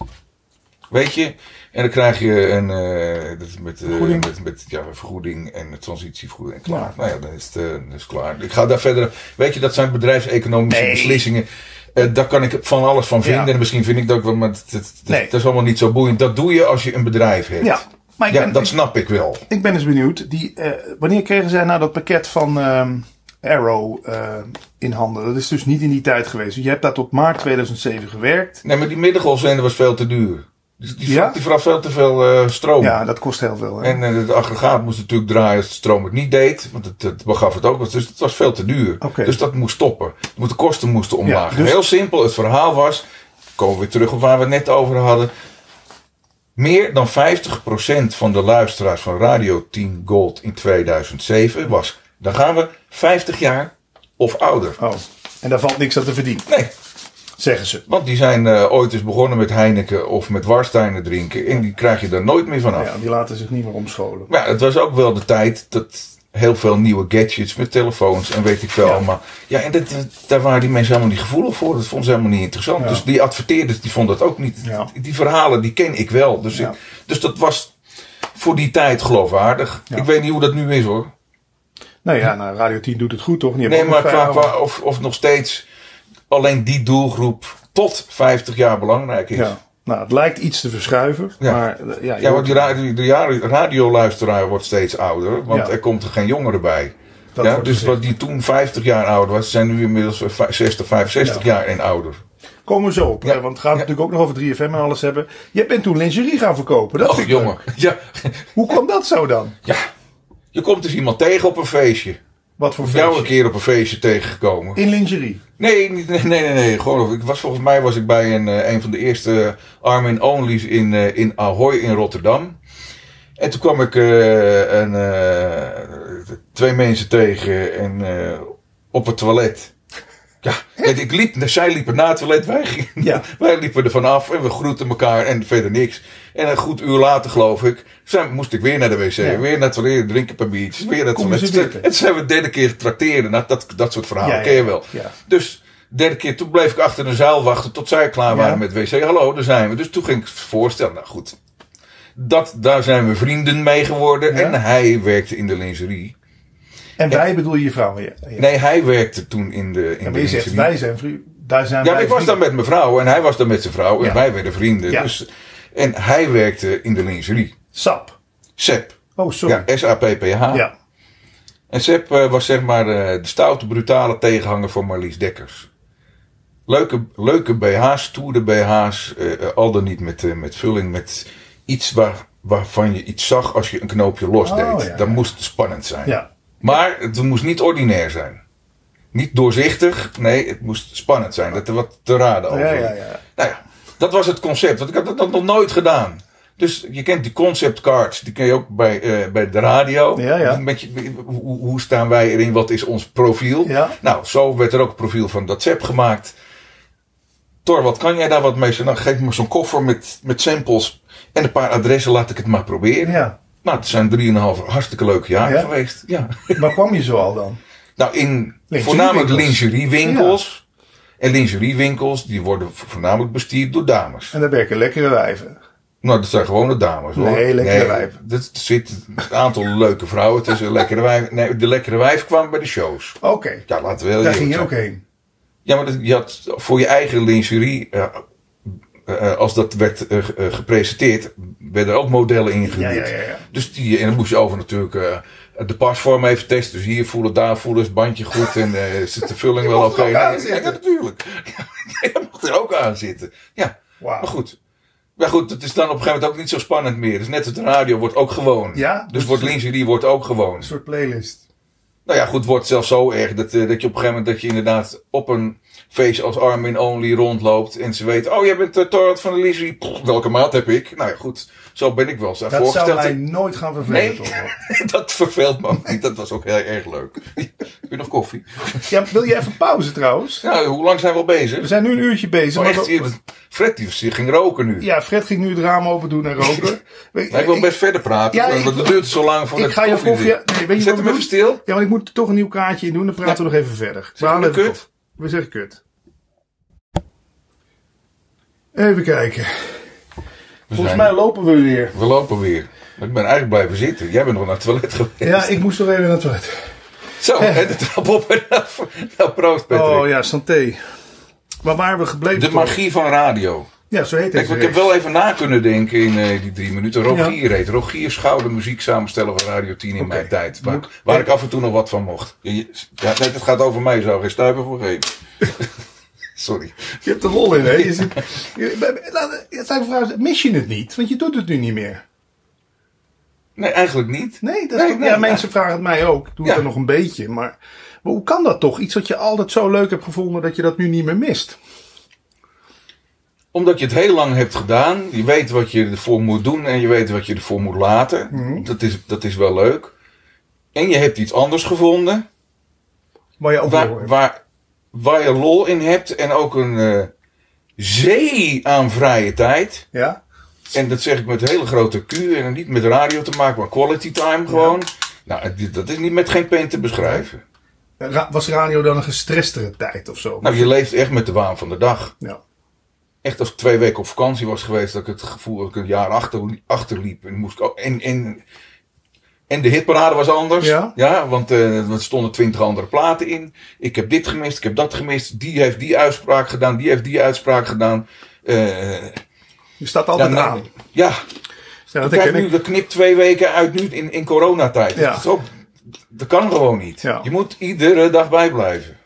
Speaker 2: weet je. En dan krijg je een eh, dat is met, eh,
Speaker 1: Vergoeding.
Speaker 2: met, met ja, vergoeding en een transitievergoeding. En klaar.
Speaker 1: Ja.
Speaker 2: Nou ja, dan is het eh, dan is het klaar. Ik ga daar verder. Weet je, dat zijn bedrijfseconomische
Speaker 1: Nee.
Speaker 2: beslissingen. Eh, daar kan ik van alles van vinden.
Speaker 1: Ja.
Speaker 2: En misschien vind ik dat ook wel, maar dat, dat, dat-
Speaker 1: Nee.
Speaker 2: dat is allemaal niet zo boeiend. Dat doe je als je een bedrijf hebt.
Speaker 1: Ja, maar ik
Speaker 2: Ja,
Speaker 1: ben-
Speaker 2: dat snap ik wel.
Speaker 1: Ik ben eens benieuwd. Die, eh, wanneer kregen zij nou dat pakket van ehm, Arrow eh, in handen? Dat is dus niet in die tijd geweest. Je hebt daar tot maart 2007 gewerkt.
Speaker 2: Nee, maar die middengolfzender was veel te duur. Dus die,
Speaker 1: Ja?
Speaker 2: die vooraf veel te veel eh, stroom.
Speaker 1: Ja, dat kost heel veel. Hè?
Speaker 2: En eh, het aggregaat moest natuurlijk draaien als de stroom het niet deed. Want het, het begaf het ook. Dus het was veel te duur.
Speaker 1: Oké.
Speaker 2: Dus dat moest stoppen. De kosten moesten omlaag.
Speaker 1: Ja, dus-
Speaker 2: Heel simpel. Het verhaal was... Komen we weer terug op waar we het net over hadden. Meer dan 50% van de luisteraars van Radio 10 Gold in 2007 was... Dan gaan we 50 jaar of ouder.
Speaker 1: Oh, en daar valt niks aan te verdienen.
Speaker 2: Nee.
Speaker 1: zeggen ze.
Speaker 2: Want die zijn eh, ooit eens begonnen met Heineken of met Warsteiner drinken. En die krijg je daar nooit meer vanaf.
Speaker 1: Ja, die laten zich niet meer omscholen.
Speaker 2: Maar ja, het was ook wel de tijd dat heel veel nieuwe gadgets met telefoons en weet ik veel
Speaker 1: Ja.
Speaker 2: allemaal. Ja, en dat, dat- daar waren die mensen helemaal niet gevoelig voor. Dat vonden ze helemaal niet interessant.
Speaker 1: Ja.
Speaker 2: Dus die adverteerders die vonden dat ook niet.
Speaker 1: Ja.
Speaker 2: Die verhalen die ken ik wel. Dus,
Speaker 1: Ja.
Speaker 2: ik- dus dat was voor die tijd geloofwaardig.
Speaker 1: Ja.
Speaker 2: Ik weet niet hoe dat nu is hoor.
Speaker 1: Nou ja, nou, Radio 10 doet het goed toch? Die hebben
Speaker 2: Nee,
Speaker 1: ook nog
Speaker 2: maar qua,
Speaker 1: vijf-
Speaker 2: qua of, of nog steeds alleen die doelgroep tot 50 jaar belangrijk is.
Speaker 1: Ja. Nou, het lijkt iets te verschuiven.
Speaker 2: Ja.
Speaker 1: Maar eh, ja, je
Speaker 2: Ja, want
Speaker 1: hoort-
Speaker 2: die ra- die- de ja- radioluisteraar wordt steeds ouder, want
Speaker 1: Ja.
Speaker 2: er komt er geen jongere bij.
Speaker 1: dat
Speaker 2: ja,
Speaker 1: wordt
Speaker 2: dus
Speaker 1: gezegd.
Speaker 2: wat die toen 50 jaar ouder was, zijn nu inmiddels eh, vij- 60, 65 jaar en ouder.
Speaker 1: Komen we zo op.
Speaker 2: Ja.
Speaker 1: hè, Want we gaan het
Speaker 2: Ja.
Speaker 1: natuurlijk ook nog over 3FM en alles hebben. Jij bent toen lingerie gaan verkopen. Dat
Speaker 2: Och,
Speaker 1: vind ik
Speaker 2: jongen.
Speaker 1: Oh, leuk.
Speaker 2: Ja,
Speaker 1: Hoe kwam dat zo dan?
Speaker 2: ja, je komt dus iemand tegen op een feestje.
Speaker 1: Wat voor
Speaker 2: Jou een
Speaker 1: feestje?
Speaker 2: keer op een feestje tegengekomen.
Speaker 1: In lingerie.
Speaker 2: Nee, niet- nee, nee, nee. nee. Gewoon, ik was, volgens mij was ik bij een, eh, een van de eerste Armin Only's in, eh, in Ahoy in Rotterdam. En toen kwam ik eh, een, eh, twee mensen tegen en, eh, op het toilet. Ja, en ik liep, zij liepen na het toilet, wij, gingen-
Speaker 1: Ja.
Speaker 2: wij liepen er vanaf en we groeten elkaar en verder niks. En een goed uur later, geloof ik, zijn, moest ik weer naar de wc,
Speaker 1: Ja.
Speaker 2: weer naar het toilet, drinken een paar biertjes, weer naar het
Speaker 1: Kom je
Speaker 2: toilet.
Speaker 1: ze weer?
Speaker 2: En toen zijn we de derde keer trakteren, nou, dat, dat soort verhalen
Speaker 1: Ja, ja,
Speaker 2: ken je wel.
Speaker 1: Ja.
Speaker 2: Dus derde keer, toen bleef ik achter de zaal wachten tot zij klaar waren
Speaker 1: Ja.
Speaker 2: met wc. Hallo, daar zijn we. Dus toen ging ik voorstellen, nou goed. Dat, daar zijn we vrienden mee geworden.
Speaker 1: Ja.
Speaker 2: En hij werkte in de lingerie.
Speaker 1: En wij bedoel je je vrouw. Ja, ja.
Speaker 2: Nee, hij werkte toen in de, in
Speaker 1: En
Speaker 2: de
Speaker 1: je zegt,
Speaker 2: lingerie.
Speaker 1: wij zijn vrienden. Daar zijn
Speaker 2: ja, maar
Speaker 1: wij
Speaker 2: ik was dan
Speaker 1: vrienden.
Speaker 2: met mijn vrouw en hij was dan met zijn vrouw. En
Speaker 1: Ja.
Speaker 2: wij werden vrienden.
Speaker 1: Ja.
Speaker 2: Dus, en hij werkte in de lingerie.
Speaker 1: Sap.
Speaker 2: Sepp.
Speaker 1: Oh, sorry.
Speaker 2: Ja, S-A-P-P-H.
Speaker 1: Ja.
Speaker 2: En Sepp eh, was zeg maar eh, de stoute, brutale tegenhanger van Marlies Dekkers. Leuke, leuke BH's, stoere BH's, eh, eh, al dan niet met, eh, met vulling, met iets waar, waarvan je iets zag als je een knoopje losdeed.
Speaker 1: Oh, ja,
Speaker 2: Dat
Speaker 1: ja.
Speaker 2: moest het spannend zijn.
Speaker 1: ja.
Speaker 2: Maar het moest niet ordinair zijn. Niet doorzichtig, nee, het moest spannend zijn. Dat er wat te raden
Speaker 1: Ja,
Speaker 2: over
Speaker 1: ja, ja.
Speaker 2: nou ja, dat was het concept. Want ik had dat nog nooit gedaan. Dus je kent die concept cards. Die ken je ook bij, eh, bij de radio.
Speaker 1: Ja, ja.
Speaker 2: Met je, hoe, hoe staan wij erin? Wat is ons profiel?
Speaker 1: Ja.
Speaker 2: Nou, zo werd er ook een profiel van WhatsApp gemaakt. Tor, wat kan jij daar wat mee? Ik zei, Nou, geef me zo'n koffer met, met samples en een paar adressen. Laat ik het maar proberen.
Speaker 1: Ja.
Speaker 2: Nou, het zijn 3,5 hartstikke leuke jaren
Speaker 1: Ja?
Speaker 2: geweest. Ja.
Speaker 1: Waar kwam je zo al dan?
Speaker 2: Nou, in
Speaker 1: Lingeriewinkels.
Speaker 2: voornamelijk lingeriewinkels. En lingeriewinkels, die worden vo- voornamelijk bestierd door dames.
Speaker 1: En daar werken lekkere wijven.
Speaker 2: Nou, dat zijn gewone dames hoor.
Speaker 1: Nee, lekkere wijven.
Speaker 2: Er zit een aantal leuke vrouwen tussen. Lekkere wijf. Nee, de lekkere wijf kwam bij de shows.
Speaker 1: Oké.
Speaker 2: Ja, laten we heel
Speaker 1: Daar
Speaker 2: eerlijk
Speaker 1: ging je
Speaker 2: zijn.
Speaker 1: ook heen.
Speaker 2: Ja, maar dat, je had voor je eigen lingerie, eh, eh, als dat werd eh, ge- eh, gepresenteerd, werden er ook modellen
Speaker 1: Ja,
Speaker 2: ingehuurd.
Speaker 1: ja, ja. ja.
Speaker 2: Dus die, en dan moest je over natuurlijk eh, de pasvorm even testen. Dus hier voelen, daar voelen, is het bandje goed en eh, zit de vulling wel
Speaker 1: mocht
Speaker 2: oké?
Speaker 1: er ook
Speaker 2: Ja,
Speaker 1: aan zitten.
Speaker 2: ja, natuurlijk. Ja, je mocht er ook aan zitten. Ja, maar
Speaker 1: Wauw.
Speaker 2: goed. Maar goed, het is dan op een gegeven moment ook niet zo spannend meer. Dus net als de radio wordt ook gewoon.
Speaker 1: Ja,
Speaker 2: Dus wordt lingerie wordt ook gewoon.
Speaker 1: Een soort playlist.
Speaker 2: Nou ja, goed, het wordt zelfs zo erg dat, eh, dat je op een gegeven moment dat je inderdaad op een feest als Armin Only rondloopt en ze weten, oh jij bent de Torad van de Lizzie. Pff, welke maat heb ik? Nou ja, goed, zo ben ik wel eens aan
Speaker 1: Dat zou
Speaker 2: voorgesteld.
Speaker 1: mij nooit gaan vervelen.
Speaker 2: Nee.
Speaker 1: toch?
Speaker 2: dat verveelt me ook niet, dat was ook heel erg leuk. Heb je nog koffie?
Speaker 1: Ja, wil je even pauze trouwens?
Speaker 2: Nou, hoe lang zijn we al
Speaker 1: We
Speaker 2: bezig?
Speaker 1: zijn nu een uurtje bezig.
Speaker 2: Oh,
Speaker 1: maar
Speaker 2: echt,
Speaker 1: we-
Speaker 2: hier, Fred die ging roken nu.
Speaker 1: Ja, Fred ging nu het raam open doen en roken. Weet-
Speaker 2: Maar ik wil best verder praten,
Speaker 1: Ja,
Speaker 2: want
Speaker 1: ik-
Speaker 2: het duurt zo lang voordat
Speaker 1: ik ga je
Speaker 2: koffie
Speaker 1: koffie...
Speaker 2: drinkt.
Speaker 1: Nee, weet je
Speaker 2: Zet
Speaker 1: wat
Speaker 2: hem
Speaker 1: we
Speaker 2: even
Speaker 1: doen?
Speaker 2: stil.
Speaker 1: Ja, want ik moet er toch een nieuw kaartje in doen. Dan praten we nog even verder. We halen
Speaker 2: maar
Speaker 1: even
Speaker 2: kut.
Speaker 1: op. We zeggen kut. Even kijken. Volgens
Speaker 2: zijn-
Speaker 1: mij lopen we weer.
Speaker 2: We lopen weer. Ik ben eigenlijk blijven zitten. Jij bent nog naar het toilet geweest.
Speaker 1: Ja, ik moest nog even naar het toilet.
Speaker 2: Zo, hè, de trap op en af. Nou, proost Patrick.
Speaker 1: Oh ja, santé. Maar waar we gebleven
Speaker 2: De
Speaker 1: toch?
Speaker 2: magie van radio.
Speaker 1: Ja, zo heet
Speaker 2: Kijk,
Speaker 1: deze
Speaker 2: ik heb
Speaker 1: reeks.
Speaker 2: wel even na kunnen denken in eh, die drie minuten. Rogier
Speaker 1: eh, Ja.
Speaker 2: heet. Rogier Schouder, muziek samenstellen van Radio 10 in
Speaker 1: Oké.
Speaker 2: mijn tijd. Waar,
Speaker 1: Moet-
Speaker 2: waar ik af en toe nog wat van mocht. Ja, je- ja, nee, het gaat over mij. Zou geen stuiver voor geven. Sorry.
Speaker 1: Je hebt de rol in, hè? Je zit... je- bij- laat- het zijn vragen, mis je het niet? Want je doet het nu niet meer.
Speaker 2: Nee, eigenlijk niet.
Speaker 1: Nee, dat is
Speaker 2: Nee,
Speaker 1: toch...
Speaker 2: nee,
Speaker 1: ja,
Speaker 2: nee.
Speaker 1: mensen vragen het mij ook. Ik doe
Speaker 2: Ja.
Speaker 1: het er nog een beetje. Maar... maar hoe kan dat toch? Iets wat je altijd zo leuk hebt gevonden dat je dat nu niet meer mist.
Speaker 2: Omdat je het heel lang hebt gedaan. Je weet wat je ervoor moet doen en je weet wat je ervoor moet laten.
Speaker 1: Mhm.
Speaker 2: dat, is, dat is wel leuk. En je hebt iets anders gevonden.
Speaker 1: Maar ja, ook wel,
Speaker 2: waar,
Speaker 1: hoor.
Speaker 2: waar, waar je lol in hebt en ook een, eh, zee aan vrije tijd.
Speaker 1: Ja?
Speaker 2: En dat zeg ik met hele grote Q en niet met radio te maken, maar quality time gewoon. Nou, het- dat is niet met geen pen te beschrijven.
Speaker 1: Ra- was radio dan een gestrestere tijd of zo?
Speaker 2: Nou, je leeft echt met de waan van de dag.
Speaker 1: Ja.
Speaker 2: Echt als ik twee weken op vakantie was geweest, dat ik het gevoel dat ik een jaar achter, achterliep. En, moest ik ook, en, en, en de hitparade was anders.
Speaker 1: Ja.
Speaker 2: want eh, er stonden twintig andere platen in. Ik heb dit gemist, ik heb dat gemist. Die heeft die uitspraak gedaan, die heeft die uitspraak gedaan. Eh,
Speaker 1: Je staat altijd
Speaker 2: ja, nou,
Speaker 1: aan.
Speaker 2: ja,
Speaker 1: Ja, dat
Speaker 2: kijk
Speaker 1: herken
Speaker 2: nu,
Speaker 1: ik.
Speaker 2: dat knipt twee weken uit nu in, in coronatijd.
Speaker 1: Ja.
Speaker 2: Dat, is ook- dat kan gewoon niet.
Speaker 1: Ja.
Speaker 2: Je moet iedere dag bijblijven.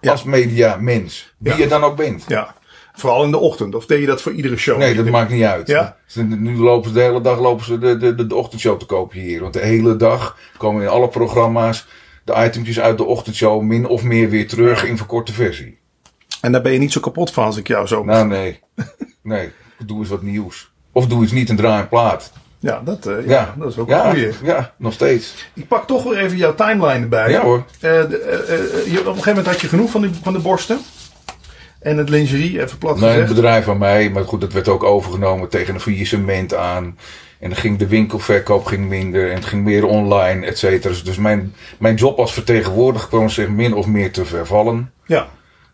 Speaker 1: Ja.
Speaker 2: Als media mens, wie
Speaker 1: Ja.
Speaker 2: je dan ook bent.
Speaker 1: Ja. Vooral in de ochtend. Of deed je dat voor iedere show?
Speaker 2: Nee, dat maakt niet uit.
Speaker 1: Ja?
Speaker 2: Ze- Nu lopen ze de hele dag lopen ze de, de, de, de ochtendshow te kopiëren. Want de hele dag komen in alle programma's de itempjes uit de ochtendshow min of meer weer terug in verkorte versie.
Speaker 1: En daar ben je niet zo kapot van als ik jou zo...
Speaker 2: Nou, nee. Nee, doe eens wat nieuws. Of doe eens niet en draai een plaat.
Speaker 1: Ja, dat, eh, ja,
Speaker 2: Ja,
Speaker 1: dat is ook
Speaker 2: ja,
Speaker 1: een goeie.
Speaker 2: Ja, nog steeds.
Speaker 1: Ik pak toch weer even jouw timeline erbij.
Speaker 2: Ja hoor.
Speaker 1: Eh, de- eh, eh, je- op een gegeven moment had je genoeg van, die, van de borsten. En het lingerie, even plat
Speaker 2: Nee, het
Speaker 1: gezegd.
Speaker 2: bedrijf van mij, maar goed, dat werd ook overgenomen tegen een faillissement aan. En dan ging de winkelverkoop ging minder en het ging meer online, et cetera. Dus mijn, mijn job als vertegenwoordiger kwam zich min of meer te vervallen.
Speaker 1: Ja.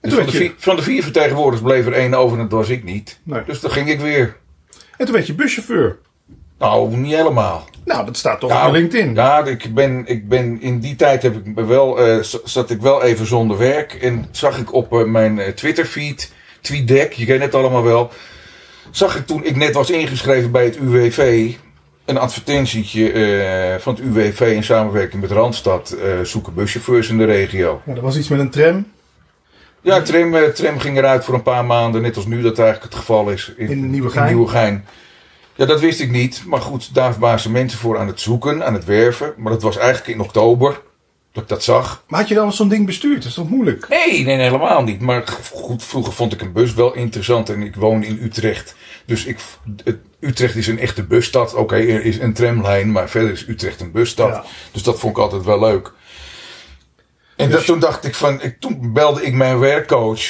Speaker 1: En toen,
Speaker 2: Dus van,
Speaker 1: werd
Speaker 2: de
Speaker 1: je,
Speaker 2: vier, van de vier vertegenwoordigers bleef er één over en dat was ik niet.
Speaker 1: Nee.
Speaker 2: Dus dan ging ik weer.
Speaker 1: en toen werd je buschauffeur.
Speaker 2: Nou, niet helemaal.
Speaker 1: Nou, dat staat toch
Speaker 2: Nou,
Speaker 1: op LinkedIn.
Speaker 2: Ja, ik ben, ik ben, in die tijd heb ik me wel, eh, z- zat ik wel even zonder werk. En zag ik op eh, mijn eh, Twitter-feed, TweetDeck, je kent het allemaal wel. Zag ik toen ik net was ingeschreven bij het UWV. Een advertentietje eh, van het UWV in samenwerking met Randstad. eh, zoeken buschauffeurs in de regio.
Speaker 1: Ja, dat was iets met een tram
Speaker 2: Ja, tram, eh, tram ging eruit voor een paar maanden, net als nu dat eigenlijk het geval is.
Speaker 1: In Nieuwegein?
Speaker 2: Nieuwegein. Ja, dat wist ik niet. Maar goed, daar waren ze mensen voor aan het zoeken, aan het werven. Maar dat was eigenlijk in oktober dat ik dat zag.
Speaker 1: Maar had je dan zo'n ding bestuurd? Dat is toch moeilijk?
Speaker 2: Nee, nee, nee, helemaal niet. Maar g- goed, vroeger vond ik een bus wel interessant en ik woon in Utrecht. Dus ik, v- het- Utrecht is een echte busstad. Oké, er is een tramlijn, maar verder is Utrecht een busstad.
Speaker 1: Ja.
Speaker 2: Dus dat vond ik altijd wel leuk. En
Speaker 1: Dus-
Speaker 2: dat, toen dacht ik van, ik, toen belde ik mijn werkcoach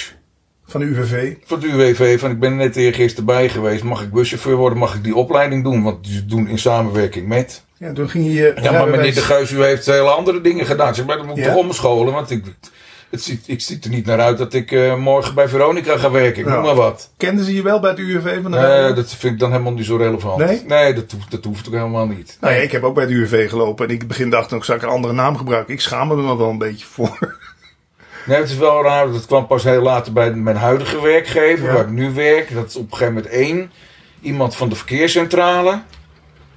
Speaker 1: Van de UWV.
Speaker 2: van het UWV van ik ben er net eergisteren bij geweest. Mag ik buschauffeur worden? Mag ik die opleiding doen? Want die doen in samenwerking met.
Speaker 1: Ja, toen ging je je
Speaker 2: Ja, maar meneer
Speaker 1: rijbewijs-
Speaker 2: De Geus, u heeft hele andere dingen gedaan. Ik Zeg, maar dan moet ik
Speaker 1: Ja.
Speaker 2: toch omscholen. Want ik, het ziet, ik ziet er niet naar uit dat ik eh, morgen bij Veronica ga werken. Ik
Speaker 1: Ja.
Speaker 2: noem maar wat.
Speaker 1: Kenden ze je wel bij het UWV? Van de
Speaker 2: Nee,
Speaker 1: radio?
Speaker 2: dat vind ik dan helemaal niet zo relevant.
Speaker 1: Nee?
Speaker 2: dat, hoeft, dat hoeft ook helemaal niet.
Speaker 1: Nou ja, ik heb ook bij het UWV gelopen. En ik in het begin dacht ook, zou ik een andere naam gebruiken? Ik schaamde me er wel een beetje voor.
Speaker 2: Nee, het is wel raar. Dat kwam pas heel later bij mijn huidige werkgever,
Speaker 1: Ja.
Speaker 2: waar ik nu werk. Dat is op een gegeven moment één. Iemand van de verkeerscentrale,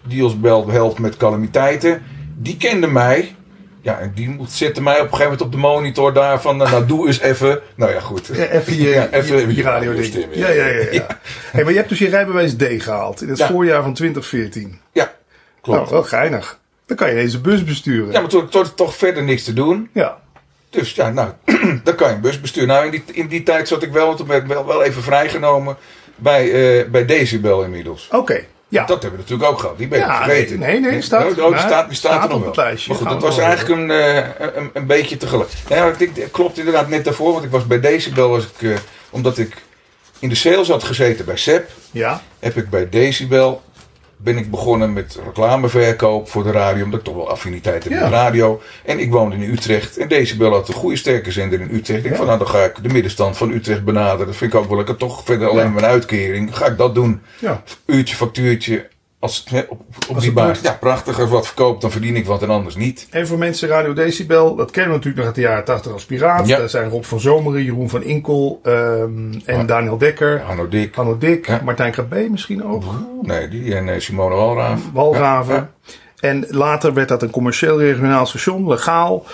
Speaker 2: die ons belt, helpt met calamiteiten. Die kende mij. Ja, en die moet- zette mij op een gegeven moment op de monitor daar van, eh, nou doe eens even. Nou ja, goed.
Speaker 1: Ja, even je,
Speaker 2: Ja, even
Speaker 1: je, je
Speaker 2: je
Speaker 1: radio ding.
Speaker 2: stem,
Speaker 1: Ja, ja,
Speaker 2: ja.
Speaker 1: ja. ja. Hey, maar je hebt dus je rijbewijs D gehaald. In het
Speaker 2: Ja.
Speaker 1: voorjaar van 2014.
Speaker 2: Ja, klopt.
Speaker 1: Nou, wel geinig. Dan kan je deze bus besturen.
Speaker 2: Ja, maar toen toen toch verder niks te doen.
Speaker 1: Ja.
Speaker 2: Dus ja, nou, dan kan je een bus besturen. Nou, in die, in die tijd zat ik wel, want toen werd ik wel, wel even vrijgenomen bij, eh, bij Decibel inmiddels.
Speaker 1: Oké. Ja.
Speaker 2: Dat hebben we natuurlijk ook gehad. Die ben ik
Speaker 1: Ja,
Speaker 2: vergeten.
Speaker 1: nee, nee, staat-
Speaker 2: oh, oh, die
Speaker 1: maar-
Speaker 2: staat, die staat,
Speaker 1: staat
Speaker 2: er nog
Speaker 1: op het
Speaker 2: wel.
Speaker 1: lijstje.
Speaker 2: Maar goed,
Speaker 1: Gaan
Speaker 2: dat
Speaker 1: we
Speaker 2: was
Speaker 1: wel
Speaker 2: eigenlijk een, eh, een, een beetje tegelijk. Nou ja, ik denk, dat klopt inderdaad net daarvoor. Want ik was bij Decibel, was ik, eh, omdat ik in de sales had gezeten bij SEP,
Speaker 1: Ja.
Speaker 2: heb ik bij Decibel ben ik begonnen met reclameverkoop voor de radio. Omdat ik toch wel affiniteit heb
Speaker 1: Ja.
Speaker 2: met radio. En ik woonde in Utrecht. En Decibel had een goede sterke zender in Utrecht.
Speaker 1: Ja.
Speaker 2: Ik dacht van nou, dan ga ik de middenstand van Utrecht benaderen. Dat vind ik ook wel lekker. Toch verder alleen
Speaker 1: Ja.
Speaker 2: mijn uitkering. Ga ik dat doen
Speaker 1: Ja.
Speaker 2: uurtje, factuurtje. Als, hè, op, op
Speaker 1: Als
Speaker 2: die
Speaker 1: het
Speaker 2: basis.
Speaker 1: lukt.
Speaker 2: Ja, prachtig. Als wat verkoopt, dan verdien ik wat en anders niet.
Speaker 1: En voor mensen Radio Decibel, dat kennen we natuurlijk nog uit de jaren 80 als Piraat.
Speaker 2: Ja.
Speaker 1: Daar zijn Rob van Zomeren, Jeroen van Inkel ehm, en
Speaker 2: Ah.
Speaker 1: Daniel Dekker,
Speaker 2: Hanno Dik.
Speaker 1: Hanno Dik,
Speaker 2: Ja.
Speaker 1: Martijn Krabbe misschien ook,
Speaker 2: Nee, die. En eh, Simone Walraaf.
Speaker 1: Walraven.
Speaker 2: Ja,
Speaker 1: En later werd dat een commercieel regionaal station, legaal.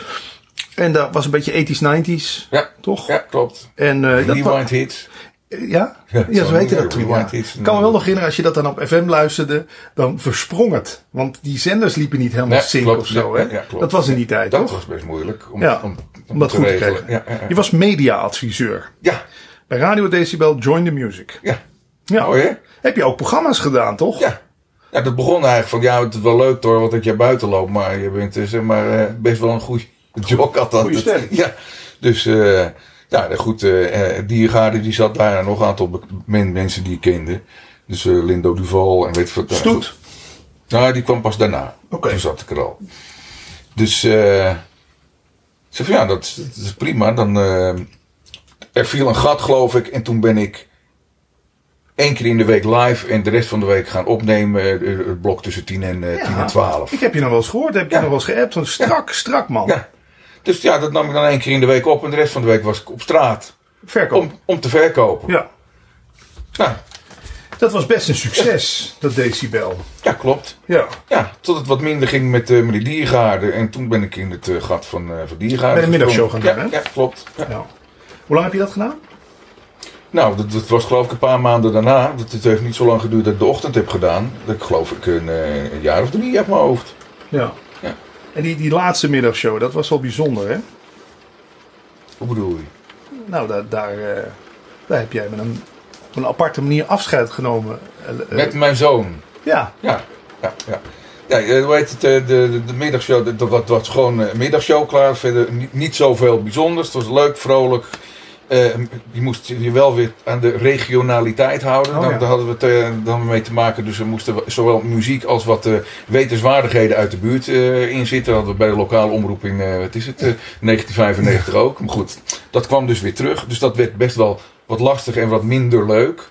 Speaker 1: En dat was een beetje 80s, 90s,
Speaker 2: Ja,
Speaker 1: toch?
Speaker 2: ja klopt.
Speaker 1: En eh, dat wa-
Speaker 2: Rewind hits.
Speaker 1: Ja?
Speaker 2: Ja,
Speaker 1: Ja, zo
Speaker 2: zo
Speaker 1: heette
Speaker 2: noemen
Speaker 1: dat
Speaker 2: we
Speaker 1: toen.
Speaker 2: Rewind
Speaker 1: ja.
Speaker 2: Hits.
Speaker 1: Ik kan me wel nog herinneren, als je dat dan op FM luisterde, dan versprong het. Want die zenders liepen niet helemaal
Speaker 2: Nee,
Speaker 1: sync
Speaker 2: klopt.
Speaker 1: of zo.
Speaker 2: Ja,
Speaker 1: hè?
Speaker 2: ja, klopt.
Speaker 1: dat was in die tijd,
Speaker 2: Dat
Speaker 1: toch?
Speaker 2: was best moeilijk. Om,
Speaker 1: Ja,
Speaker 2: om,
Speaker 1: Om dat goed te krijgen.
Speaker 2: Ja, ja, ja.
Speaker 1: Je was media-adviseur.
Speaker 2: ja,
Speaker 1: Bij Radio Decibel Join the Music.
Speaker 2: ja.
Speaker 1: Ja.
Speaker 2: Mooi, hè?
Speaker 1: Heb je ook programma's gedaan, toch?
Speaker 2: Ja. Ja, dat begon eigenlijk van, ja, het is wel leuk hoor, want dat jij buiten loopt, maar je bent eh, zeg maar eh, best wel een goede jog had dat.
Speaker 1: Goeie stem.
Speaker 2: Ja, dus eh, Ja, goed, eh eh, Diergaarde die zat daar en nog een aantal be- men- mensen die ik kende. Dus eh, Lindo Duval en weet ik wat.
Speaker 1: Stoet.
Speaker 2: Nou, die kwam pas daarna.
Speaker 1: Oké.
Speaker 2: Toen zat ik er al. Dus eh, ik zei van ja, dat, dat is prima. Dan, eh, er viel een gat geloof ik en toen ben ik één keer in de week live en de rest van de week gaan opnemen. eh, Het blok tussen 10 en, eh, 10 en 12.
Speaker 1: Ik heb je nog wel eens gehoord, heb je
Speaker 2: Ja.
Speaker 1: nog wel eens geappt. Van strak, strak man.
Speaker 2: Ja. Dus ja, dat nam ik dan één keer in de week op en de rest van de week was ik op straat
Speaker 1: Verkoop.
Speaker 2: om, om te verkopen.
Speaker 1: Ja.
Speaker 2: Nou,
Speaker 1: Dat was best een succes, dat decibel.
Speaker 2: ja, klopt.
Speaker 1: Ja.
Speaker 2: Ja, tot het wat minder ging met, eh met de diergaarden. En toen ben ik in het eh, gat van, eh van diergaarden.
Speaker 1: Bij de middagshow
Speaker 2: gesprongen.
Speaker 1: gaan doen,
Speaker 2: ja, ja, klopt. Ja.
Speaker 1: ja. Hoe lang heb je dat gedaan?
Speaker 2: Nou, dat, dat was geloof ik een paar maanden daarna. Dat, het heeft niet zo lang geduurd dat ik de ochtend heb gedaan. Dat ik geloof ik een, eh, een jaar of drie uit mijn hoofd.
Speaker 1: Ja.
Speaker 2: Ja.
Speaker 1: En die, die laatste middagshow, dat was wel bijzonder, hè?
Speaker 2: Hoe bedoel je?
Speaker 1: Nou, daar, daar, eh, daar heb jij met een, op een aparte manier afscheid genomen. Eh, eh,
Speaker 2: Met mijn zoon.
Speaker 1: Ja,
Speaker 2: Ja, ja, ja. Ja, eh, hoe heet het? eh, De, de, de middagshow, dat- dat was- was gewoon een middagshow klaar. Verder niet, niet zoveel bijzonders. Het was leuk, vrolijk. Eh, je moest je wel weer aan de regionaliteit houden.
Speaker 1: Oh,
Speaker 2: dan,
Speaker 1: ja.
Speaker 2: Daar hadden we het eh, dan mee te maken. Dus er moesten we- zowel muziek als wat eh, wetenswaardigheden uit de buurt eh, in zitten. Dat hadden we bij de lokale omroep in, eh, wat is het, eh, 1995 ook. Maar goed, dat kwam dus weer terug. Dus dat werd best wel wat lastig en wat minder leuk.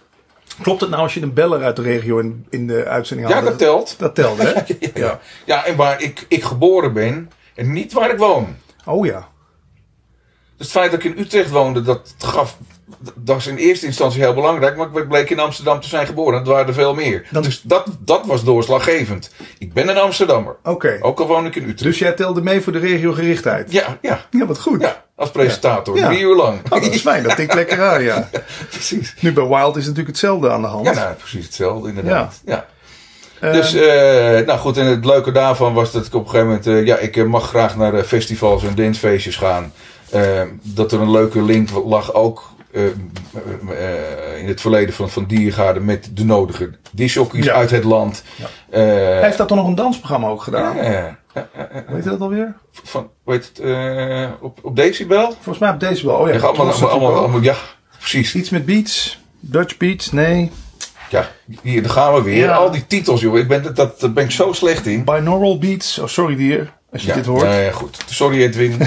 Speaker 1: klopt het nou als je een beller uit de regio in, in de uitzending had?
Speaker 2: Ja, dat telt.
Speaker 1: Oh, Dat telde, hè?
Speaker 2: Ja, ja en waar ik, ik geboren ben en niet waar ik woon.
Speaker 1: Oh ja.
Speaker 2: Dus het feit dat ik in Utrecht woonde, dat gaf. Dat is in eerste instantie heel belangrijk, maar ik bleek in Amsterdam te zijn geboren. Dat waren er veel meer.
Speaker 1: Dan-
Speaker 2: Dus dat, dat was doorslaggevend. Ik ben een Amsterdammer,
Speaker 1: Oké.
Speaker 2: ook al woon ik in Utrecht.
Speaker 1: Dus jij telde mee voor de regiogerichtheid?
Speaker 2: Ja, ja,
Speaker 1: Ja, wat goed.
Speaker 2: ja, als presentator,
Speaker 1: Dus- Ja.
Speaker 2: drie uur lang.
Speaker 1: Oh, dat is fijn, dat tikt lekker aan, ja.
Speaker 2: precies.
Speaker 1: Nu bij Wild is natuurlijk hetzelfde aan de hand.
Speaker 2: Ja, nou, precies hetzelfde, inderdaad. Ja.
Speaker 1: Eh,
Speaker 2: Dus, eh, nou goed, en het leuke daarvan was dat ik op een gegeven moment, eh, ja, ik eh, mag graag naar eh, festivals en dancefeestjes gaan. Eh, dat er een leuke link lag ook eh, eh, eh, in het verleden van, van Diergaarden met de nodige disjockeys
Speaker 1: Ja.
Speaker 2: uit het land.
Speaker 1: Ja.
Speaker 2: Eh,
Speaker 1: Hij heeft dat dan nog een dansprogramma ook gedaan.
Speaker 2: ja, ja, ja, ja.
Speaker 1: Weet je dat alweer?
Speaker 2: van, weet het, eh, op, op Decibel?
Speaker 1: Volgens mij op deze wel. Oh ja,
Speaker 2: Ja,
Speaker 1: dat
Speaker 2: allemaal,
Speaker 1: was
Speaker 2: allemaal,
Speaker 1: natuurlijk
Speaker 2: allemaal,
Speaker 1: ook.
Speaker 2: ja, precies.
Speaker 1: Iets met beats. Dutch beats, nee.
Speaker 2: Ja, hier, daar gaan we weer.
Speaker 1: Ja.
Speaker 2: Al die titels, joh, ik ben, dat, dat, daar ben ik zo slecht in.
Speaker 1: Binaural beats. Oh, sorry dier, als je dit hoort.
Speaker 2: nou ja, goed. Sorry Edwin.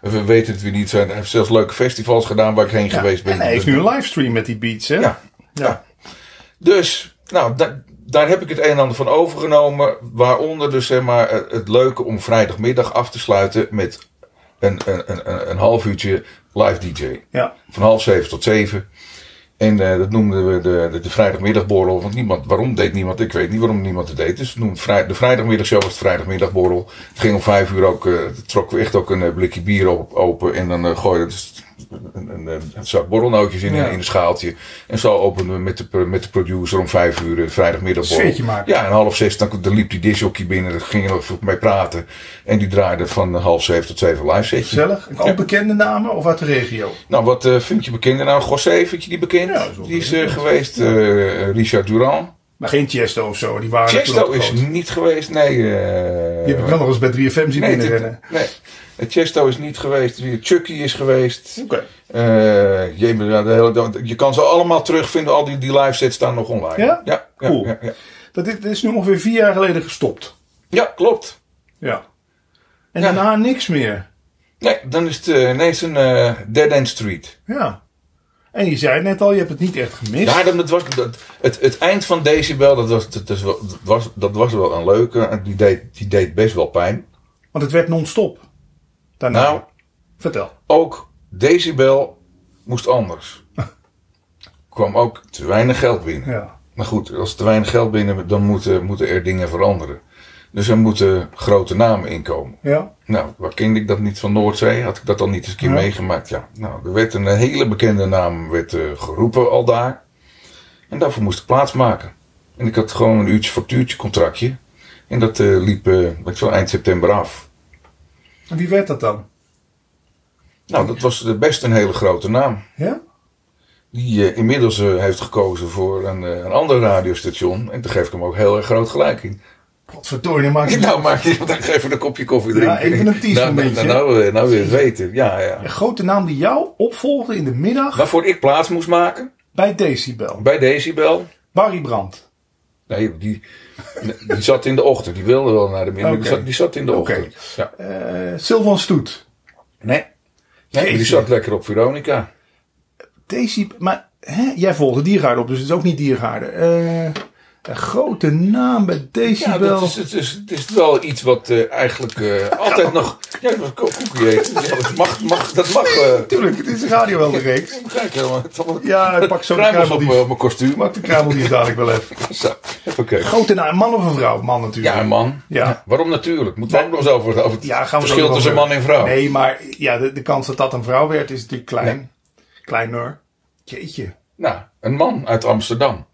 Speaker 2: We weten het weer niet. Hij heeft zelfs leuke festivals gedaan waar ik heen
Speaker 1: Ja,
Speaker 2: geweest ben.
Speaker 1: En hij heeft nu een livestream met die beats, hè?
Speaker 2: Ja.
Speaker 1: Ja.
Speaker 2: Dus, nou, da- daar heb ik het een en ander van overgenomen. Waaronder dus zeg maar eh, het leuke om vrijdagmiddag af te sluiten met een, een, een, een- een half uurtje live DJ.
Speaker 1: Ja.
Speaker 2: Van half zeven tot zeven. En eh, dat noemden we de, de, de vrijdagmiddagborrel. Want niemand, waarom deed niemand? Ik weet niet waarom niemand het deed. Dus we noemden vrij, de vrijdagmiddagshow was de vrijdagmiddagborrel. Het ging om vijf uur ook. eh trokken we echt ook een eh, blikje bier op, open. En dan eh gooiden we dus een, een, een zak borrelnootjes in, eh,
Speaker 1: Ja.
Speaker 2: in een schaaltje. En zo openden we met de, pro- met de producer om vijf uur de vrijdagmiddagborrel.
Speaker 1: Sfeertje maken.
Speaker 2: Ja, en half zes dan, dan liep die disjockey binnen. Daar ging er nog mee praten. En die draaide van eh, half zeven tot zeven live setjes.
Speaker 1: Gezellig. Ook
Speaker 2: Ja.
Speaker 1: bekende namen of uit de regio?
Speaker 2: Nou, wat eh, vind je bekend? Nou, Gossé vind je die bekend?
Speaker 1: Ja, dat is wel
Speaker 2: die is
Speaker 1: bekend.
Speaker 2: eh, geweest. eh, Richard Durand.
Speaker 1: Maar geen Chesto of zo. Die waren
Speaker 2: Chesto
Speaker 1: toen ook
Speaker 2: is
Speaker 1: groot.
Speaker 2: niet geweest. Nee. eh
Speaker 1: Die heb ik wel nog eens bij 3FM zien
Speaker 2: nee,
Speaker 1: binnenrennen.
Speaker 2: dit- nee. Eh, Chesto is niet geweest. Wie- Chucky is geweest.
Speaker 1: Oké.
Speaker 2: Eh, jee, maar ja, de hele, de- je kan ze allemaal terugvinden. Al die, die live sets staan nog online.
Speaker 1: Ja?
Speaker 2: Ja, ja,
Speaker 1: Cool.
Speaker 2: ja, ja.
Speaker 1: Dat is, dat is nu ongeveer vier jaar geleden gestopt.
Speaker 2: Ja, klopt.
Speaker 1: Ja. En
Speaker 2: Ja.
Speaker 1: daarna niks meer.
Speaker 2: Nee, dan is het eh, ineens een eh, Dead End Street.
Speaker 1: Ja. En je zei net al, je hebt het niet echt gemist.
Speaker 2: Ja, dat, dat was, dat, het, het eind van Decibel, dat was, dat, is wel- dat was, dat was wel een leuke. En Die deed, die deed best wel pijn.
Speaker 1: Want het werd non-stop. Daarna.
Speaker 2: Nou,
Speaker 1: Vertel.
Speaker 2: ook Decibel moest anders. kwam ook te weinig geld binnen.
Speaker 1: Ja.
Speaker 2: Maar goed, als er te weinig geld binnen, dan moeten, moeten er dingen veranderen. Dus er moeten grote namen inkomen.
Speaker 1: Ja.
Speaker 2: Nou, waar kende ik dat niet van Noordzee? Had ik dat dan niet eens een keer
Speaker 1: Ja.
Speaker 2: meegemaakt? Ja. Nou, er werd een hele bekende naam werd, eh, geroepen al daar. En daarvoor moest ik plaatsmaken. En ik had gewoon een uurtje factuurtje contractje. En dat eh, liep eh, weet ik veel, eind september af.
Speaker 1: En wie werd dat dan?
Speaker 2: Nou, dat was eh, best een hele grote naam.
Speaker 1: Ja?
Speaker 2: Die eh, inmiddels eh, heeft gekozen voor een, eh, een ander radiostation. En daar geef ik hem ook heel erg groot gelijk in.
Speaker 1: Potverdorie, dan maak je
Speaker 2: Nou, maak je dan even een kopje koffie
Speaker 1: Ja,
Speaker 2: drinken.
Speaker 1: even een tease
Speaker 2: Nou, nou,
Speaker 1: momentje,
Speaker 2: Nou, nou, eh, nou weer weten. Ja, ja.
Speaker 1: een grote naam die jou opvolgde in de middag
Speaker 2: Waarvoor ik plaats moest maken
Speaker 1: bij Decibel.
Speaker 2: bij Decibel.
Speaker 1: Barry Brandt.
Speaker 2: Nee, die, die zat in de ochtend. Die wilde wel naar de middag. maar Die,
Speaker 1: Oké.
Speaker 2: zat, die zat in de
Speaker 1: Oké.
Speaker 2: ochtend. Ja.
Speaker 1: Eh Sylvan Stoet.
Speaker 2: Nee. nee maar die
Speaker 1: Jeetje.
Speaker 2: zat lekker op Veronica.
Speaker 1: Decibel. Maar hè, jij volgde Diergaarden op, dus het is ook niet Diergaarden. Eh, een grote naam bij
Speaker 2: Ja,
Speaker 1: Decibel.
Speaker 2: dat is, het, is, het is wel iets wat eh, eigenlijk eh, altijd nog... Ja, dat was ko- koekie eten. Ja, dat mag... mag, dat mag eh,
Speaker 1: Tuurlijk, het is een radio wel de reeks.
Speaker 2: Kijk, helemaal. Het is allemaal-
Speaker 1: Ja, ik pak zo de
Speaker 2: Kruimels op,
Speaker 1: kruimeldief.
Speaker 2: eh, op mijn kostuum.
Speaker 1: Maak de kruimeldief dadelijk wel even.
Speaker 2: Zo, oké.
Speaker 1: Grote naam, man of een vrouw? Man natuurlijk.
Speaker 2: Ja, een man.
Speaker 1: Ja.
Speaker 2: Waarom natuurlijk? Moeten we ook nog eens over, over het
Speaker 1: Ja, gaan we
Speaker 2: verschil
Speaker 1: zo
Speaker 2: tussen
Speaker 1: over.
Speaker 2: man en vrouw.
Speaker 1: Nee, maar ja, de, de kans dat dat een vrouw werd is natuurlijk klein. Kleiner. Jeetje.
Speaker 2: Nou, een man uit Amsterdam.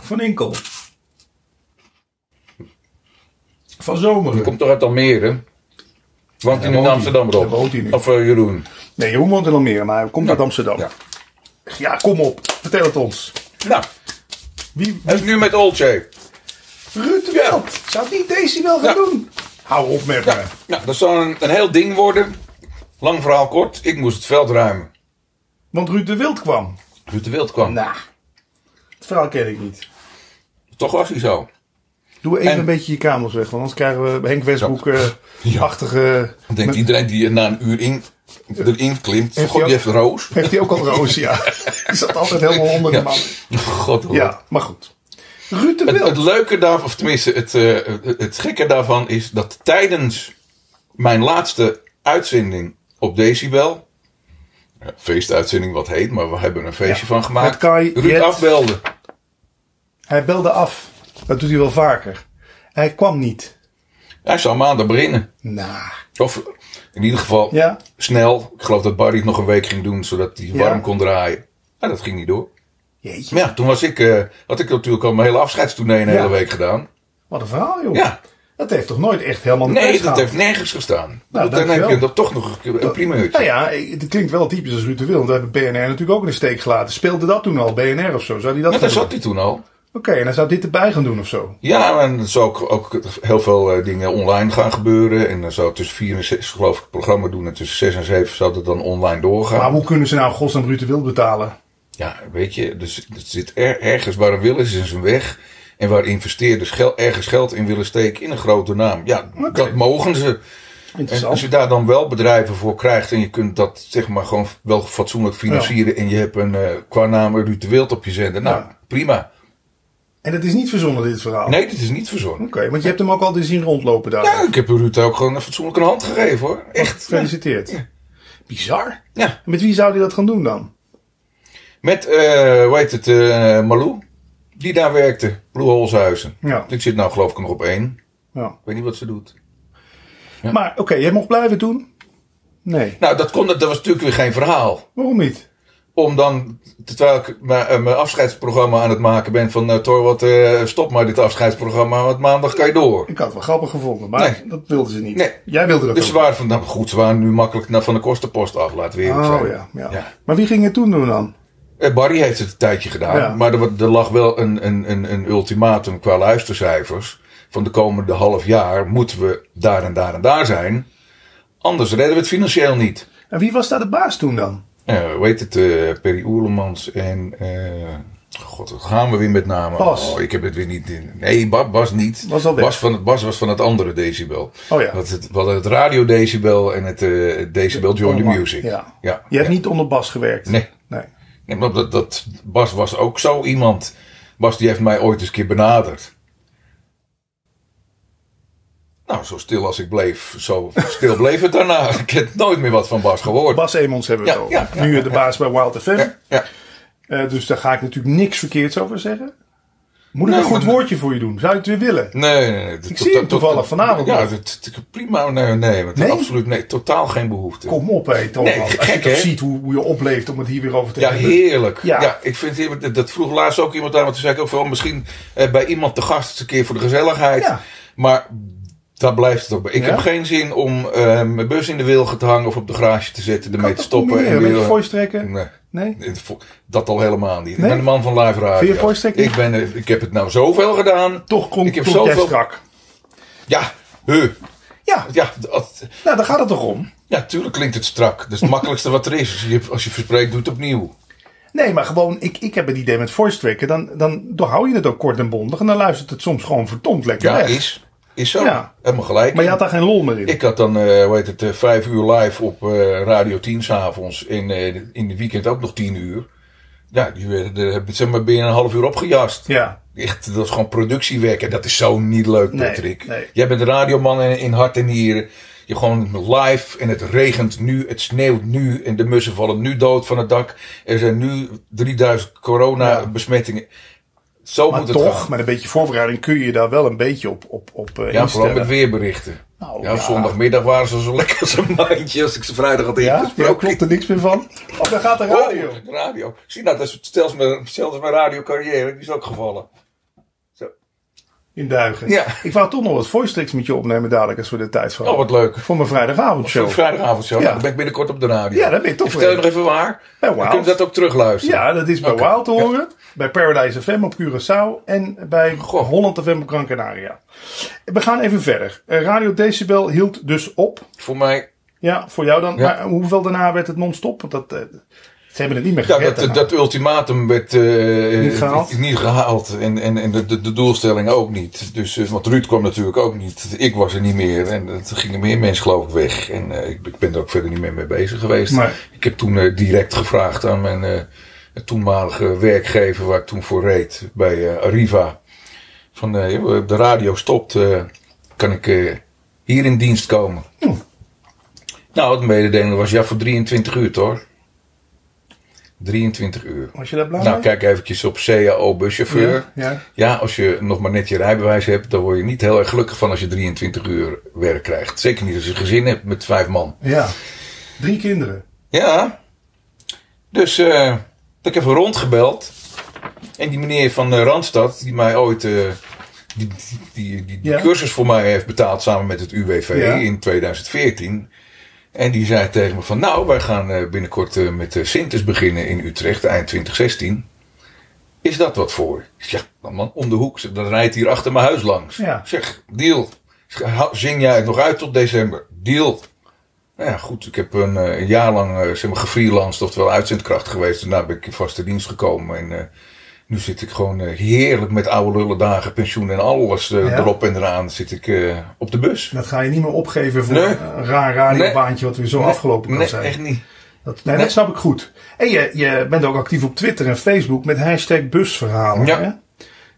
Speaker 1: Van Inkel. Van
Speaker 2: Die
Speaker 1: Zomeren.
Speaker 2: komt toch uit Almere? Woont hij nu in
Speaker 1: woont
Speaker 2: Amsterdam,
Speaker 1: hij.
Speaker 2: Rob?
Speaker 1: Daar woont hij nu.
Speaker 2: Of eh, Jeroen?
Speaker 1: Nee, Jeroen woont in Almere, maar hij komt uit Amsterdam.
Speaker 2: Ja.
Speaker 1: Ja. kom op. Vertel het ons.
Speaker 2: Nou,
Speaker 1: Wie?
Speaker 2: hij is nu met Olcay.
Speaker 1: Ruud de Welt. Zou die deze wel gaan
Speaker 2: Ja.
Speaker 1: doen? Hou op met me.
Speaker 2: Nou, dat zal een, een heel ding worden. Lang verhaal kort. Ik moest het veld ruimen.
Speaker 1: Want Ruud de Wild kwam.
Speaker 2: Ruud de Wild kwam.
Speaker 1: Nou, het verhaal ken ik niet.
Speaker 2: Toch was hij zo.
Speaker 1: Doe even
Speaker 2: En-
Speaker 1: een beetje je kamers weg, want anders krijgen we Henk eh, Westbroek-achtige...
Speaker 2: Dan denkt iedereen die na een uur in, erin klimt.
Speaker 1: Heeft
Speaker 2: God,
Speaker 1: hij
Speaker 2: die
Speaker 1: ook-
Speaker 2: heeft roos.
Speaker 1: Heeft hij ook al roos, ja. Die zat altijd helemaal onder de
Speaker 2: Ja.
Speaker 1: man.
Speaker 2: God, hoor.
Speaker 1: Ja, maar goed. Ruud de
Speaker 2: Het, het
Speaker 1: Wild.
Speaker 2: leuke daarvan, of tenminste het, eh, het gekke daarvan is dat tijdens mijn laatste uitzending op Decibel, ja, feestuitzending wat heet, maar we hebben er een feestje
Speaker 1: Ja,
Speaker 2: van gemaakt,
Speaker 1: met Kai,
Speaker 2: Ruud
Speaker 1: Jet.
Speaker 2: afbelde.
Speaker 1: Hij belde af. Dat doet hij wel vaker. Hij kwam niet.
Speaker 2: Hij zou maandag beginnen.
Speaker 1: Nou,
Speaker 2: Of in ieder geval
Speaker 1: ja.
Speaker 2: snel. Ik geloof dat Barry het nog een week ging doen, zodat hij
Speaker 1: Ja.
Speaker 2: warm kon draaien. Maar dat ging niet door.
Speaker 1: Jeetje,
Speaker 2: Maar ja, toen was ik, eh, had ik natuurlijk al mijn hele afscheidstournee een
Speaker 1: Ja.
Speaker 2: hele week gedaan.
Speaker 1: wat een verhaal, joh.
Speaker 2: Ja.
Speaker 1: Dat heeft toch nooit echt helemaal
Speaker 2: Nee,
Speaker 1: pers
Speaker 2: dat
Speaker 1: gehad?
Speaker 2: heeft nergens gestaan.
Speaker 1: Nou,
Speaker 2: dan heb
Speaker 1: dankjewel.
Speaker 2: je dat toch nog een- een primeurtje.
Speaker 1: Nou ja, het klinkt wel typisch als Ruud de Wild. We hebben BNR natuurlijk ook in de steek gelaten. Speelde dat toen al, BNR of zo? Zou hij dat
Speaker 2: Maar
Speaker 1: gaan
Speaker 2: daar
Speaker 1: doen?
Speaker 2: zat hij toen al.
Speaker 1: Oké, en dan zou dit erbij gaan doen of zo.
Speaker 2: Ja, en er zou ook, ook heel veel eh, dingen online gaan gebeuren. En dan zou tussen 4 en 6, geloof ik, het programma doen. En tussen 6 en 7 zou dat dan online doorgaan.
Speaker 1: Maar hoe kunnen ze nou godsnaam Ruud de Wild betalen?
Speaker 2: Ja, weet je, dus het zit er, ergens waar een wil is, is een weg. En waar investeerders gel, ergens geld in willen steken in een grote naam. Ja,
Speaker 1: Oké.
Speaker 2: dat mogen ze. En
Speaker 1: Interessant.
Speaker 2: als je daar dan wel bedrijven voor krijgt en je kunt dat zeg maar gewoon wel fatsoenlijk financieren. En je hebt een eh, qua naam Ruud de Wild op je zender. Nou,
Speaker 1: Ja.
Speaker 2: prima.
Speaker 1: En het is niet verzonnen, dit verhaal?
Speaker 2: Nee, dit is niet verzonnen.
Speaker 1: Oké, want je hebt hem ook al zien rondlopen daar.
Speaker 2: Ja, ik heb Ruud ook gewoon een fatsoenlijke hand gegeven hoor. Echt. Ja.
Speaker 1: Gefeliciteerd. Bizar.
Speaker 2: ja.
Speaker 1: En met wie zou hij dat gaan doen dan?
Speaker 2: Met, eh hoe heet het, eh, Malou? Die daar werkte, Blue Holshuizen.
Speaker 1: Ja.
Speaker 2: Ik zit nou geloof ik nog op één.
Speaker 1: ja.
Speaker 2: Ik weet niet wat ze doet.
Speaker 1: Maar oké, jij mocht blijven toen? Nee.
Speaker 2: Nou, dat, kon, dat was natuurlijk weer geen verhaal.
Speaker 1: Waarom niet?
Speaker 2: Om dan, terwijl ik mijn eh, mijn afscheidsprogramma aan het maken ben van... eh Thor, wat, eh, stop maar dit afscheidsprogramma, want maandag kan je door.
Speaker 1: Ik had het wel grappig gevonden, maar
Speaker 2: Nee.
Speaker 1: dat wilden ze niet.
Speaker 2: Nee.
Speaker 1: Jij wilde dat
Speaker 2: Dus ze
Speaker 1: ook.
Speaker 2: waren van, nou goed, ze waren nu makkelijk naar van de kostenpost af, laten we eerlijk zijn.
Speaker 1: Oh ja, ja.
Speaker 2: Ja.
Speaker 1: Maar wie ging het toen doen dan?
Speaker 2: Eh, Barry heeft het een tijdje gedaan,
Speaker 1: Ja.
Speaker 2: maar er, wa- er lag wel een, een, een, een ultimatum qua luistercijfers. Van de komende half jaar moeten we daar en daar en daar zijn. Anders redden we het financieel niet.
Speaker 1: En wie was daar de baas toen dan?
Speaker 2: Eh, hoe heet het? eh Perry Oerlemans en... eh, God, wat gaan we weer met namen?
Speaker 1: Bas.
Speaker 2: Oh, ik heb het weer niet in. Nee, Ba- Bas niet.
Speaker 1: Was al weg.
Speaker 2: Bas, van het, Bas was van het andere decibel.
Speaker 1: Oh ja.
Speaker 2: Dat het, we hadden het radio decibel en het eh, decibel Join the
Speaker 1: allemaal.
Speaker 2: Music.
Speaker 1: Ja.
Speaker 2: ja.
Speaker 1: Je hebt
Speaker 2: ja.
Speaker 1: niet onder Bas gewerkt?
Speaker 2: Nee.
Speaker 1: Nee.
Speaker 2: Nee, maar dat, dat, Bas was ook zo iemand. Bas die heeft mij ooit eens een keer benaderd. Nou, zo stil als ik bleef, zo stil bleef het daarna. Ik heb nooit meer wat van Bas gehoord.
Speaker 1: Bas Emons hebben we
Speaker 2: Ja,
Speaker 1: het over.
Speaker 2: ja, ja,
Speaker 1: nu de baas bij Wild FM.
Speaker 2: Ja, ja.
Speaker 1: Eh, dus daar ga ik natuurlijk niks verkeerds over zeggen. Moet ik
Speaker 2: Nee,
Speaker 1: een goed
Speaker 2: maar-
Speaker 1: woordje voor je doen? Zou je het weer willen?
Speaker 2: Nee, nee, nee. Ik
Speaker 1: zie hem toevallig vanavond
Speaker 2: Ja,
Speaker 1: nog.
Speaker 2: dat, dat- prima. Nee, nee, want
Speaker 1: Nee?
Speaker 2: absoluut nee. Totaal geen behoefte.
Speaker 1: Kom op, hé, Thomas.
Speaker 2: Nee,
Speaker 1: Als je
Speaker 2: gek,
Speaker 1: toch
Speaker 2: hè?
Speaker 1: ziet hoe, hoe je opleeft om het hier weer over te
Speaker 2: Ja,
Speaker 1: hebben.
Speaker 2: heerlijk. Ja.
Speaker 1: Ja.
Speaker 2: ik vind het heerlijk. Dat- Dat vroeg laatst ook "Oh, iemand aan, want toen zei ik ook van misschien eh, bij iemand te gast eens een keer voor de gezelligheid.
Speaker 1: Ja.
Speaker 2: Maar Daar blijft het ook bij. Ik
Speaker 1: Ja?
Speaker 2: heb geen zin om eh, mijn bus in de wilgen te hangen of op de garage te zetten, ermee te
Speaker 1: Dat toch niet
Speaker 2: stoppen.
Speaker 1: meer,
Speaker 2: en
Speaker 1: Een beetje
Speaker 2: weer- eh, mm.
Speaker 1: voice trekken?
Speaker 2: Nee,
Speaker 1: Nee?
Speaker 2: het vo- dat al helemaal niet.
Speaker 1: Nee?
Speaker 2: Ik ben een man van live radio.
Speaker 1: Vind je voice tracking?
Speaker 2: ik, ben, eh, ik heb het nou zoveel gedaan.
Speaker 1: Toch klonk,
Speaker 2: Ik heb
Speaker 1: klonk jij
Speaker 2: zoveel-
Speaker 1: strak.
Speaker 2: Ja, huh.
Speaker 1: Ja,
Speaker 2: ja, dat,
Speaker 1: nou daar gaat het toch om.
Speaker 2: ja, tuurlijk klinkt het strak. Dat is het makkelijkste wat er is. Als je, als je verspreekt, doe het opnieuw.
Speaker 1: Nee, maar gewoon, ik, ik heb het idee met voice tracken, dan, dan, dan hou je het ook kort en bondig en dan luistert het soms gewoon verdomd lekker
Speaker 2: Ja,
Speaker 1: weg.
Speaker 2: is, is zo.
Speaker 1: Ja.
Speaker 2: Helemaal gelijk.
Speaker 1: Maar je had daar geen lol meer in.
Speaker 2: Ik had dan, eh, hoe heet het, eh, vijf uur live op eh, Radio 10 s'avonds. En eh, in de weekend ook nog tien uur. Ja, die werden er heb ik, zeg maar binnen een half uur opgejast.
Speaker 1: Ja,
Speaker 2: Echt, dat is gewoon productiewerk. En dat is zo niet leuk,
Speaker 1: Nee,
Speaker 2: Patrick.
Speaker 1: nee.
Speaker 2: Jij bent radioman in, in hart en nieren. Je gewoon live en het regent nu, het sneeuwt nu en de mussen vallen nu dood van het dak. Er zijn nu 3000 corona-besmettingen. Zo
Speaker 1: maar
Speaker 2: moet het
Speaker 1: toch,
Speaker 2: gaan.
Speaker 1: met een beetje voorbereiding kun je je daar wel een beetje op, op, op eh,
Speaker 2: Ja, vooral
Speaker 1: instellen.
Speaker 2: met weerberichten.
Speaker 1: Nou,
Speaker 2: ja, zondagmiddag waren ze zo lekker als een mandje als ik ze vrijdag had
Speaker 1: Ja, ja,
Speaker 2: ingesproken.
Speaker 1: klopt er niks meer van. Oh, daar gaat de
Speaker 2: Oh,
Speaker 1: radio.
Speaker 2: de radio. Zie nou, dat is zelfs mijn, zelfs mijn radiocarrière, die is ook gevallen.
Speaker 1: In Duigen.
Speaker 2: Ja.
Speaker 1: Ik wou toch nog wat voice tracks met je opnemen dadelijk als we de tijd voor
Speaker 2: Oh,
Speaker 1: hebben.
Speaker 2: wat leuk.
Speaker 1: Voor mijn
Speaker 2: Zo'n
Speaker 1: vrijdagavondshow.
Speaker 2: vrijdagavondshow,
Speaker 1: Ja.
Speaker 2: nou, dan ben ik binnenkort op de radio.
Speaker 1: Ja, dat ben je toch
Speaker 2: Vertel je
Speaker 1: weer.
Speaker 2: nog even waar?
Speaker 1: Bij
Speaker 2: Dan
Speaker 1: Wild.
Speaker 2: kun je dat ook terugluisteren.
Speaker 1: Ja, dat is bij
Speaker 2: Oké.
Speaker 1: Wild te horen. Bij Paradise FM op Curaçao. En bij
Speaker 2: Goh.
Speaker 1: Holland FM op Gran Canaria. We gaan even verder. Eh, Radio Decibel hield dus op.
Speaker 2: Voor mij,
Speaker 1: Ja, voor jou dan.
Speaker 2: Ja.
Speaker 1: Maar eh, hoeveel daarna werd het non-stop? Want Dat, eh, ze hebben het niet meer
Speaker 2: ja,
Speaker 1: gered.
Speaker 2: dat, eh,
Speaker 1: daarna.
Speaker 2: dat ultimatum werd eh,
Speaker 1: Niet gehaald.
Speaker 2: niet gehaald. En, en, en de, de, de doelstelling ook niet. Dus, eh, want Ruud kwam natuurlijk ook niet. Ik was er niet meer. En dat gingen meer mensen geloof ik weg. En eh, ik, ik ben er ook verder niet meer mee bezig geweest.
Speaker 1: Maar-
Speaker 2: Ik heb toen eh, direct gevraagd aan mijn eh, toenmalige werkgever waar ik toen voor reed. Bij eh, Arriva. Van eh, joh, de radio stopt. eh, kan ik eh, hier in dienst komen?
Speaker 1: Hm.
Speaker 2: Nou, het mededeling was ja voor 23 uur hoor. 23 uur.
Speaker 1: Was je daar blij
Speaker 2: Nou,
Speaker 1: mee?
Speaker 2: kijk eventjes op CAO-buschauffeur. Ja.
Speaker 1: Ja, ja.
Speaker 2: als je nog maar net je rijbewijs hebt, dan word je niet heel erg gelukkig van als je 23 uur werk krijgt. Zeker niet als je een gezin hebt met vijf man.
Speaker 1: ja. Drie kinderen.
Speaker 2: Ja. Dus eh ik heb even rondgebeld. En die meneer van eh, Randstad, die mij ooit eh, die, die, die, die- die
Speaker 1: Ja.
Speaker 2: cursus voor mij heeft betaald samen met het UWV
Speaker 1: Ja.
Speaker 2: in 2014. En die zei tegen me van nou, wij gaan eh, binnenkort eh, met eh Sintes beginnen in Utrecht eind 2016. Is dat wat voor? Ik zeg, Ja, man, om de hoek. Zeg, Dan rijdt hier achter mijn huis langs.
Speaker 1: Ja.
Speaker 2: Zeg, deal. Zeg, hou- Zing jij het nog uit tot december? Deal. Nou ja, goed. Ik heb een, eh, een jaar lang eh, zeg maar, gefreelanced, oftewel uitzendkracht geweest. Daarna ben ik in vaste dienst gekomen. En eh, nu zit ik gewoon eh, heerlijk met oude lullen dagen, pensioen en alles eh,
Speaker 1: Ja.
Speaker 2: erop en eraan zit ik eh, op de bus.
Speaker 1: Dat ga je niet meer opgeven voor
Speaker 2: Nee.
Speaker 1: een raar radiobaantje wat weer zo afgelopen kan
Speaker 2: nee,
Speaker 1: zijn.
Speaker 2: echt niet.
Speaker 1: Dat, nee,
Speaker 2: Nee.
Speaker 1: dat snap ik goed. En je, je bent ook actief op Twitter en Facebook met hashtag busverhalen.
Speaker 2: Ja.
Speaker 1: Hè?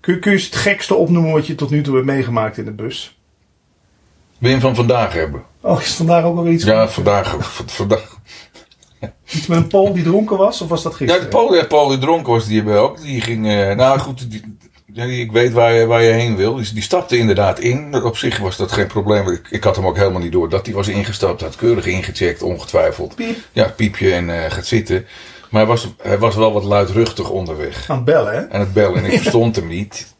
Speaker 1: Kun, kun je eens het gekste opnoemen wat je tot nu toe hebt meegemaakt in de bus?
Speaker 2: Wil je hem van vandaag hebben?
Speaker 1: Oh, is vandaag ook alweer iets,
Speaker 2: Ja, vandaag. v- vandaag.
Speaker 1: iets met een Pool die dronken was? Of was dat
Speaker 2: Ja,
Speaker 1: gisteren?
Speaker 2: de Paul, ja, Paul die dronken was, die hebben we ook. Die ging, eh, nou goed, die, ja, die- ik weet waar je, waar je heen wil. Dus die stapte inderdaad in. Op zich was dat geen probleem. Ik, ik had hem ook helemaal niet door dat hij was ingestapt. Had keurig ingecheckt, ongetwijfeld.
Speaker 1: Piep.
Speaker 2: Ja, piepje en eh, gaat zitten. Maar hij was, hij was wel wat luidruchtig onderweg.
Speaker 1: Aan het bellen, hè?
Speaker 2: Aan het bellen en ik verstond hem niet.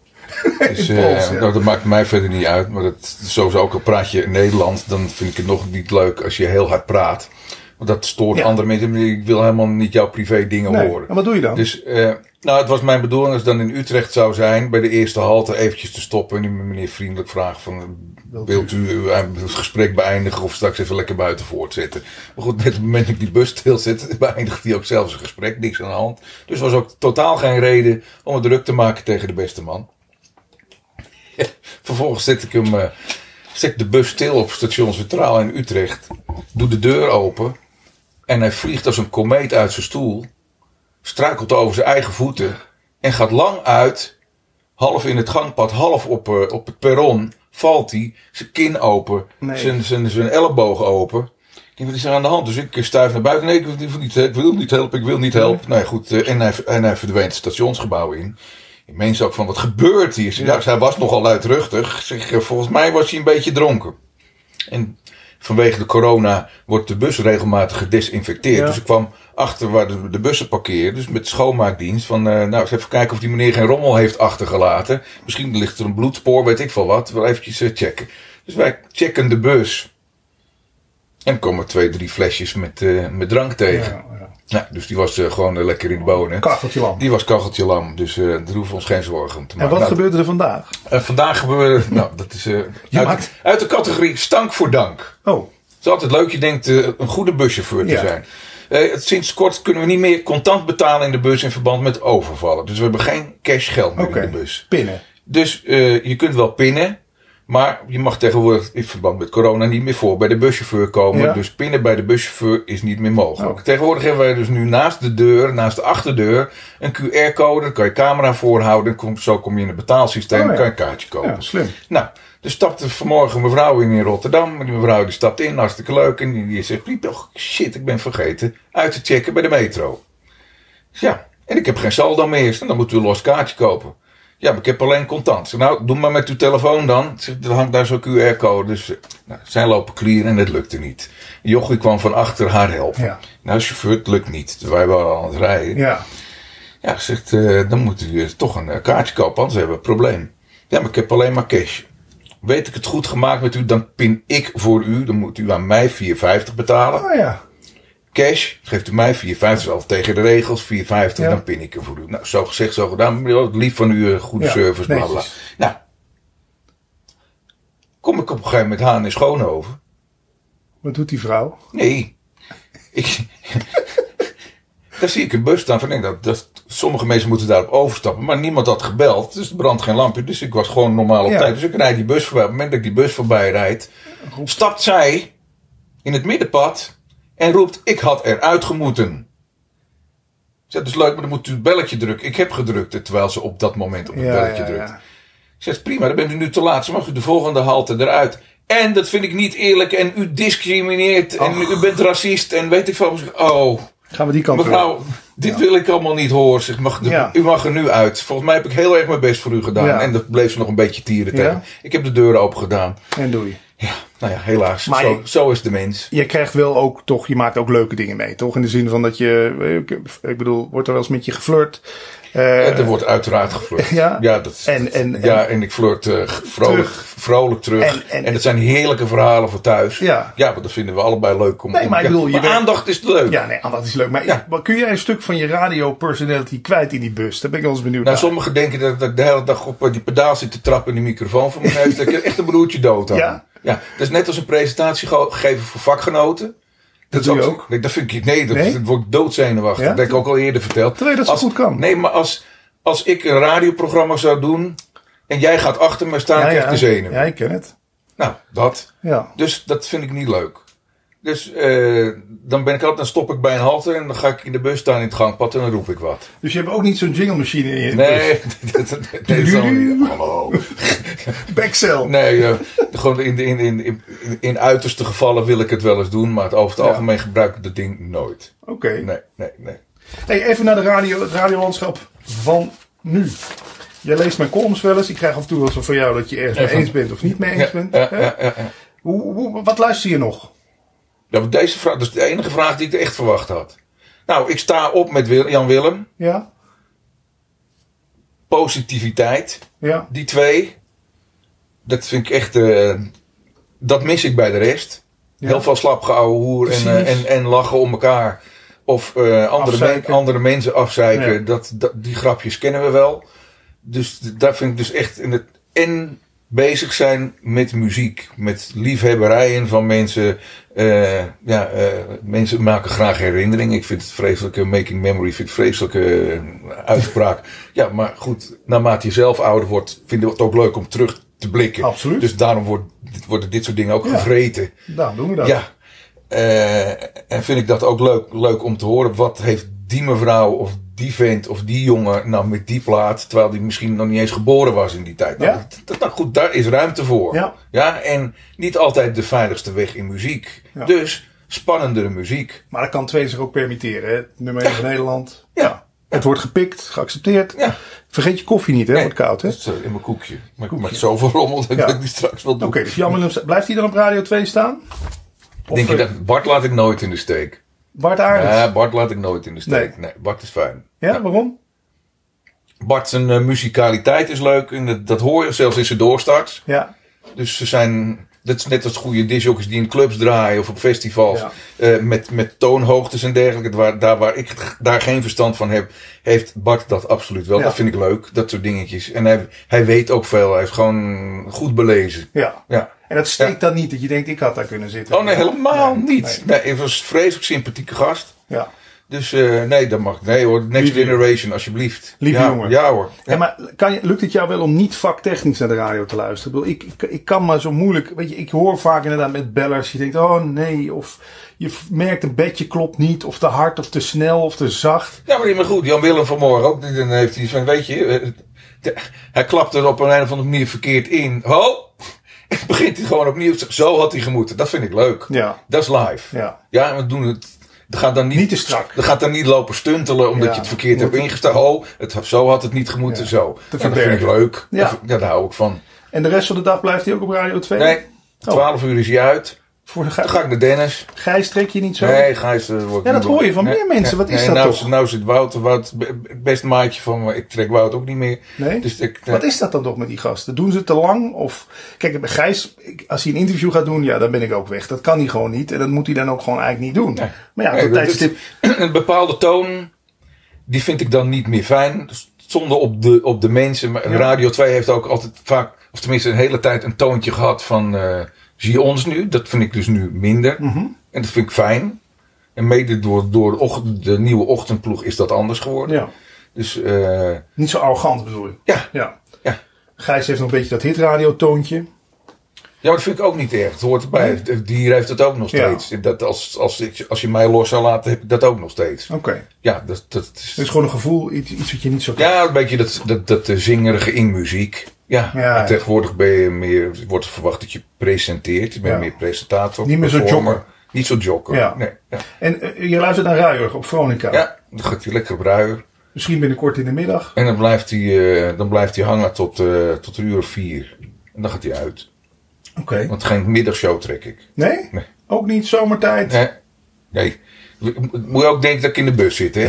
Speaker 2: Dus
Speaker 1: In
Speaker 2: eh,
Speaker 1: Pools, ja.
Speaker 2: nou, dat maakt mij verder niet uit. Maar dat, sowieso ook al praat je Nederlands, dan vind ik het nog niet leuk als je heel hard praat. Want dat stoort
Speaker 1: Ja.
Speaker 2: andere mensen. Ik wil helemaal niet jouw privé dingen
Speaker 1: Nee.
Speaker 2: horen.
Speaker 1: En wat doe je dan?
Speaker 2: Dus, eh, nou, het was mijn bedoeling als het dan in Utrecht zou zijn, bij de eerste halte eventjes te stoppen en die meneer vriendelijk vragen van,
Speaker 1: Wilt
Speaker 2: wilt u uw- het gesprek beëindigen of straks even lekker buiten voortzetten? Maar goed, met het moment dat ik die bus stilzet, beëindigt hij ook zelf zijn gesprek, niks aan de hand. Dus was ook totaal geen reden om het druk te maken tegen de beste man. Vervolgens zet ik hem, eh, zet ik de bus stil op station Centraal in Utrecht, doe de deur open en hij vliegt als een komeet uit zijn stoel struikelt over zijn eigen voeten en gaat lang uit, half in het gangpad, half op, eh, op het perron, valt hij, zijn kin open,
Speaker 1: Nee.
Speaker 2: zijn, zijn, zijn elleboog open. Ik denk, wat is er aan de hand? Dus ik stuif naar buiten. Nee, ik wil niet, ik wil niet helpen, ik wil niet helpen. Nee, goed. eh, En hij, en hij verdwijnt het stationsgebouw in. Ik meen ze ook van, wat gebeurt hier? Ik zeg, Ja. hij was nogal luidruchtig. Ik Zeg, eh, volgens mij was hij een beetje dronken. En vanwege de corona wordt de bus regelmatig gedesinfecteerd.
Speaker 1: Ja.
Speaker 2: Dus ik kwam achter waar de, de bussen parkeren. Dus met schoonmaakdienst. Van, eh, nou, eens even kijken of die meneer geen rommel heeft achtergelaten. Misschien ligt er een bloedspoor, weet ik veel wat. Wel eventjes eh, checken. Dus wij checken de bus. En komen twee, drie flesjes met, eh, met drank tegen.
Speaker 1: Ja, ja.
Speaker 2: Nou, dus die was eh, gewoon eh, lekker in de bonen.
Speaker 1: Kacheltje lam.
Speaker 2: Die was kacheltje lam, dus eh, daar hoeven we ons geen zorgen om te
Speaker 1: En
Speaker 2: maken.
Speaker 1: wat
Speaker 2: Nou,
Speaker 1: gebeurde er vandaag?
Speaker 2: eh, vandaag gebeurde, nou, dat is eh, uit,
Speaker 1: maakt-
Speaker 2: uit de categorie stank voor dank.
Speaker 1: Oh,
Speaker 2: Het is altijd leuk, je denkt eh, een goede buschauffeur te
Speaker 1: Ja.
Speaker 2: zijn. Eh, het- sinds kort kunnen we niet meer contant betalen in de bus in verband met overvallen. Dus we hebben geen cash geld meer
Speaker 1: oké.
Speaker 2: in de bus.
Speaker 1: Pinnen.
Speaker 2: Dus eh, je kunt wel pinnen. Maar je mag tegenwoordig in verband met corona niet meer voor bij de buschauffeur komen.
Speaker 1: Ja.
Speaker 2: Dus pinnen bij de buschauffeur is niet meer mogelijk.
Speaker 1: Oh.
Speaker 2: Tegenwoordig hebben wij dus nu naast de deur, naast de achterdeur, een QR-code. Daar kan je camera voorhouden. Kom, zo kom je in het betaalsysteem.
Speaker 1: Oh, ja.
Speaker 2: Dan kan je een kaartje kopen.
Speaker 1: Ja, slim.
Speaker 2: Nou, er stapte vanmorgen een mevrouw in in Rotterdam. Die mevrouw die stapt in, hartstikke leuk. En die, die zegt, "Piep, toch, shit, ik ben vergeten uit te checken bij de metro. Ja, en ik heb geen saldo meer. En dan moet u een los kaartje kopen. Ja, maar ik heb alleen contant. Ik zeg, nou, doe maar met uw telefoon dan. Ik Zeg, er hangt daar zo'n QR-code. Dus eh, nou, zij lopen clear en het lukte niet. Jochie kwam van achter haar helpen.
Speaker 1: Ja.
Speaker 2: Nou, chauffeur, het lukt niet. Wij waren aan het rijden.
Speaker 1: Ja.
Speaker 2: Ja, zegt, eh, dan moet u eh, toch een eh, kaartje kopen, anders hebben we een probleem. Ja, maar ik heb alleen maar cash. Weet ik het goed gemaakt met u, dan pin ik voor u. Dan moet u aan mij 4,50 betalen.
Speaker 1: Oh ja.
Speaker 2: Cash, geeft u mij 4,50, dat is al tegen de regels, 4,50,
Speaker 1: Ja.
Speaker 2: dan pin ik er voor u. Nou, zo gezegd, zo gedaan. Meneer, wat Lief van u, eh, goede
Speaker 1: Ja,
Speaker 2: service, bla bla.
Speaker 1: netjes.
Speaker 2: Nou, kom ik op een gegeven moment aan in Schoonhoven.
Speaker 1: Wat doet die vrouw?
Speaker 2: Nee. Ik, daar zie ik een bus staan. Van, nee, dat, dat, sommige mensen moeten daarop overstappen. Maar niemand had gebeld. Dus er brandt geen lampje. Dus ik was gewoon normaal op
Speaker 1: Ja.
Speaker 2: tijd. Dus ik rijd die bus voorbij. Op het moment dat ik die bus voorbij rijd... stapt zij in het middenpad... en roept, ik had eruit gemoeten. Ik zeg, dat is leuk, maar dan moet u het belletje drukken. Ik heb gedrukt, terwijl ze op dat moment op het belletje drukt. Ik zeg, prima, dan bent u nu te laat. Ze mag u de volgende halte eruit. En dat vind ik niet eerlijk. En u discrimineert. En
Speaker 1: Och.
Speaker 2: u bent racist. En weet ik veel. Oh,
Speaker 1: Gaan we die kant op?
Speaker 2: mevrouw, dit wil ik allemaal niet horen. Zeg, mag, de-
Speaker 1: Ja.
Speaker 2: U mag er nu uit. Volgens mij heb ik heel erg mijn best voor u gedaan.
Speaker 1: Ja.
Speaker 2: En dat bleef ze nog een beetje tieren
Speaker 1: Ja.
Speaker 2: tegen. Ik heb de deuren open gedaan.
Speaker 1: En doei.
Speaker 2: Ja, nou ja, helaas.
Speaker 1: Maar
Speaker 2: zo,
Speaker 1: je-
Speaker 2: zo is de mens.
Speaker 1: Je krijgt wel ook toch, je maakt ook leuke dingen mee, toch? In de zin van dat je, eh, ik bedoel, wordt er wel eens met je geflirt. Eh,
Speaker 2: En er wordt uiteraard geflirt.
Speaker 1: Ja.
Speaker 2: dat, is-
Speaker 1: En- en-
Speaker 2: ja, en ik flirt eh, vrolijk terug. Vrolijk terug.
Speaker 1: En-
Speaker 2: En,
Speaker 1: en-
Speaker 2: het zijn heerlijke verhalen voor thuis.
Speaker 1: Ja.
Speaker 2: ja maar dat vinden we allebei leuk. Om,
Speaker 1: Nee, maar ik bedoel, je bent-
Speaker 2: aandacht is leuk.
Speaker 1: ja, nee, ah, dat is leuk. Maar
Speaker 2: Ja.
Speaker 1: maar kun jij een stuk van je radio personality kwijt in die bus? Daar ben ik wel eens benieuwd
Speaker 2: Nou,
Speaker 1: naar.
Speaker 2: sommigen denken dat, dat ik de hele dag op eh, die pedaal zit te trappen en die microfoon voor me heeft. Dat ik echt een broertje dood aan.
Speaker 1: Ja?
Speaker 2: ja. Dat is net als een presentatie ge- geven voor vakgenoten.
Speaker 1: dat doe je ook.
Speaker 2: Nee, dat vind ik, nee, dat,
Speaker 1: Nee?
Speaker 2: dat wordt doodzenuwachtig.
Speaker 1: Ja?
Speaker 2: Dat heb ik ook al eerder verteld.
Speaker 1: Terwijl je dat zo
Speaker 2: als,
Speaker 1: goed kan.
Speaker 2: Nee, maar als, als ik een radioprogramma zou doen en jij gaat achter me staan, krijg ik de zenuw.
Speaker 1: ja, ik ken het.
Speaker 2: Nou, dat.
Speaker 1: Ja.
Speaker 2: Dus dat vind ik niet leuk. Dus eh, dan ben ik altijd, dan stop ik bij een halte en dan ga ik in de bus staan in het gangpad en dan roep ik wat.
Speaker 1: Dus je hebt ook niet zo'n jingle machine in je bus.
Speaker 2: Nee, dat- dat- nee, dat is allemaal niet. Hallo.
Speaker 1: Backcell.
Speaker 2: Nee, eh, gewoon in, in, in, in, in uiterste gevallen wil ik het wel eens doen, maar het- over het
Speaker 1: Ja.
Speaker 2: algemeen gebruik ik dat ding nooit.
Speaker 1: Oké.
Speaker 2: Nee, nee, nee.
Speaker 1: Hey, even naar de radio, het radiolandschap van nu. Jij leest mijn columns wel eens. Ik krijg af en toe wel eens van jou dat je ergens mee
Speaker 2: Even.
Speaker 1: eens bent of niet mee eens
Speaker 2: Ja,
Speaker 1: bent.
Speaker 2: ja,
Speaker 1: hè?
Speaker 2: ja, ja, ja.
Speaker 1: Hoe, hoe- wat luister je nog?
Speaker 2: Ja, want deze vraag, dat is de enige vraag die ik echt verwacht had. Nou, ik sta op met Wil- Jan Willem.
Speaker 1: Ja?
Speaker 2: Positiviteit.
Speaker 1: Ja?
Speaker 2: Die twee, dat vind ik echt, eh, dat mis ik bij de rest.
Speaker 1: Ja.
Speaker 2: Heel veel slapgeouwe hoer en,
Speaker 1: Precies.
Speaker 2: eh, en, en lachen om elkaar. Of eh, andere, men-
Speaker 1: Afzeiken.
Speaker 2: andere mensen afzeiken.
Speaker 1: Ja.
Speaker 2: Dat, dat, die grapjes kennen we wel. Dus d- daar vind ik dus echt... En, het, en bezig zijn met muziek. Met liefhebberijen van mensen. Eh, ja, eh, mensen maken graag herinneringen. Ik vind het vreselijke making memory. vind ik vreselijke eh, uitspraak. ja, maar goed. Naarmate je zelf ouder wordt... vinden we het ook leuk om terug te blikken.
Speaker 1: Absoluut.
Speaker 2: Dus daarom wordt, worden dit soort dingen ook
Speaker 1: Oh. Ja.
Speaker 2: gevreten.
Speaker 1: Daarom doen we dat.
Speaker 2: Dus- Ja. Eh, en vind ik dat ook leuk, leuk om te horen. Wat heeft die mevrouw of die vent of die jongen nou met die plaat... terwijl die misschien nog niet eens geboren was in die tijd. Nou,
Speaker 1: Ja.
Speaker 2: dat- dat, nou goed, daar is ruimte voor.
Speaker 1: Ja.
Speaker 2: en niet altijd de veiligste weg in muziek.
Speaker 1: Ja.
Speaker 2: Dus spannendere muziek.
Speaker 1: Maar dat kan twee zich ook permitteren. Hè? Nummer 1 van Nederland.
Speaker 2: Ja.
Speaker 1: Het wordt gepikt, geaccepteerd.
Speaker 2: Ja.
Speaker 1: Vergeet je koffie niet, hè?
Speaker 2: Nee.
Speaker 1: Wordt koud, hè?
Speaker 2: Dat
Speaker 1: Oké,
Speaker 2: is eh, in mijn koekje. Maar ik maak zoveel rommel dat
Speaker 1: Ja.
Speaker 2: ik die straks wel doe.
Speaker 1: dus Jan Willem, sta- blijft hij dan op Radio 2 staan? Of
Speaker 2: Denk je
Speaker 1: eh,
Speaker 2: dat Bart laat ik nooit in de steek?
Speaker 1: Bart Aarts?
Speaker 2: Ja, Bart laat ik nooit in de steek. Nee, Bart is fijn.
Speaker 1: ja, waarom?
Speaker 2: Bart zijn eh, muzikaliteit is leuk. En dat, dat hoor je zelfs in zijn doorstarts.
Speaker 1: Ja.
Speaker 2: Dus ze zijn Dat is net als goede discjockeys die in clubs draaien of op festivals.
Speaker 1: Ja.
Speaker 2: eh, met, met toonhoogtes en dergelijke. Waar, daar waar ik g- daar geen verstand van heb, heeft Bart dat absoluut wel.
Speaker 1: Ja.
Speaker 2: Dat vind ik leuk, dat soort dingetjes. En hij, hij weet ook veel. Hij is gewoon goed belezen.
Speaker 1: Ja.
Speaker 2: Ja.
Speaker 1: En dat steekt dan niet dat je denkt, ik had daar kunnen zitten.
Speaker 2: Oh nee, helemaal
Speaker 1: Nee,
Speaker 2: niet. Nee, hij was een vreselijk sympathieke gast.
Speaker 1: Ja.
Speaker 2: Dus eh, nee, dat mag. Nee hoor, Next
Speaker 1: Lieve-
Speaker 2: Generation alsjeblieft.
Speaker 1: Lieve
Speaker 2: ja,
Speaker 1: jongen.
Speaker 2: Ja hoor. Ja.
Speaker 1: En maar kan je, lukt het jou wel om niet vaktechnisch naar de radio te luisteren? Ik, bedoel, ik, ik, ik kan maar zo moeilijk. Weet je, ik hoor vaak inderdaad met bellers. Je denkt, oh nee. Of je f- merkt een bedje klopt niet. Of te hard, of te snel, of te zacht.
Speaker 2: Ja, maar die- maar goed, Jan Willem vanmorgen ook. Dan heeft hij van, weet je, eh, de- hij klapt er op een, een of andere manier verkeerd in. Ho! En begint hij gewoon opnieuw. Zo had hij gemoeten. Dat vind ik leuk.
Speaker 1: Ja.
Speaker 2: Dat is live.
Speaker 1: Ja.
Speaker 2: Ja, we doen het. Er gaat dan niet,
Speaker 1: Niet te strak.
Speaker 2: Er gaat dan niet lopen stuntelen omdat
Speaker 1: Ja.
Speaker 2: je het verkeerd hebt ingesteld. Oh, het, zo had het niet gemoeten.
Speaker 1: Ja.
Speaker 2: Zo.
Speaker 1: Te
Speaker 2: Ja, dat vind ik
Speaker 1: verbergen.
Speaker 2: leuk.
Speaker 1: Ja.
Speaker 2: Dat, ja, daar hou ik van.
Speaker 1: En de rest van de dag blijft hij ook op Radio 2?
Speaker 2: Nee, 12 uur is hij uit.
Speaker 1: Voor
Speaker 2: Dan ga
Speaker 1: Gij-
Speaker 2: ik naar Dennis.
Speaker 1: Gijs trek je niet zo?
Speaker 2: Nee, Gijs. eh, wordt
Speaker 1: Ja, dat
Speaker 2: niet
Speaker 1: hoor je van
Speaker 2: blij.
Speaker 1: meer mensen. Wat is dat
Speaker 2: nou,
Speaker 1: toch?
Speaker 2: zit- Nou zit Wouter, Wout, be- be- best maatje van me. Ik trek Wout ook niet meer.
Speaker 1: Nee?
Speaker 2: Dus ik, eh,
Speaker 1: Wat is dat dan toch met die gasten? Doen ze te lang? Of kijk, bij Gijs, ik- als hij een interview gaat doen, ja, dan ben ik ook weg. Dat kan hij gewoon niet. En dat moet hij dan ook gewoon eigenlijk niet doen.
Speaker 2: Nee.
Speaker 1: Maar ja, op
Speaker 2: nee,
Speaker 1: dat
Speaker 2: dat-
Speaker 1: tijdstip.
Speaker 2: dat- een bepaalde toon, die vind ik dan niet meer fijn. Dus Zonder op de, op de mensen. Maar
Speaker 1: Ja.
Speaker 2: Radio 2 heeft ook altijd vaak, of tenminste een hele tijd, een toontje gehad van eh, zie je ons nu. Dat vind ik dus nu minder.
Speaker 1: Mhm.
Speaker 2: En dat vind ik fijn. En mede door, door de, och- de nieuwe ochtendploeg is dat anders geworden.
Speaker 1: Ja.
Speaker 2: Dus eh,
Speaker 1: Niet zo arrogant bedoel je.
Speaker 2: ja,
Speaker 1: Ja.
Speaker 2: Ja.
Speaker 1: Gijs heeft nog een beetje dat hitradiootoontje.
Speaker 2: Ja, maar dat vind ik ook niet erg. Het hoort erbij. De dier heeft het ook nog
Speaker 1: Ja.
Speaker 2: steeds. Dat als, als, ik, als je mij los zou laten, heb ik dat ook nog steeds.
Speaker 1: Oké.
Speaker 2: Ja, dat, dat is...
Speaker 1: Het is gewoon een gevoel, iets, iets wat je niet zo kan.
Speaker 2: Ja, een beetje dat, dat, dat eh, zingerige in muziek. Ja,
Speaker 1: Ja,
Speaker 2: en
Speaker 1: ja.
Speaker 2: tegenwoordig ben je meer, wordt er verwacht dat je presenteert. Je bent
Speaker 1: Ja.
Speaker 2: meer presentator.
Speaker 1: Niet meer zo
Speaker 2: performer.
Speaker 1: jokker.
Speaker 2: Niet zo jokker.
Speaker 1: Ja.
Speaker 2: Nee, ja.
Speaker 1: En eh, je luistert naar Ruijer op Veronica.
Speaker 2: ja, dan gaat hij lekker op ruier.
Speaker 1: Misschien binnenkort in de middag.
Speaker 2: En dan blijft hij, eh, dan blijft hij hangen tot, eh, tot een uur of vier. En dan gaat hij uit.
Speaker 1: Oké.
Speaker 2: Want geen middagshow trek ik.
Speaker 1: Nee?
Speaker 2: Nee.
Speaker 1: Ook niet zomertijd.
Speaker 2: Nee. nee. Moet je ook denken dat ik in de bus zit, hè?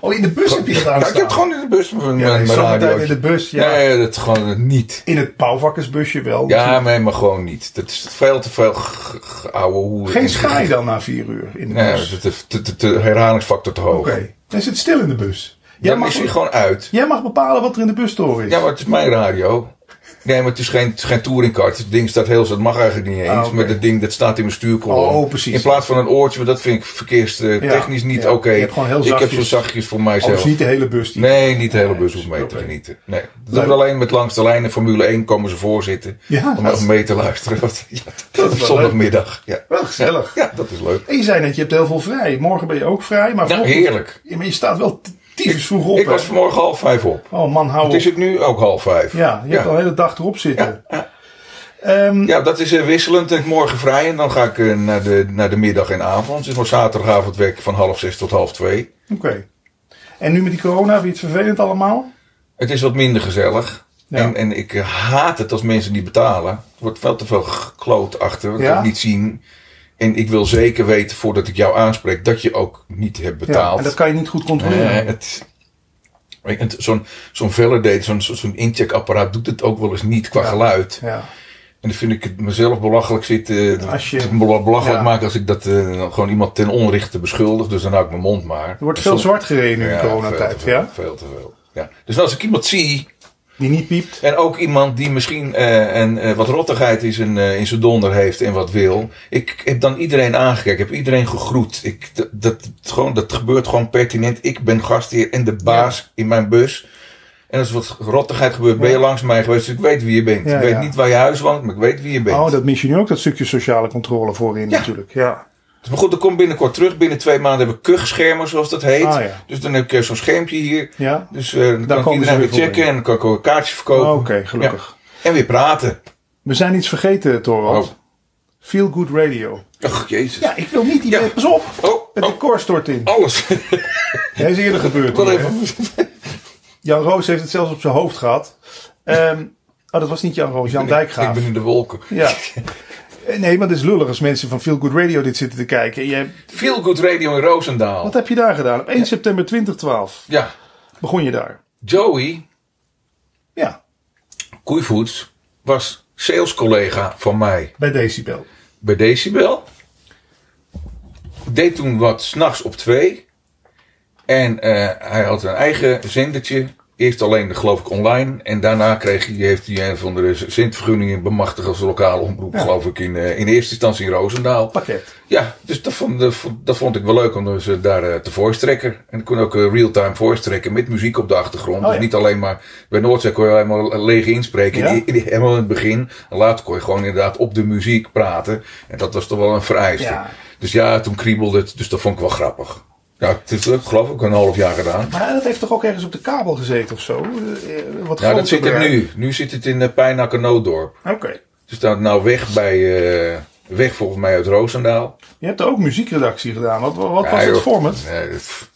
Speaker 1: Oh, in de bus heb je dat
Speaker 2: Ja,
Speaker 1: aan
Speaker 2: ik heb het gewoon in de bus van mijn,
Speaker 1: Ja, nee,
Speaker 2: mijn
Speaker 1: zomertijd
Speaker 2: radiootje.
Speaker 1: in de bus, ja.
Speaker 2: Nee, dat gewoon niet.
Speaker 1: In het pauwvakkersbusje wel.
Speaker 2: Ja, nee, maar gewoon niet. Dat is veel te veel g- g- ouwe hoeren.
Speaker 1: Geen schaai dan na vier uur in de
Speaker 2: Nee,
Speaker 1: bus.
Speaker 2: de, de, de, de herhalingsfactor te hoog.
Speaker 1: Oké. Dan zit stil in de bus. Jij
Speaker 2: Dan
Speaker 1: mag,
Speaker 2: is hij gewoon uit.
Speaker 1: jij mag bepalen wat er in de bus te horen is.
Speaker 2: Ja, maar het is mijn radio. Nee, maar het is geen, het is geen touringcard. Het ding staat heel... Dat mag eigenlijk niet eens.
Speaker 1: Ah, oké.
Speaker 2: Maar dat ding dat staat in mijn stuurkolom.
Speaker 1: Oh, precies.
Speaker 2: In plaats van een oortje. want Dat vind ik verkeerstechnisch
Speaker 1: Ja,
Speaker 2: niet
Speaker 1: ja.
Speaker 2: oké.
Speaker 1: Je hebt gewoon heel
Speaker 2: ik heb zo
Speaker 1: zachtjes-
Speaker 2: zachtjes voor
Speaker 1: Oh,
Speaker 2: mijzelf.
Speaker 1: dus niet de hele bus. Die...
Speaker 2: Nee, niet de hele bus hoeft
Speaker 1: dus,
Speaker 2: mee
Speaker 1: oké.
Speaker 2: te genieten. Nee. Dat
Speaker 1: Leuk.
Speaker 2: is alleen met langs de lijnen Formule 1 komen ze voorzitten.
Speaker 1: Ja,
Speaker 2: om
Speaker 1: dat is-
Speaker 2: even mee te luisteren. Dat, ja,
Speaker 1: wel
Speaker 2: op zondagmiddag. Ja.
Speaker 1: Wel gezellig.
Speaker 2: ja, dat is leuk.
Speaker 1: En je zei net, je hebt heel veel vrij. Morgen ben je ook vrij. Maar,
Speaker 2: Nou,
Speaker 1: vanochtend-
Speaker 2: heerlijk.
Speaker 1: Ja, maar je staat wel t- tyfus vroeg op.
Speaker 2: Ik
Speaker 1: hè?
Speaker 2: was vanmorgen half vijf op.
Speaker 1: Oh man, hou
Speaker 2: Het
Speaker 1: op.
Speaker 2: is het nu ook half vijf.
Speaker 1: Ja, je hebt al de hele dag erop zitten. Ehm,
Speaker 2: Ja, dat is eh, wisselend. En morgen vrij. En dan ga ik eh, naar, de, naar de middag en avond. Dus voor zaterdagavond werk ik van half zes tot half twee.
Speaker 1: Oké. En nu met die corona, vind je het vervelend allemaal?
Speaker 2: Het is wat minder gezellig.
Speaker 1: Ja.
Speaker 2: En, en ik eh, haat het als mensen niet betalen. Er wordt veel te veel gekloot achter. Ik
Speaker 1: Ja?
Speaker 2: kan het niet zien. En ik wil zeker weten, voordat ik jou aanspreek, dat je ook niet hebt
Speaker 1: Ja,
Speaker 2: betaald.
Speaker 1: en dat kan je niet goed controleren.
Speaker 2: Eh, het, weet je, het- zo'n zo'n validate, zo'n zo- zo'n incheckapparaat doet het ook wel eens niet qua
Speaker 1: Ja.
Speaker 2: geluid.
Speaker 1: ja.
Speaker 2: En dan vind ik het mezelf belachelijk zitten.
Speaker 1: Als je-
Speaker 2: te bela- belachelijk
Speaker 1: ja.
Speaker 2: maken als ik dat eh, gewoon iemand ten onrechte beschuldig. Dus dan hou ik mijn mond maar.
Speaker 1: Er wordt veel zwart gereden nu in coronatijd,
Speaker 2: veel te veel,
Speaker 1: ja?
Speaker 2: Veel te veel. Ja. Dus als ik iemand zie,
Speaker 1: Die niet piept.
Speaker 2: en ook iemand die misschien eh, een, eh, wat rottigheid in zijn, eh, in zijn donder heeft en wat wil. Ik heb dan iedereen aangekeken, heb iedereen gegroet. Ik, dat, dat, gewoon, dat gebeurt gewoon pertinent. Ik ben gastheer en de baas in mijn bus. En als er wat rottigheid gebeurt, ben je
Speaker 1: Ja.
Speaker 2: langs mij geweest. Dus ik weet wie je bent.
Speaker 1: Ja,
Speaker 2: ik weet
Speaker 1: ja.
Speaker 2: niet waar je huis woont, maar ik weet wie je bent.
Speaker 1: Oh, dat mis je nu ook, dat stukje sociale controle voorin
Speaker 2: Ja.
Speaker 1: natuurlijk. Ja.
Speaker 2: Dus Maar goed, dat komt binnenkort terug. Binnen twee maanden hebben we kuchschermen, zoals dat heet.
Speaker 1: Ah, ja.
Speaker 2: Dus dan heb ik eh, zo'n schermpje hier.
Speaker 1: Ja?
Speaker 2: Dus eh, dan kan ik
Speaker 1: komen ze
Speaker 2: iedereen
Speaker 1: weer
Speaker 2: weer
Speaker 1: voorbij.
Speaker 2: checken en dan kan ik ook een kaartje
Speaker 1: Oh,
Speaker 2: verkopen.
Speaker 1: Oké, gelukkig.
Speaker 2: En weer praten.
Speaker 1: We zijn iets vergeten, Torwald.
Speaker 2: Oh.
Speaker 1: Feel Good Radio.
Speaker 2: Ach, jezus.
Speaker 1: Ja, ik wil niet die...
Speaker 2: Ja.
Speaker 1: Pas op!
Speaker 2: Oh,
Speaker 1: Het
Speaker 2: oh.
Speaker 1: decor stort in.
Speaker 2: Alles.
Speaker 1: Dat is eerder gebeurd.
Speaker 2: Wel
Speaker 1: hier,
Speaker 2: even.
Speaker 1: hè? Jan Roos heeft het zelfs op zijn hoofd gehad. Ehm, oh, dat was niet Jan Roos, Jan
Speaker 2: Ik
Speaker 1: Dijkgraaf.
Speaker 2: ben in de wolken.
Speaker 1: Ja. Eh, Nee, maar het is lullig als mensen van Feel Good Radio dit zitten te kijken. En jij,
Speaker 2: Feel Good Radio in Roosendaal.
Speaker 1: wat heb je daar gedaan? Op 1 september 2012
Speaker 2: Ja.
Speaker 1: begon je daar.
Speaker 2: Joey
Speaker 1: Ja.
Speaker 2: Koeivoets was salescollega van mij
Speaker 1: bij Decibel.
Speaker 2: bij Decibel. Deed toen wat s'nachts op twee. En eh, hij had een eigen zendertje. Eerst alleen, geloof ik, online. En daarna kreeg hij, heeft hij een van de zendvergunningen bemachtigd als lokale omroep,
Speaker 1: Ja.
Speaker 2: geloof ik, in, eh, in eerste instantie in Roosendaal.
Speaker 1: Pakket.
Speaker 2: Ja, dus dat vond, dat vond- dat vond ik wel leuk om dus eh, daar eh, te voice tracken. En ik kon ook eh, real-time voice tracken met muziek op de achtergrond.
Speaker 1: Oh,
Speaker 2: dus
Speaker 1: ja.
Speaker 2: niet alleen maar, bij Noordzee kon je helemaal leeg inspreken.
Speaker 1: Ja.
Speaker 2: In, in- helemaal in het begin. En later kon je gewoon inderdaad op de muziek praten. En dat was toch wel een vereiste.
Speaker 1: Ja.
Speaker 2: Dus ja, toen kriebelde het. Dus dat vond ik wel grappig. Ja, het is ook, geloof ik een half jaar gedaan.
Speaker 1: Maar dat heeft toch ook ergens op de kabel gezeten of zo? Eh, eh, Wat
Speaker 2: Ja,
Speaker 1: groter
Speaker 2: dat zit er
Speaker 1: bedrijf.
Speaker 2: nu. Nu zit het in uh, Pijnak en Nooddorp.
Speaker 1: Oké.
Speaker 2: Het staat nou weg bij, eh, weg volgens mij uit Roosendaal.
Speaker 1: Je hebt ook muziekredactie gedaan. Wat, wat
Speaker 2: Ja,
Speaker 1: was het
Speaker 2: joh.
Speaker 1: format?
Speaker 2: Nee, dat,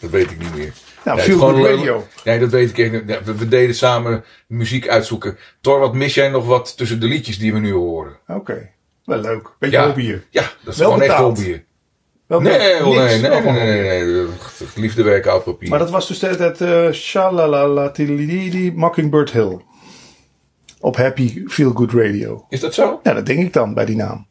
Speaker 2: dat weet ik niet meer.
Speaker 1: Nou,
Speaker 2: nee,
Speaker 1: Feel
Speaker 2: gewoon
Speaker 1: Good
Speaker 2: een-
Speaker 1: Radio.
Speaker 2: Nee, dat weet ik echt niet. Ja, We, we deden samen muziek uitzoeken. Thor, wat mis jij nog wat tussen de liedjes die we nu horen?
Speaker 1: Oké. Wel leuk. Beetje hobby hier.
Speaker 2: Ja, dat is
Speaker 1: Wel
Speaker 2: gewoon
Speaker 1: betaald.
Speaker 2: echt hobby.
Speaker 1: Wel
Speaker 2: Nee,
Speaker 1: leuk.
Speaker 2: joh, nee,
Speaker 1: Niks.
Speaker 2: nee,
Speaker 1: Wel
Speaker 2: nee,
Speaker 1: gewoon
Speaker 2: nee, nee, nee. Het Liefdewerk oud papier.
Speaker 1: Maar dat was dus de hele tijd eh, shalalala tililili Mockingbird Hill. Op Happy Feel Good Radio.
Speaker 2: Is dat zo?
Speaker 1: Ja, dat denk ik dan bij die naam.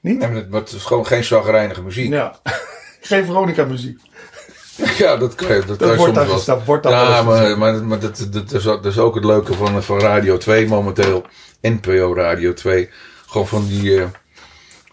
Speaker 2: Nee, maar dat, maar het is gewoon geen zagrijnige muziek. Ja,
Speaker 1: Ja. Geen Veronica muziek.
Speaker 2: dat kan dat, kan
Speaker 1: wordt
Speaker 2: soms
Speaker 1: daar
Speaker 2: wel.
Speaker 1: gesta- wordt daar wel
Speaker 2: Ja,
Speaker 1: eens
Speaker 2: maar, maar, maar dat, dat, dat, is ook, dat is ook het leuke van, van Radio 2 momenteel. NPO Radio 2. Gewoon van die, eh,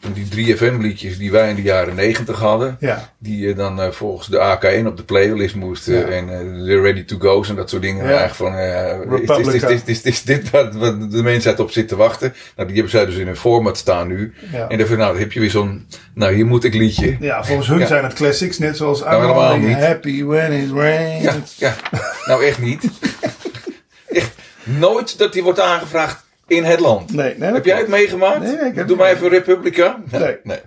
Speaker 2: van die 3FM liedjes die wij in de jaren 90 hadden.
Speaker 1: Ja.
Speaker 2: Die je dan eh, volgens de AK1 op de playlist moest. eh,
Speaker 1: Ja.
Speaker 2: En eh, de Ready to Go's en dat soort dingen.
Speaker 1: Ja.
Speaker 2: Eigenlijk van, eh, is, is, is,
Speaker 1: Republica.
Speaker 2: is, is, is dit wat, wat de mensheid op zit te wachten? Nou, die hebben zij dus in hun format staan nu.
Speaker 1: Ja.
Speaker 2: En dan, van, nou, dan heb je weer zo'n, nou hier moet ik liedje.
Speaker 1: Ja, volgens hun
Speaker 2: Ja. Nou,
Speaker 1: zijn het classics. Net zoals I'm
Speaker 2: helemaal
Speaker 1: only
Speaker 2: niet.
Speaker 1: happy when it rains.
Speaker 2: Ja, ja. nou echt niet. echt nooit dat die wordt aangevraagd in het land.
Speaker 1: Nee, nee, dat
Speaker 2: heb jij het meegemaakt?
Speaker 1: Nee, nee, ik heb
Speaker 2: Doe
Speaker 1: het
Speaker 2: maar even Republica.
Speaker 1: Nee.
Speaker 2: nee.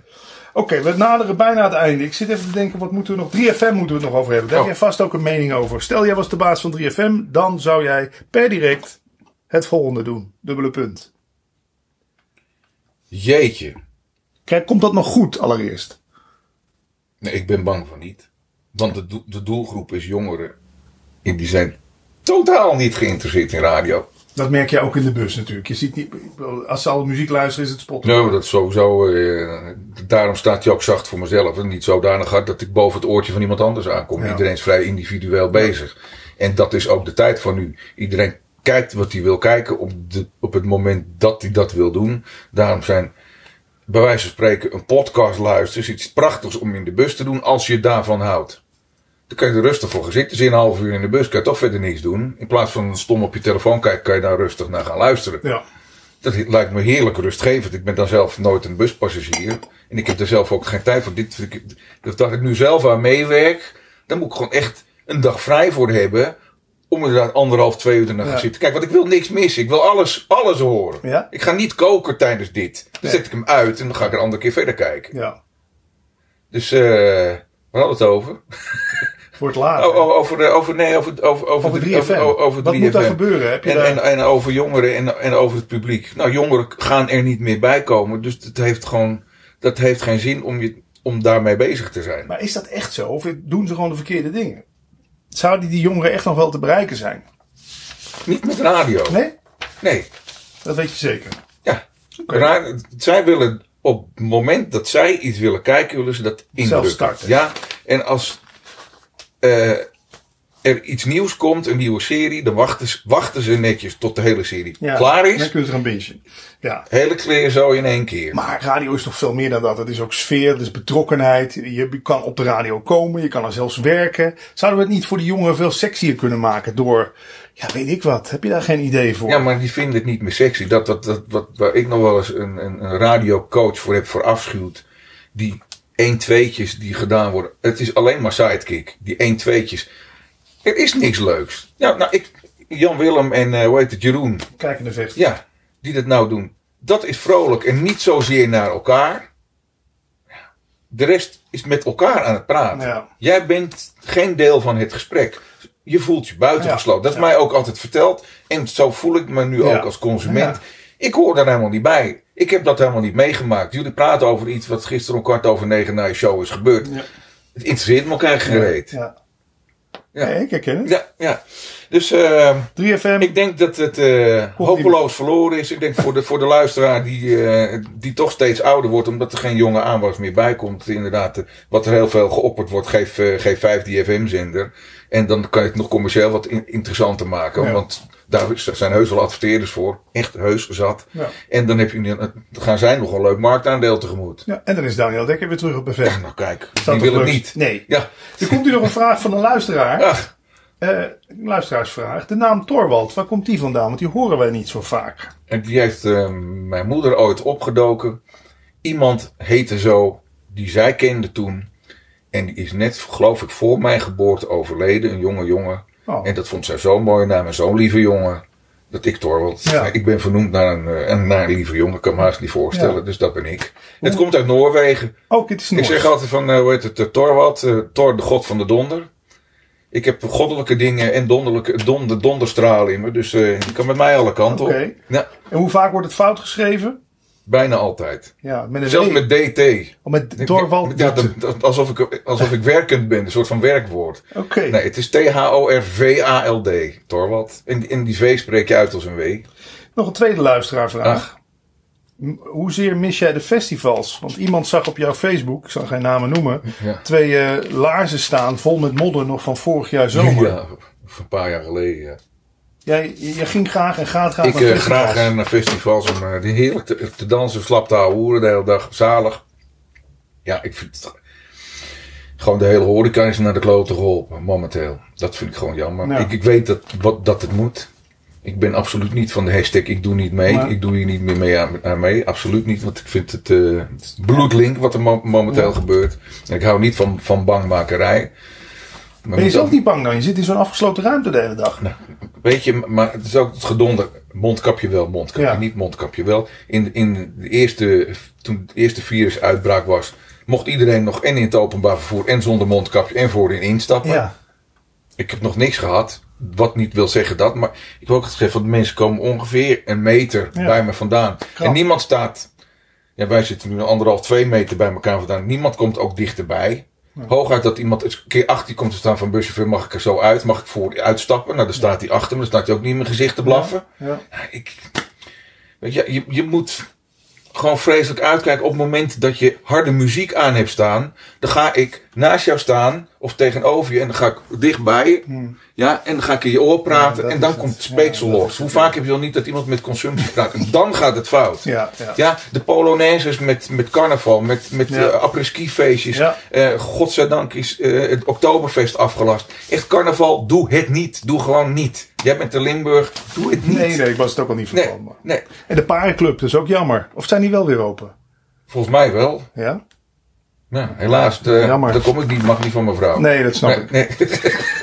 Speaker 1: Oké, we naderen bijna het einde. Ik zit even te denken, wat moeten we nog... 3FM moeten we het nog over hebben. Daar
Speaker 2: Oh.
Speaker 1: heb jij vast ook een mening over. Stel, jij was de baas van 3FM. Dan zou jij per direct het volgende doen. Dubbele punt.
Speaker 2: Jeetje.
Speaker 1: Kijk, komt dat nog goed allereerst?
Speaker 2: Nee, ik ben bang van niet. Want de, doel- de doelgroep is jongeren. En die zijn totaal niet geïnteresseerd in radio.
Speaker 1: Dat merk je ook in de bus natuurlijk. Je ziet niet... ik bedoel, Als ze al muziek luisteren, is het spot.
Speaker 2: Nee, maar Nou, dat is sowieso. eh, daarom staat je ook zacht voor mezelf. En niet zodanig hard dat ik boven het oortje van iemand anders aankom.
Speaker 1: Ja.
Speaker 2: Iedereen is vrij individueel bezig. En dat is ook de tijd van nu. Iedereen kijkt wat hij wil kijken op, de, op het moment dat hij dat wil doen. Daarom zijn bij wijze van spreken een podcast luisteren is iets prachtigs om in de bus te doen als je daarvan houdt. Dan kan je er rustig voor gaan zitten. Dus in een half uur in de bus kan je toch verder niks doen. In plaats van stom op je telefoon kijken, kan je daar rustig naar gaan luisteren.
Speaker 1: Ja.
Speaker 2: Dat lijkt me heerlijk rustgevend. Ik ben dan zelf nooit een buspassagier. En ik heb er zelf ook geen tijd voor. Dit, vind ik- dat dat ik nu zelf aan meewerk. Dan moet ik gewoon echt een dag vrij voor hebben. Om inderdaad anderhalf, twee uur erna te
Speaker 1: Ja.
Speaker 2: gaan zitten. Kijk, want ik wil niks missen. Ik wil alles, alles horen.
Speaker 1: Ja?
Speaker 2: Ik ga niet koken tijdens dit. Dan
Speaker 1: Nee.
Speaker 2: zet ik hem uit en dan ga ik een andere keer verder kijken.
Speaker 1: Ja.
Speaker 2: Dus, eh, waar hadden we het over?
Speaker 1: Wordt later.
Speaker 2: Oh, oh, over, eh, over, nee, over, over, over,
Speaker 1: Over
Speaker 2: drie-
Speaker 1: 3FM.
Speaker 2: Over, over
Speaker 1: Wat moet daar
Speaker 2: 3FM.
Speaker 1: gebeuren? Heb je
Speaker 2: En,
Speaker 1: daar...
Speaker 2: en, en over jongeren en, en over het publiek. Nou, jongeren gaan er niet meer bij komen. Dus dat heeft gewoon dat heeft geen zin om, je, om daarmee bezig te zijn.
Speaker 1: Maar is dat echt zo? Of doen ze gewoon de verkeerde dingen? Zouden die jongeren echt nog wel te bereiken zijn?
Speaker 2: Niet met radio. Nee.
Speaker 1: Nee? Dat weet je zeker.
Speaker 2: Ja. Ra- zij willen op het moment dat zij iets willen kijken, willen ze dat indrukken.
Speaker 1: starten.
Speaker 2: Ja. En als eh, er iets nieuws komt, een nieuwe serie, dan wachten ze, wachten ze netjes tot de hele serie klaar
Speaker 1: Dan
Speaker 2: is.
Speaker 1: kunnen ze gaan bingen. Ja.
Speaker 2: Hele kleer zo in één keer.
Speaker 1: Maar radio is toch veel meer dan dat. Het is ook sfeer, het is betrokkenheid. Je kan op de radio komen, je kan er zelfs werken. Zouden we het niet voor de jongeren veel sexier kunnen maken door, ja, weet ik wat. Heb je daar geen idee voor?
Speaker 2: Ja, maar die vinden het niet meer sexy. Dat, dat, dat, wat, waar ik nog wel eens een, een, een radiocoach voor heb verafschuwd. Die 1-2'tjes die gedaan worden. Het is alleen maar sidekick. Die 1-2'tjes. Er is niks leuks. Ja, nou, ik, Jan Willem en eh, hoe heet het, Jeroen.
Speaker 1: Kijk in de vecht.
Speaker 2: Ja, die dat nou doen. Dat is vrolijk en niet zozeer naar elkaar. De rest is met elkaar aan het praten.
Speaker 1: Ja.
Speaker 2: Jij bent geen deel van het gesprek. Je voelt je buitengesloten.
Speaker 1: Ja,
Speaker 2: Dat is
Speaker 1: ja.
Speaker 2: mij ook altijd verteld. En zo voel ik me nu
Speaker 1: Ja.
Speaker 2: ook als consument.
Speaker 1: Ja.
Speaker 2: Ik hoor daar helemaal niet bij. Ik heb dat helemaal niet meegemaakt. Jullie praten over iets wat gisteren om kwart over negen na je show is gebeurd.
Speaker 1: Ja.
Speaker 2: Het interesseert me ook eigenlijk geen reet.
Speaker 1: Ja. Ja. ik herken het.
Speaker 2: Ja, ja. Dus eh,
Speaker 1: 3FM,
Speaker 2: ik denk dat het eh,
Speaker 1: meer.
Speaker 2: hopeloos verloren is. Ik denk voor de, voor de luisteraar die, eh, die toch steeds ouder wordt, omdat er geen jonge aanwas meer bij komt. Inderdaad, eh, wat er heel veel geopperd wordt, geef, eh, geef 5 die FM-zender. En dan kan je het nog commercieel wat in- interessanter maken.
Speaker 1: Ja.
Speaker 2: Want daar is- zijn heus wel adverteerders voor. Echt heus zat.
Speaker 1: Ja.
Speaker 2: En dan, heb je, nu- dan gaan zij nog een leuk marktaandeel tegemoet.
Speaker 1: ja, en dan is Daniel Dekker weer terug op BV.
Speaker 2: Ja, nou kijk, die wil het niet.
Speaker 1: Nee.
Speaker 2: Ja,
Speaker 1: Er komt hier nog een vraag van een luisteraar.
Speaker 2: ach,
Speaker 1: Eh, een luisteraarsvraag. De naam Torwald, waar komt die vandaan? Want die horen wij niet zo vaak.
Speaker 2: En die heeft eh, mijn moeder ooit opgedoken. Iemand heette zo, die zij kende toen. En die is net, geloof ik, voor mijn geboorte overleden. Een jonge jongen.
Speaker 1: Oh.
Speaker 2: En dat vond zij zo'n mooie naam en zo'n lieve jongen. Dat ik Torwald.
Speaker 1: Ja.
Speaker 2: Ik ben vernoemd naar een, eh, een- naar een lieve jongen. Ik kan me haast niet voorstellen.
Speaker 1: Ja.
Speaker 2: Dus dat ben ik. Het komt uit Noorwegen.
Speaker 1: Ook het is
Speaker 2: Ik
Speaker 1: Noors.
Speaker 2: zeg altijd van, eh, hoe heet het, eh, Torwald, eh, Thor de god van de donder. Ik heb goddelijke dingen en donderlijke, donder, donderstralen in me. Dus eh je kan met mij alle kanten op.
Speaker 1: Oké.
Speaker 2: Ja,
Speaker 1: En hoe vaak wordt het fout geschreven?
Speaker 2: bijna altijd.
Speaker 1: Ja, met een
Speaker 2: Zelfs
Speaker 1: W.
Speaker 2: met DT.
Speaker 1: Oh, met Torwald.
Speaker 2: Ja, dat- dat- alsof, ik, alsof ik werkend ben. Een soort van werkwoord.
Speaker 1: Oké.
Speaker 2: Nee, het is T-H-O-R-V-A-L-D. Torwald. En, en die V spreek je uit als een W.
Speaker 1: Nog een tweede
Speaker 2: Ah.
Speaker 1: luisteraarvraag. M- Hoezeer mis jij de festivals? Want iemand zag op jouw Facebook, ik zal geen namen noemen,
Speaker 2: Ja.
Speaker 1: twee eh, laarzen staan vol met modder nog van vorig jaar zomer.
Speaker 2: Ja, of een paar jaar geleden. ja.
Speaker 1: Jij, jij ging graag en gaat graag
Speaker 2: Ik
Speaker 1: naar
Speaker 2: eh,
Speaker 1: festivals.
Speaker 2: graag eh, naar festivals om eh, die heerlijk te, te dansen, slap te houden de hele dag. Zalig. Ja, ik vind het... Gewoon de hele horeca is naar de klote geholpen, momenteel. Dat vind ik gewoon jammer.
Speaker 1: Ja.
Speaker 2: Ik, ik weet dat, wat, dat het moet. Ik ben absoluut niet van de hashtag ik doe niet mee.
Speaker 1: Maar-
Speaker 2: Ik doe hier niet meer mee aan, aan mee. Absoluut niet, want ik vind het eh, bloedlink wat er mo- momenteel gebeurt. En ik hou niet van, van bangmakerij. Maar
Speaker 1: Ben je
Speaker 2: moet
Speaker 1: zelf
Speaker 2: ook-
Speaker 1: niet bang dan? Je zit in zo'n afgesloten ruimte de hele dag.
Speaker 2: Weet je, maar het is ook het gedonder. Mondkapje wel, mondkapje
Speaker 1: Ja.
Speaker 2: niet, mondkapje wel. In, in de eerste, toen het eerste virusuitbraak was, mocht iedereen nog en in het openbaar vervoer en zonder mondkapje en voorin instappen.
Speaker 1: Ja.
Speaker 2: Ik heb nog niks gehad, wat niet wil zeggen dat. Maar ik wil ook het gegeven dat mensen komen ongeveer een meter
Speaker 1: Ja.
Speaker 2: bij me vandaan.
Speaker 1: Knap.
Speaker 2: En niemand staat, ja, wij zitten nu anderhalf, twee meter bij elkaar vandaan. Niemand komt ook dichterbij. Hooguit dat iemand eens een keer achter je komt te staan van buschauffeur, mag ik er zo uit? Mag ik voor uitstappen? Nou, dan staat hij achter me, dan staat hij ook niet in mijn gezicht te blaffen.
Speaker 1: ja.
Speaker 2: Ja, ik, weet je, je, je moet gewoon vreselijk uitkijken op het moment dat je harde muziek aan hebt staan. Dan ga ik naast jou staan of tegenover je en dan ga ik dichtbij je. Ja, en dan ga ik in je oor praten
Speaker 1: Hmm. dat
Speaker 2: en
Speaker 1: is
Speaker 2: dan
Speaker 1: het.
Speaker 2: komt het speeksel
Speaker 1: Ja, dat is
Speaker 2: los. Hoe vaak heb je dan niet dat iemand met consumptie praat? En dan gaat het fout.
Speaker 1: Ja, ja.
Speaker 2: Ja, de Polonaises met, met carnaval, met, met
Speaker 1: Ja.
Speaker 2: eh, apres-ski feestjes.
Speaker 1: Ja.
Speaker 2: Eh, godzijdank is eh, het Oktoberfest afgelast. Echt carnaval, doe het niet. Doe gewoon niet. Jij bent de Limburg, doe het niet.
Speaker 1: Nee, nee, ik was het ook al niet van
Speaker 2: Nee,
Speaker 1: plan. maar-
Speaker 2: nee,
Speaker 1: En de parenclub, dat is ook jammer. Of zijn die wel weer open?
Speaker 2: volgens mij wel.
Speaker 1: Ja?
Speaker 2: Ja, helaas, eh,
Speaker 1: Jammer.
Speaker 2: daar kom ik niet, mag niet van mevrouw.
Speaker 1: Nee, dat snap ik.
Speaker 2: Oh. Nee, nee.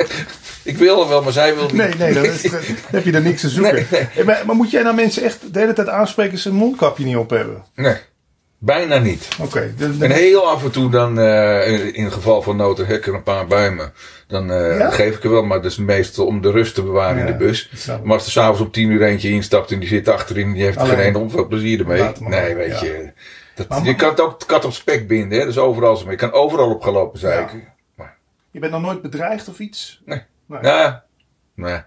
Speaker 2: ik wil er wel, maar zij wil niet.
Speaker 1: Nee, nee, dat is, dan heb je er niks te zoeken.
Speaker 2: Nee,
Speaker 1: Eh, Maar, maar moet jij nou mensen echt de hele tijd aanspreken dat ze een mondkapje niet op hebben?
Speaker 2: Nee, bijna niet.
Speaker 1: Oké. de- de-
Speaker 2: En heel af en toe dan, eh, in het geval van nood, heb ik er een paar bij me. Dan eh,
Speaker 1: Ja?
Speaker 2: geef ik er wel, maar dat is meestal om de rust te bewaren in
Speaker 1: Ja,
Speaker 2: de bus.
Speaker 1: dat snap ik.
Speaker 2: Maar als er s'avonds om tien uur eentje instapt en die zit achterin, die heeft er
Speaker 1: Alleen.
Speaker 2: geen enkel veel plezier ermee.
Speaker 1: Laat maar.
Speaker 2: Nee, weet
Speaker 1: Ja.
Speaker 2: je. Dat,
Speaker 1: Maar-
Speaker 2: je kan het ook kat op spek binden, hè? dat is overal zo mee. Je kan overal opgelopen zijn. Maar,
Speaker 1: Je bent nog nooit bedreigd of iets?
Speaker 2: nee.
Speaker 1: Nee.
Speaker 2: Ja, Nou, nee.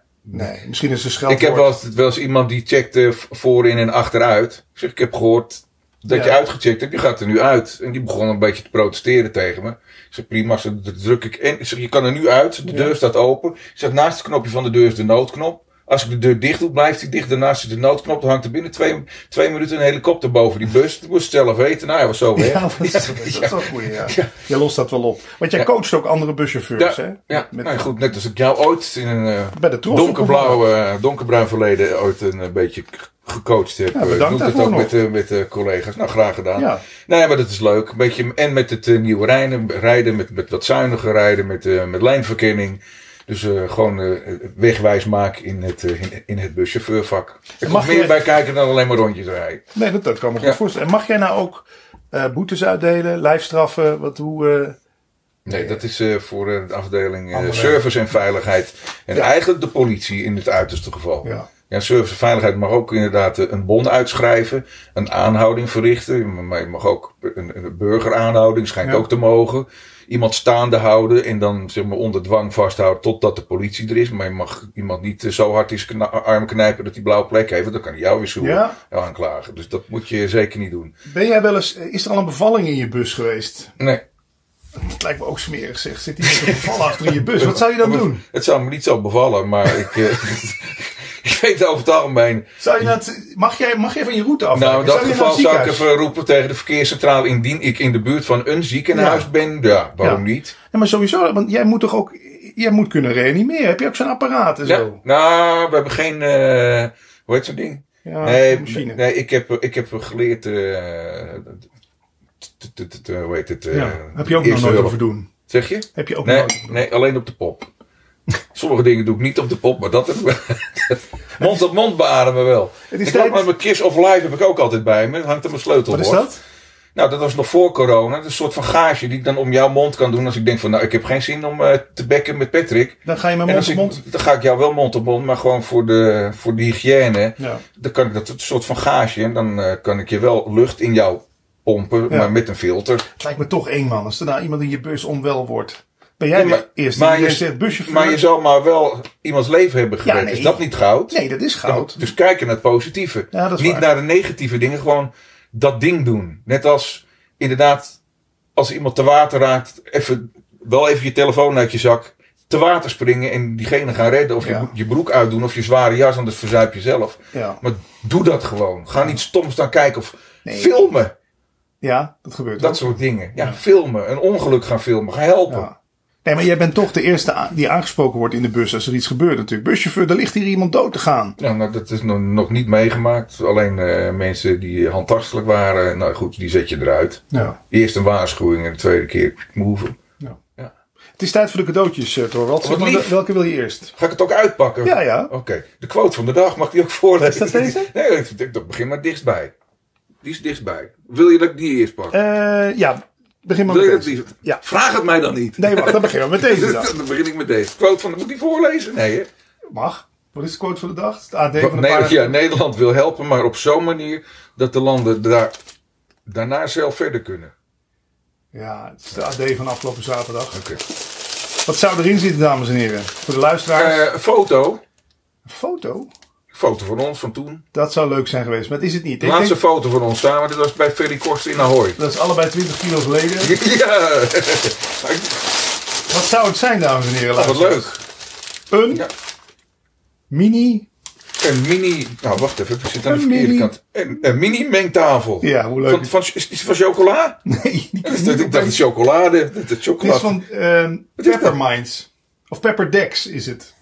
Speaker 1: Nee, misschien is ze
Speaker 2: Ik
Speaker 1: scheldwoord.
Speaker 2: heb wel eens, wel eens iemand die checkt eh, v- voorin en achteruit. Ik zeg, ik heb gehoord dat
Speaker 1: Ja.
Speaker 2: je uitgecheckt hebt. Je gaat er nu uit. En die begon een beetje te protesteren tegen me. Ik zeg, prima. ze- Dan druk ik in. Ik zeg, je kan er nu uit. De deur staat open. Ik zeg, naast het knopje van de deur is de noodknop. Als ik de deur dicht doe, blijft die dicht. Daarnaast is de noodknop. Dan hangt er binnen twee, twee minuten een helikopter boven die bus. Dat moest het zelf weten. Nou, hij was zo weg.
Speaker 1: Ja, dat is, dat is wel goed, ja. Jij lost dat wel op. Want jij coacht ook andere buschauffeurs,
Speaker 2: Ja,
Speaker 1: hè?
Speaker 2: ja.
Speaker 1: Met-
Speaker 2: nou, goed, net als ik jou ooit in een eh,
Speaker 1: Bij de Tros
Speaker 2: donkerblauw, eh, donkerbruin verleden ooit een eh, beetje k- gecoacht heb.
Speaker 1: Ja,
Speaker 2: Eh,
Speaker 1: bedankt
Speaker 2: Doe ik dat
Speaker 1: daarvoor
Speaker 2: ook
Speaker 1: nog.
Speaker 2: met, eh, met eh, collega's. Nou, graag gedaan.
Speaker 1: Ja.
Speaker 2: Nee, maar dat is leuk. Een beetje, en met het eh, nieuwe rijden, rijden met, met wat zuiniger rijden, met, eh, met lijnverkenning. Dus eh, gewoon eh, wegwijs maken in het, eh, in, in het buschauffeurvak. Er
Speaker 1: Mag
Speaker 2: komt meer
Speaker 1: je-
Speaker 2: bij kijken dan alleen maar rondjes rijden.
Speaker 1: Nee, dat, dat kan me goed
Speaker 2: Ja.
Speaker 1: voorstellen. En mag jij nou ook eh, boetes uitdelen, lijfstraffen? Wat, hoe, eh,
Speaker 2: Nee, dat is eh, voor eh, de afdeling eh,
Speaker 1: Andere-
Speaker 2: service en veiligheid. En
Speaker 1: Ja.
Speaker 2: eigenlijk de politie in het uiterste geval.
Speaker 1: Ja.
Speaker 2: Ja, serviceveiligheid mag ook inderdaad eh, een bon uitschrijven, een aanhouding verrichten. Maar je mag ook een, een burgeraanhouding, schijnt
Speaker 1: Ja.
Speaker 2: ook te mogen. Iemand staande houden en dan zeg maar, onder dwang vasthouden totdat de politie er is. Maar je mag iemand niet eh, zo hard in zijn kna- arm knijpen dat hij blauwe plek heeft. want Dan kan hij jou weer zoeken
Speaker 1: Ja.
Speaker 2: jou aanklagen. Dus dat moet je zeker niet doen.
Speaker 1: Ben jij wel eens, eh, is er al een bevalling in je bus geweest?
Speaker 2: Nee.
Speaker 1: Dat lijkt me ook smerig zeg. Zit iemand een bevallen achter in je bus? Wat zou je dan doen?
Speaker 2: Het zou me niet zo bevallen, maar ik, eh, ik weet over het algemeen.
Speaker 1: Zou je dat, mag, jij, mag jij van je route af?
Speaker 2: Nou, in dat geval zou ik even roepen tegen de verkeerscentrale. Indien ik in de buurt van een ziekenhuis
Speaker 1: Ja.
Speaker 2: ben, ja, waarom niet?
Speaker 1: Ja, maar sowieso, want jij moet toch ook... Jij moet kunnen reanimeren. Heb je ook zo'n apparaat en
Speaker 2: Ja,
Speaker 1: zo?
Speaker 2: nou, we hebben geen. eh, hoe heet zo'n ding?
Speaker 1: Ja,
Speaker 2: nee,
Speaker 1: zo'n Ah, machine.
Speaker 2: nee ik, heb, ik heb geleerd. eh, t- t- t- t- hoe heet het? eh,
Speaker 1: ja, heb je ook nog
Speaker 2: eerste
Speaker 1: nooit
Speaker 2: hulp.
Speaker 1: over doen.
Speaker 2: Zeg je?
Speaker 1: Heb je ook
Speaker 2: Nee,
Speaker 1: nooit over doen.
Speaker 2: nee, alleen op de pop. Sommige dingen doe ik niet op de pop, maar dat heb ik wel. Mond op mond beademen wel.
Speaker 1: Het is
Speaker 2: Ik loop
Speaker 1: tijd-
Speaker 2: met mijn Kiss of Life heb ik ook altijd bij me. Dat hangt aan mijn sleutelbord.
Speaker 1: Wat is dat?
Speaker 2: Nou, dat was nog voor corona. Dat is een soort van gaasje die ik dan om jouw mond kan doen. Als ik denk van, nou, ik heb geen zin om eh, te bekken met Patrick.
Speaker 1: Dan ga je met
Speaker 2: En als
Speaker 1: mond op
Speaker 2: ik,
Speaker 1: mond.
Speaker 2: dan ga ik jou wel mond op mond, maar gewoon voor de, voor de hygiëne.
Speaker 1: Ja.
Speaker 2: Dan kan ik dat een soort van gaasje. En dan eh, kan ik je wel lucht in jou pompen,
Speaker 1: Ja.
Speaker 2: maar met een filter.
Speaker 1: Het lijkt me toch eng, man. Als er nou iemand in je bus onwel wordt. Ben jij
Speaker 2: Ja, maar-
Speaker 1: de eerste
Speaker 2: maar
Speaker 1: die
Speaker 2: je-
Speaker 1: je zegt buschauffeur?
Speaker 2: Maar je zou maar wel iemands leven hebben gered.
Speaker 1: nee.
Speaker 2: Is dat niet goud?
Speaker 1: Nee, dat is goud.
Speaker 2: Dus kijken naar het positieve.
Speaker 1: Ja, dat is
Speaker 2: niet
Speaker 1: waar.
Speaker 2: naar de negatieve dingen, gewoon dat ding doen. Net als inderdaad, als iemand te water raakt, even, wel even je telefoon uit je zak. Te water springen en diegene gaan redden. Of je,
Speaker 1: Ja.
Speaker 2: broek- je broek uitdoen of je zware jas, anders verzuip je zelf.
Speaker 1: Ja.
Speaker 2: Maar doe dat gewoon. Ga niet stom staan kijken of
Speaker 1: Nee.
Speaker 2: filmen.
Speaker 1: ja, dat gebeurt
Speaker 2: Dat soort dingen. Ja, filmen. Een ongeluk gaan filmen. Ga helpen.
Speaker 1: Ja. Nee, maar jij bent toch de eerste a- die aangesproken wordt in de bus als er iets gebeurt natuurlijk. Buschauffeur, er ligt hier iemand dood te gaan.
Speaker 2: Ja, nou, dat is nog, nog niet meegemaakt. Alleen eh, mensen die handtastelijk waren, nou goed, die zet je eruit.
Speaker 1: Ja.
Speaker 2: Eerst een waarschuwing en de tweede keer move.
Speaker 1: Het is tijd voor de cadeautjes, eh, Torwald. Zeg
Speaker 2: Wat
Speaker 1: maar,
Speaker 2: lief.
Speaker 1: welke wil je eerst?
Speaker 2: Ga ik het ook uitpakken?
Speaker 1: Ja, ja.
Speaker 2: Oké. De quote van de dag, mag ik die ook voorlezen?
Speaker 1: Is dat deze?
Speaker 2: Nee, ik- ik ik begin maar dichtstbij. Die is dichtstbij. Wil je dat ik die eerst pak?
Speaker 1: Eh, ja, begin maar
Speaker 2: Wil
Speaker 1: met
Speaker 2: je dat
Speaker 1: deze.
Speaker 2: die...
Speaker 1: Ja.
Speaker 2: Vraag het mij dan niet.
Speaker 1: Nee, wacht, dan beginnen we met deze dan.
Speaker 2: dan begin ik met deze. Quote van de... Moet ik die voorlezen? Nee, hè?
Speaker 1: Mag. Wat is de quote van de dag? Het AD van
Speaker 2: Wa-
Speaker 1: een
Speaker 2: Nee,
Speaker 1: paar...
Speaker 2: ja, Nederland wil helpen, maar op zo'n manier dat de landen daar, daarna zelf verder kunnen.
Speaker 1: Ja, het is de AD van afgelopen zaterdag.
Speaker 2: Oké.
Speaker 1: Wat zou erin zitten, dames en heren? Voor de luisteraars.
Speaker 2: Eh, foto.
Speaker 1: Een foto?
Speaker 2: Foto van ons van toen.
Speaker 1: Dat zou leuk zijn geweest, maar dat is het niet.
Speaker 2: De
Speaker 1: Ik
Speaker 2: laatste
Speaker 1: denk,
Speaker 2: foto van ons samen, dat was bij Ferry Korsten in Ahoy.
Speaker 1: dat is allebei 20 kilo geleden.
Speaker 2: Ja,
Speaker 1: Wat zou het zijn, dames en heren?
Speaker 2: Oh, wat
Speaker 1: luisteraars?
Speaker 2: leuk.
Speaker 1: Een
Speaker 2: Ja.
Speaker 1: mini...
Speaker 2: Een mini. Nou, wacht even, ik zit aan de
Speaker 1: Een
Speaker 2: verkeerde
Speaker 1: mini-
Speaker 2: kant. Een, een mini mengtafel.
Speaker 1: Ja, hoe leuk.
Speaker 2: Van, van, is die van chocola?
Speaker 1: Nee, die kan
Speaker 2: Dat
Speaker 1: je
Speaker 2: is-
Speaker 1: niet
Speaker 2: ik dacht
Speaker 1: opeens-
Speaker 2: het chocolade. Dat is
Speaker 1: Het
Speaker 2: chocolade.
Speaker 1: is van ehm
Speaker 2: is dat?
Speaker 1: Pepperminds. Of Pepperdex is het.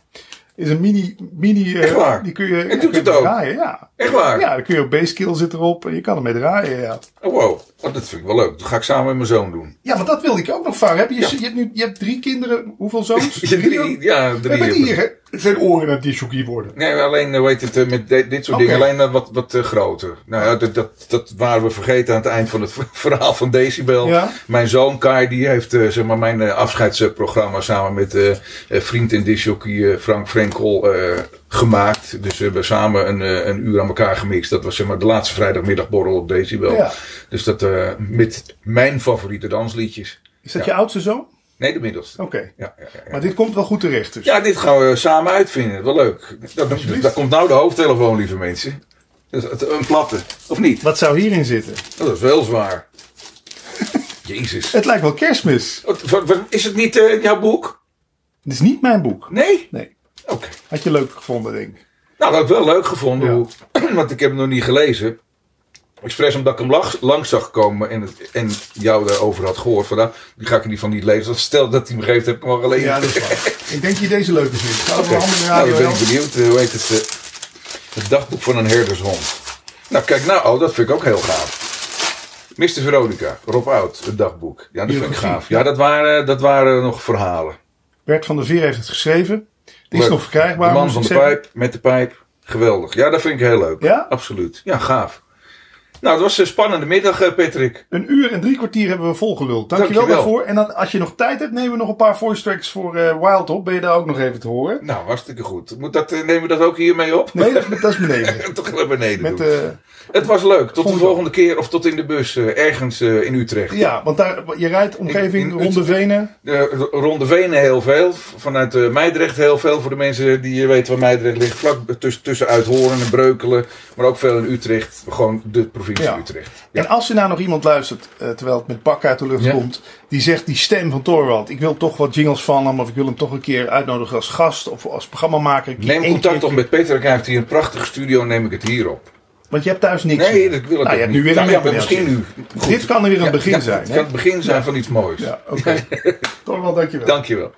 Speaker 1: Is een mini... mini eh,
Speaker 2: Echt waar?
Speaker 1: Die kun je, ja,
Speaker 2: doet
Speaker 1: kun je
Speaker 2: het ook?
Speaker 1: draaien, ja.
Speaker 2: Echt waar?
Speaker 1: Ja, dan kun je ook basekill zit erop. en Je kan ermee draaien, ja.
Speaker 2: Oh, wow. Oh, dat vind ik wel leuk. Dat ga ik samen met mijn zoon doen.
Speaker 1: Ja, maar dat wilde ik ook nog vragen. Heb je, je, hebt nu, je hebt drie kinderen. Hoeveel zoons?
Speaker 2: Ja, drie. Ja,
Speaker 1: We hebben
Speaker 2: drie. hebben
Speaker 1: hier,
Speaker 2: we.
Speaker 1: hè? Het zijn oren naar die shoekie worden.
Speaker 2: Nee, alleen eh, weet het, eh, met de- dit soort
Speaker 1: Oké.
Speaker 2: dingen, alleen eh, wat, wat eh, groter. Nou ja, dat, dat, dat waren we vergeten aan het eind van het verhaal van Decibel.
Speaker 1: Ja.
Speaker 2: Mijn zoon Kai, die heeft eh, zeg maar, mijn eh, afscheidsprogramma samen met eh, eh, vriend en disjockey eh, Frank Frenkel eh, gemaakt. Dus we hebben samen een, eh, een uur aan elkaar gemixt. Dat was zeg maar, de laatste vrijdagmiddagborrel op Decibel.
Speaker 1: Ja.
Speaker 2: Dus dat eh, met mijn favoriete dansliedjes.
Speaker 1: Is dat
Speaker 2: Ja.
Speaker 1: je oudste zoon?
Speaker 2: Nee, de middelste.
Speaker 1: Oké.
Speaker 2: Ja, ja, ja, ja.
Speaker 1: Maar dit komt wel goed terecht dus.
Speaker 2: Ja, dit gaan we samen uitvinden. Wel leuk. Dat,
Speaker 1: Alsjeblieft.
Speaker 2: daar komt nou de hoofdtelefoon, lieve mensen. Dat is het- Een platte, of niet?
Speaker 1: Wat zou hierin zitten?
Speaker 2: Dat is wel zwaar. Jezus.
Speaker 1: Het lijkt wel kerstmis.
Speaker 2: Wat- wat- wat- Is het niet eh, jouw boek?
Speaker 1: Het is niet mijn boek.
Speaker 2: Nee?
Speaker 1: Nee.
Speaker 2: Oké.
Speaker 1: Had je leuk gevonden, denk ik.
Speaker 2: Nou, dat heb ik wel leuk gevonden.
Speaker 1: Ja.
Speaker 2: Hoe, want ik heb hem nog niet gelezen. Expres omdat ik hem lang- langs zag komen en, het, en jou daarover had gehoord. Vandaag die ga ik in ieder geval niet lezen. Stel dat hij me geeft, heb ik hem al gelezen.
Speaker 1: Ja, dat is waar. ik denk dat je deze leuker vindt. Ga over
Speaker 2: Oké,
Speaker 1: een andere
Speaker 2: Nou,
Speaker 1: radio.
Speaker 2: dan ben ik
Speaker 1: wel.
Speaker 2: benieuwd. eh, Hoe heet het? eh, het dagboek van een herdershond. Nou, kijk nou. Oh, dat vind ik ook heel gaaf. Mr. Veronica, Rob Oud, het dagboek. Ja, dat vind ik
Speaker 1: Biografie.
Speaker 2: gaaf. Ja, dat waren, dat waren nog verhalen.
Speaker 1: Bert van der Veer heeft het geschreven. Die is
Speaker 2: Leuk.
Speaker 1: nog verkrijgbaar.
Speaker 2: De man
Speaker 1: moest
Speaker 2: van
Speaker 1: ik
Speaker 2: de
Speaker 1: zeggen.
Speaker 2: pijp, met de pijp. Geweldig. Ja, dat vind ik heel leuk.
Speaker 1: Ja?
Speaker 2: Absoluut. Ja, gaaf. Nou, het was een spannende middag, eh, Patrick.
Speaker 1: Een uur en drie kwartier hebben we volgeluld. Dankjewel,
Speaker 2: Dankjewel.
Speaker 1: daarvoor. En dan, als je nog tijd hebt, nemen we nog een paar voice tracks voor eh, Wild op. Ben je daar ook nog even te horen?
Speaker 2: Nou, hartstikke goed. Moet dat, eh, nemen we dat ook hiermee op?
Speaker 1: Nee, dat is, dat is beneden.
Speaker 2: Toch naar beneden
Speaker 1: Met,
Speaker 2: doen.
Speaker 1: eh,
Speaker 2: Het was leuk. Tot
Speaker 1: Vond
Speaker 2: de
Speaker 1: ik ook.
Speaker 2: volgende keer of tot in de bus eh, ergens eh, in Utrecht.
Speaker 1: ja, want daar, je rijdt omgeving
Speaker 2: In- in
Speaker 1: rond de Venen.
Speaker 2: Eh, r- rond de Venen heel veel. v- Vanuit eh, Mijdrecht heel veel. Voor de mensen die eh, weten waar Mijdrecht ligt. Vlak tussen, tussen Uithoren en Breukelen. Maar ook veel in Utrecht. Gewoon de provincie
Speaker 1: Ja.
Speaker 2: Utrecht. Ja.
Speaker 1: En als er nou nog iemand luistert, eh, terwijl het met pak uit de lucht
Speaker 2: Ja.
Speaker 1: komt, die zegt die stem van Torwald, ik wil toch wat jingles van hem, of ik wil hem toch een keer uitnodigen als gast of als programmamaker. Die
Speaker 2: Neem
Speaker 1: één
Speaker 2: contact
Speaker 1: keer-
Speaker 2: op met Peter. Hij heeft hier een prachtige studio. Neem ik het hier op.
Speaker 1: Want je hebt thuis niks.
Speaker 2: Nee,
Speaker 1: meer.
Speaker 2: dat wil ik
Speaker 1: nou,
Speaker 2: ook
Speaker 1: je hebt
Speaker 2: niet.
Speaker 1: nu weer een
Speaker 2: Nou ja, maar
Speaker 1: mengpaneeltje.
Speaker 2: misschien nu. Goed.
Speaker 1: Dit kan er weer een
Speaker 2: Ja,
Speaker 1: begin
Speaker 2: ja,
Speaker 1: zijn.
Speaker 2: Het
Speaker 1: hè?
Speaker 2: kan het begin zijn van iets moois.
Speaker 1: Ja, oké. Torwald, dankjewel.
Speaker 2: Dankjewel.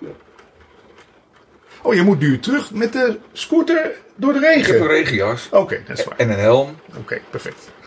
Speaker 1: Oh, je moet nu terug met de scooter door de
Speaker 2: Ik heb
Speaker 1: regen.
Speaker 2: een regenjas.
Speaker 1: Oké, dat is waar.
Speaker 2: En een helm.
Speaker 1: Oké, perfect.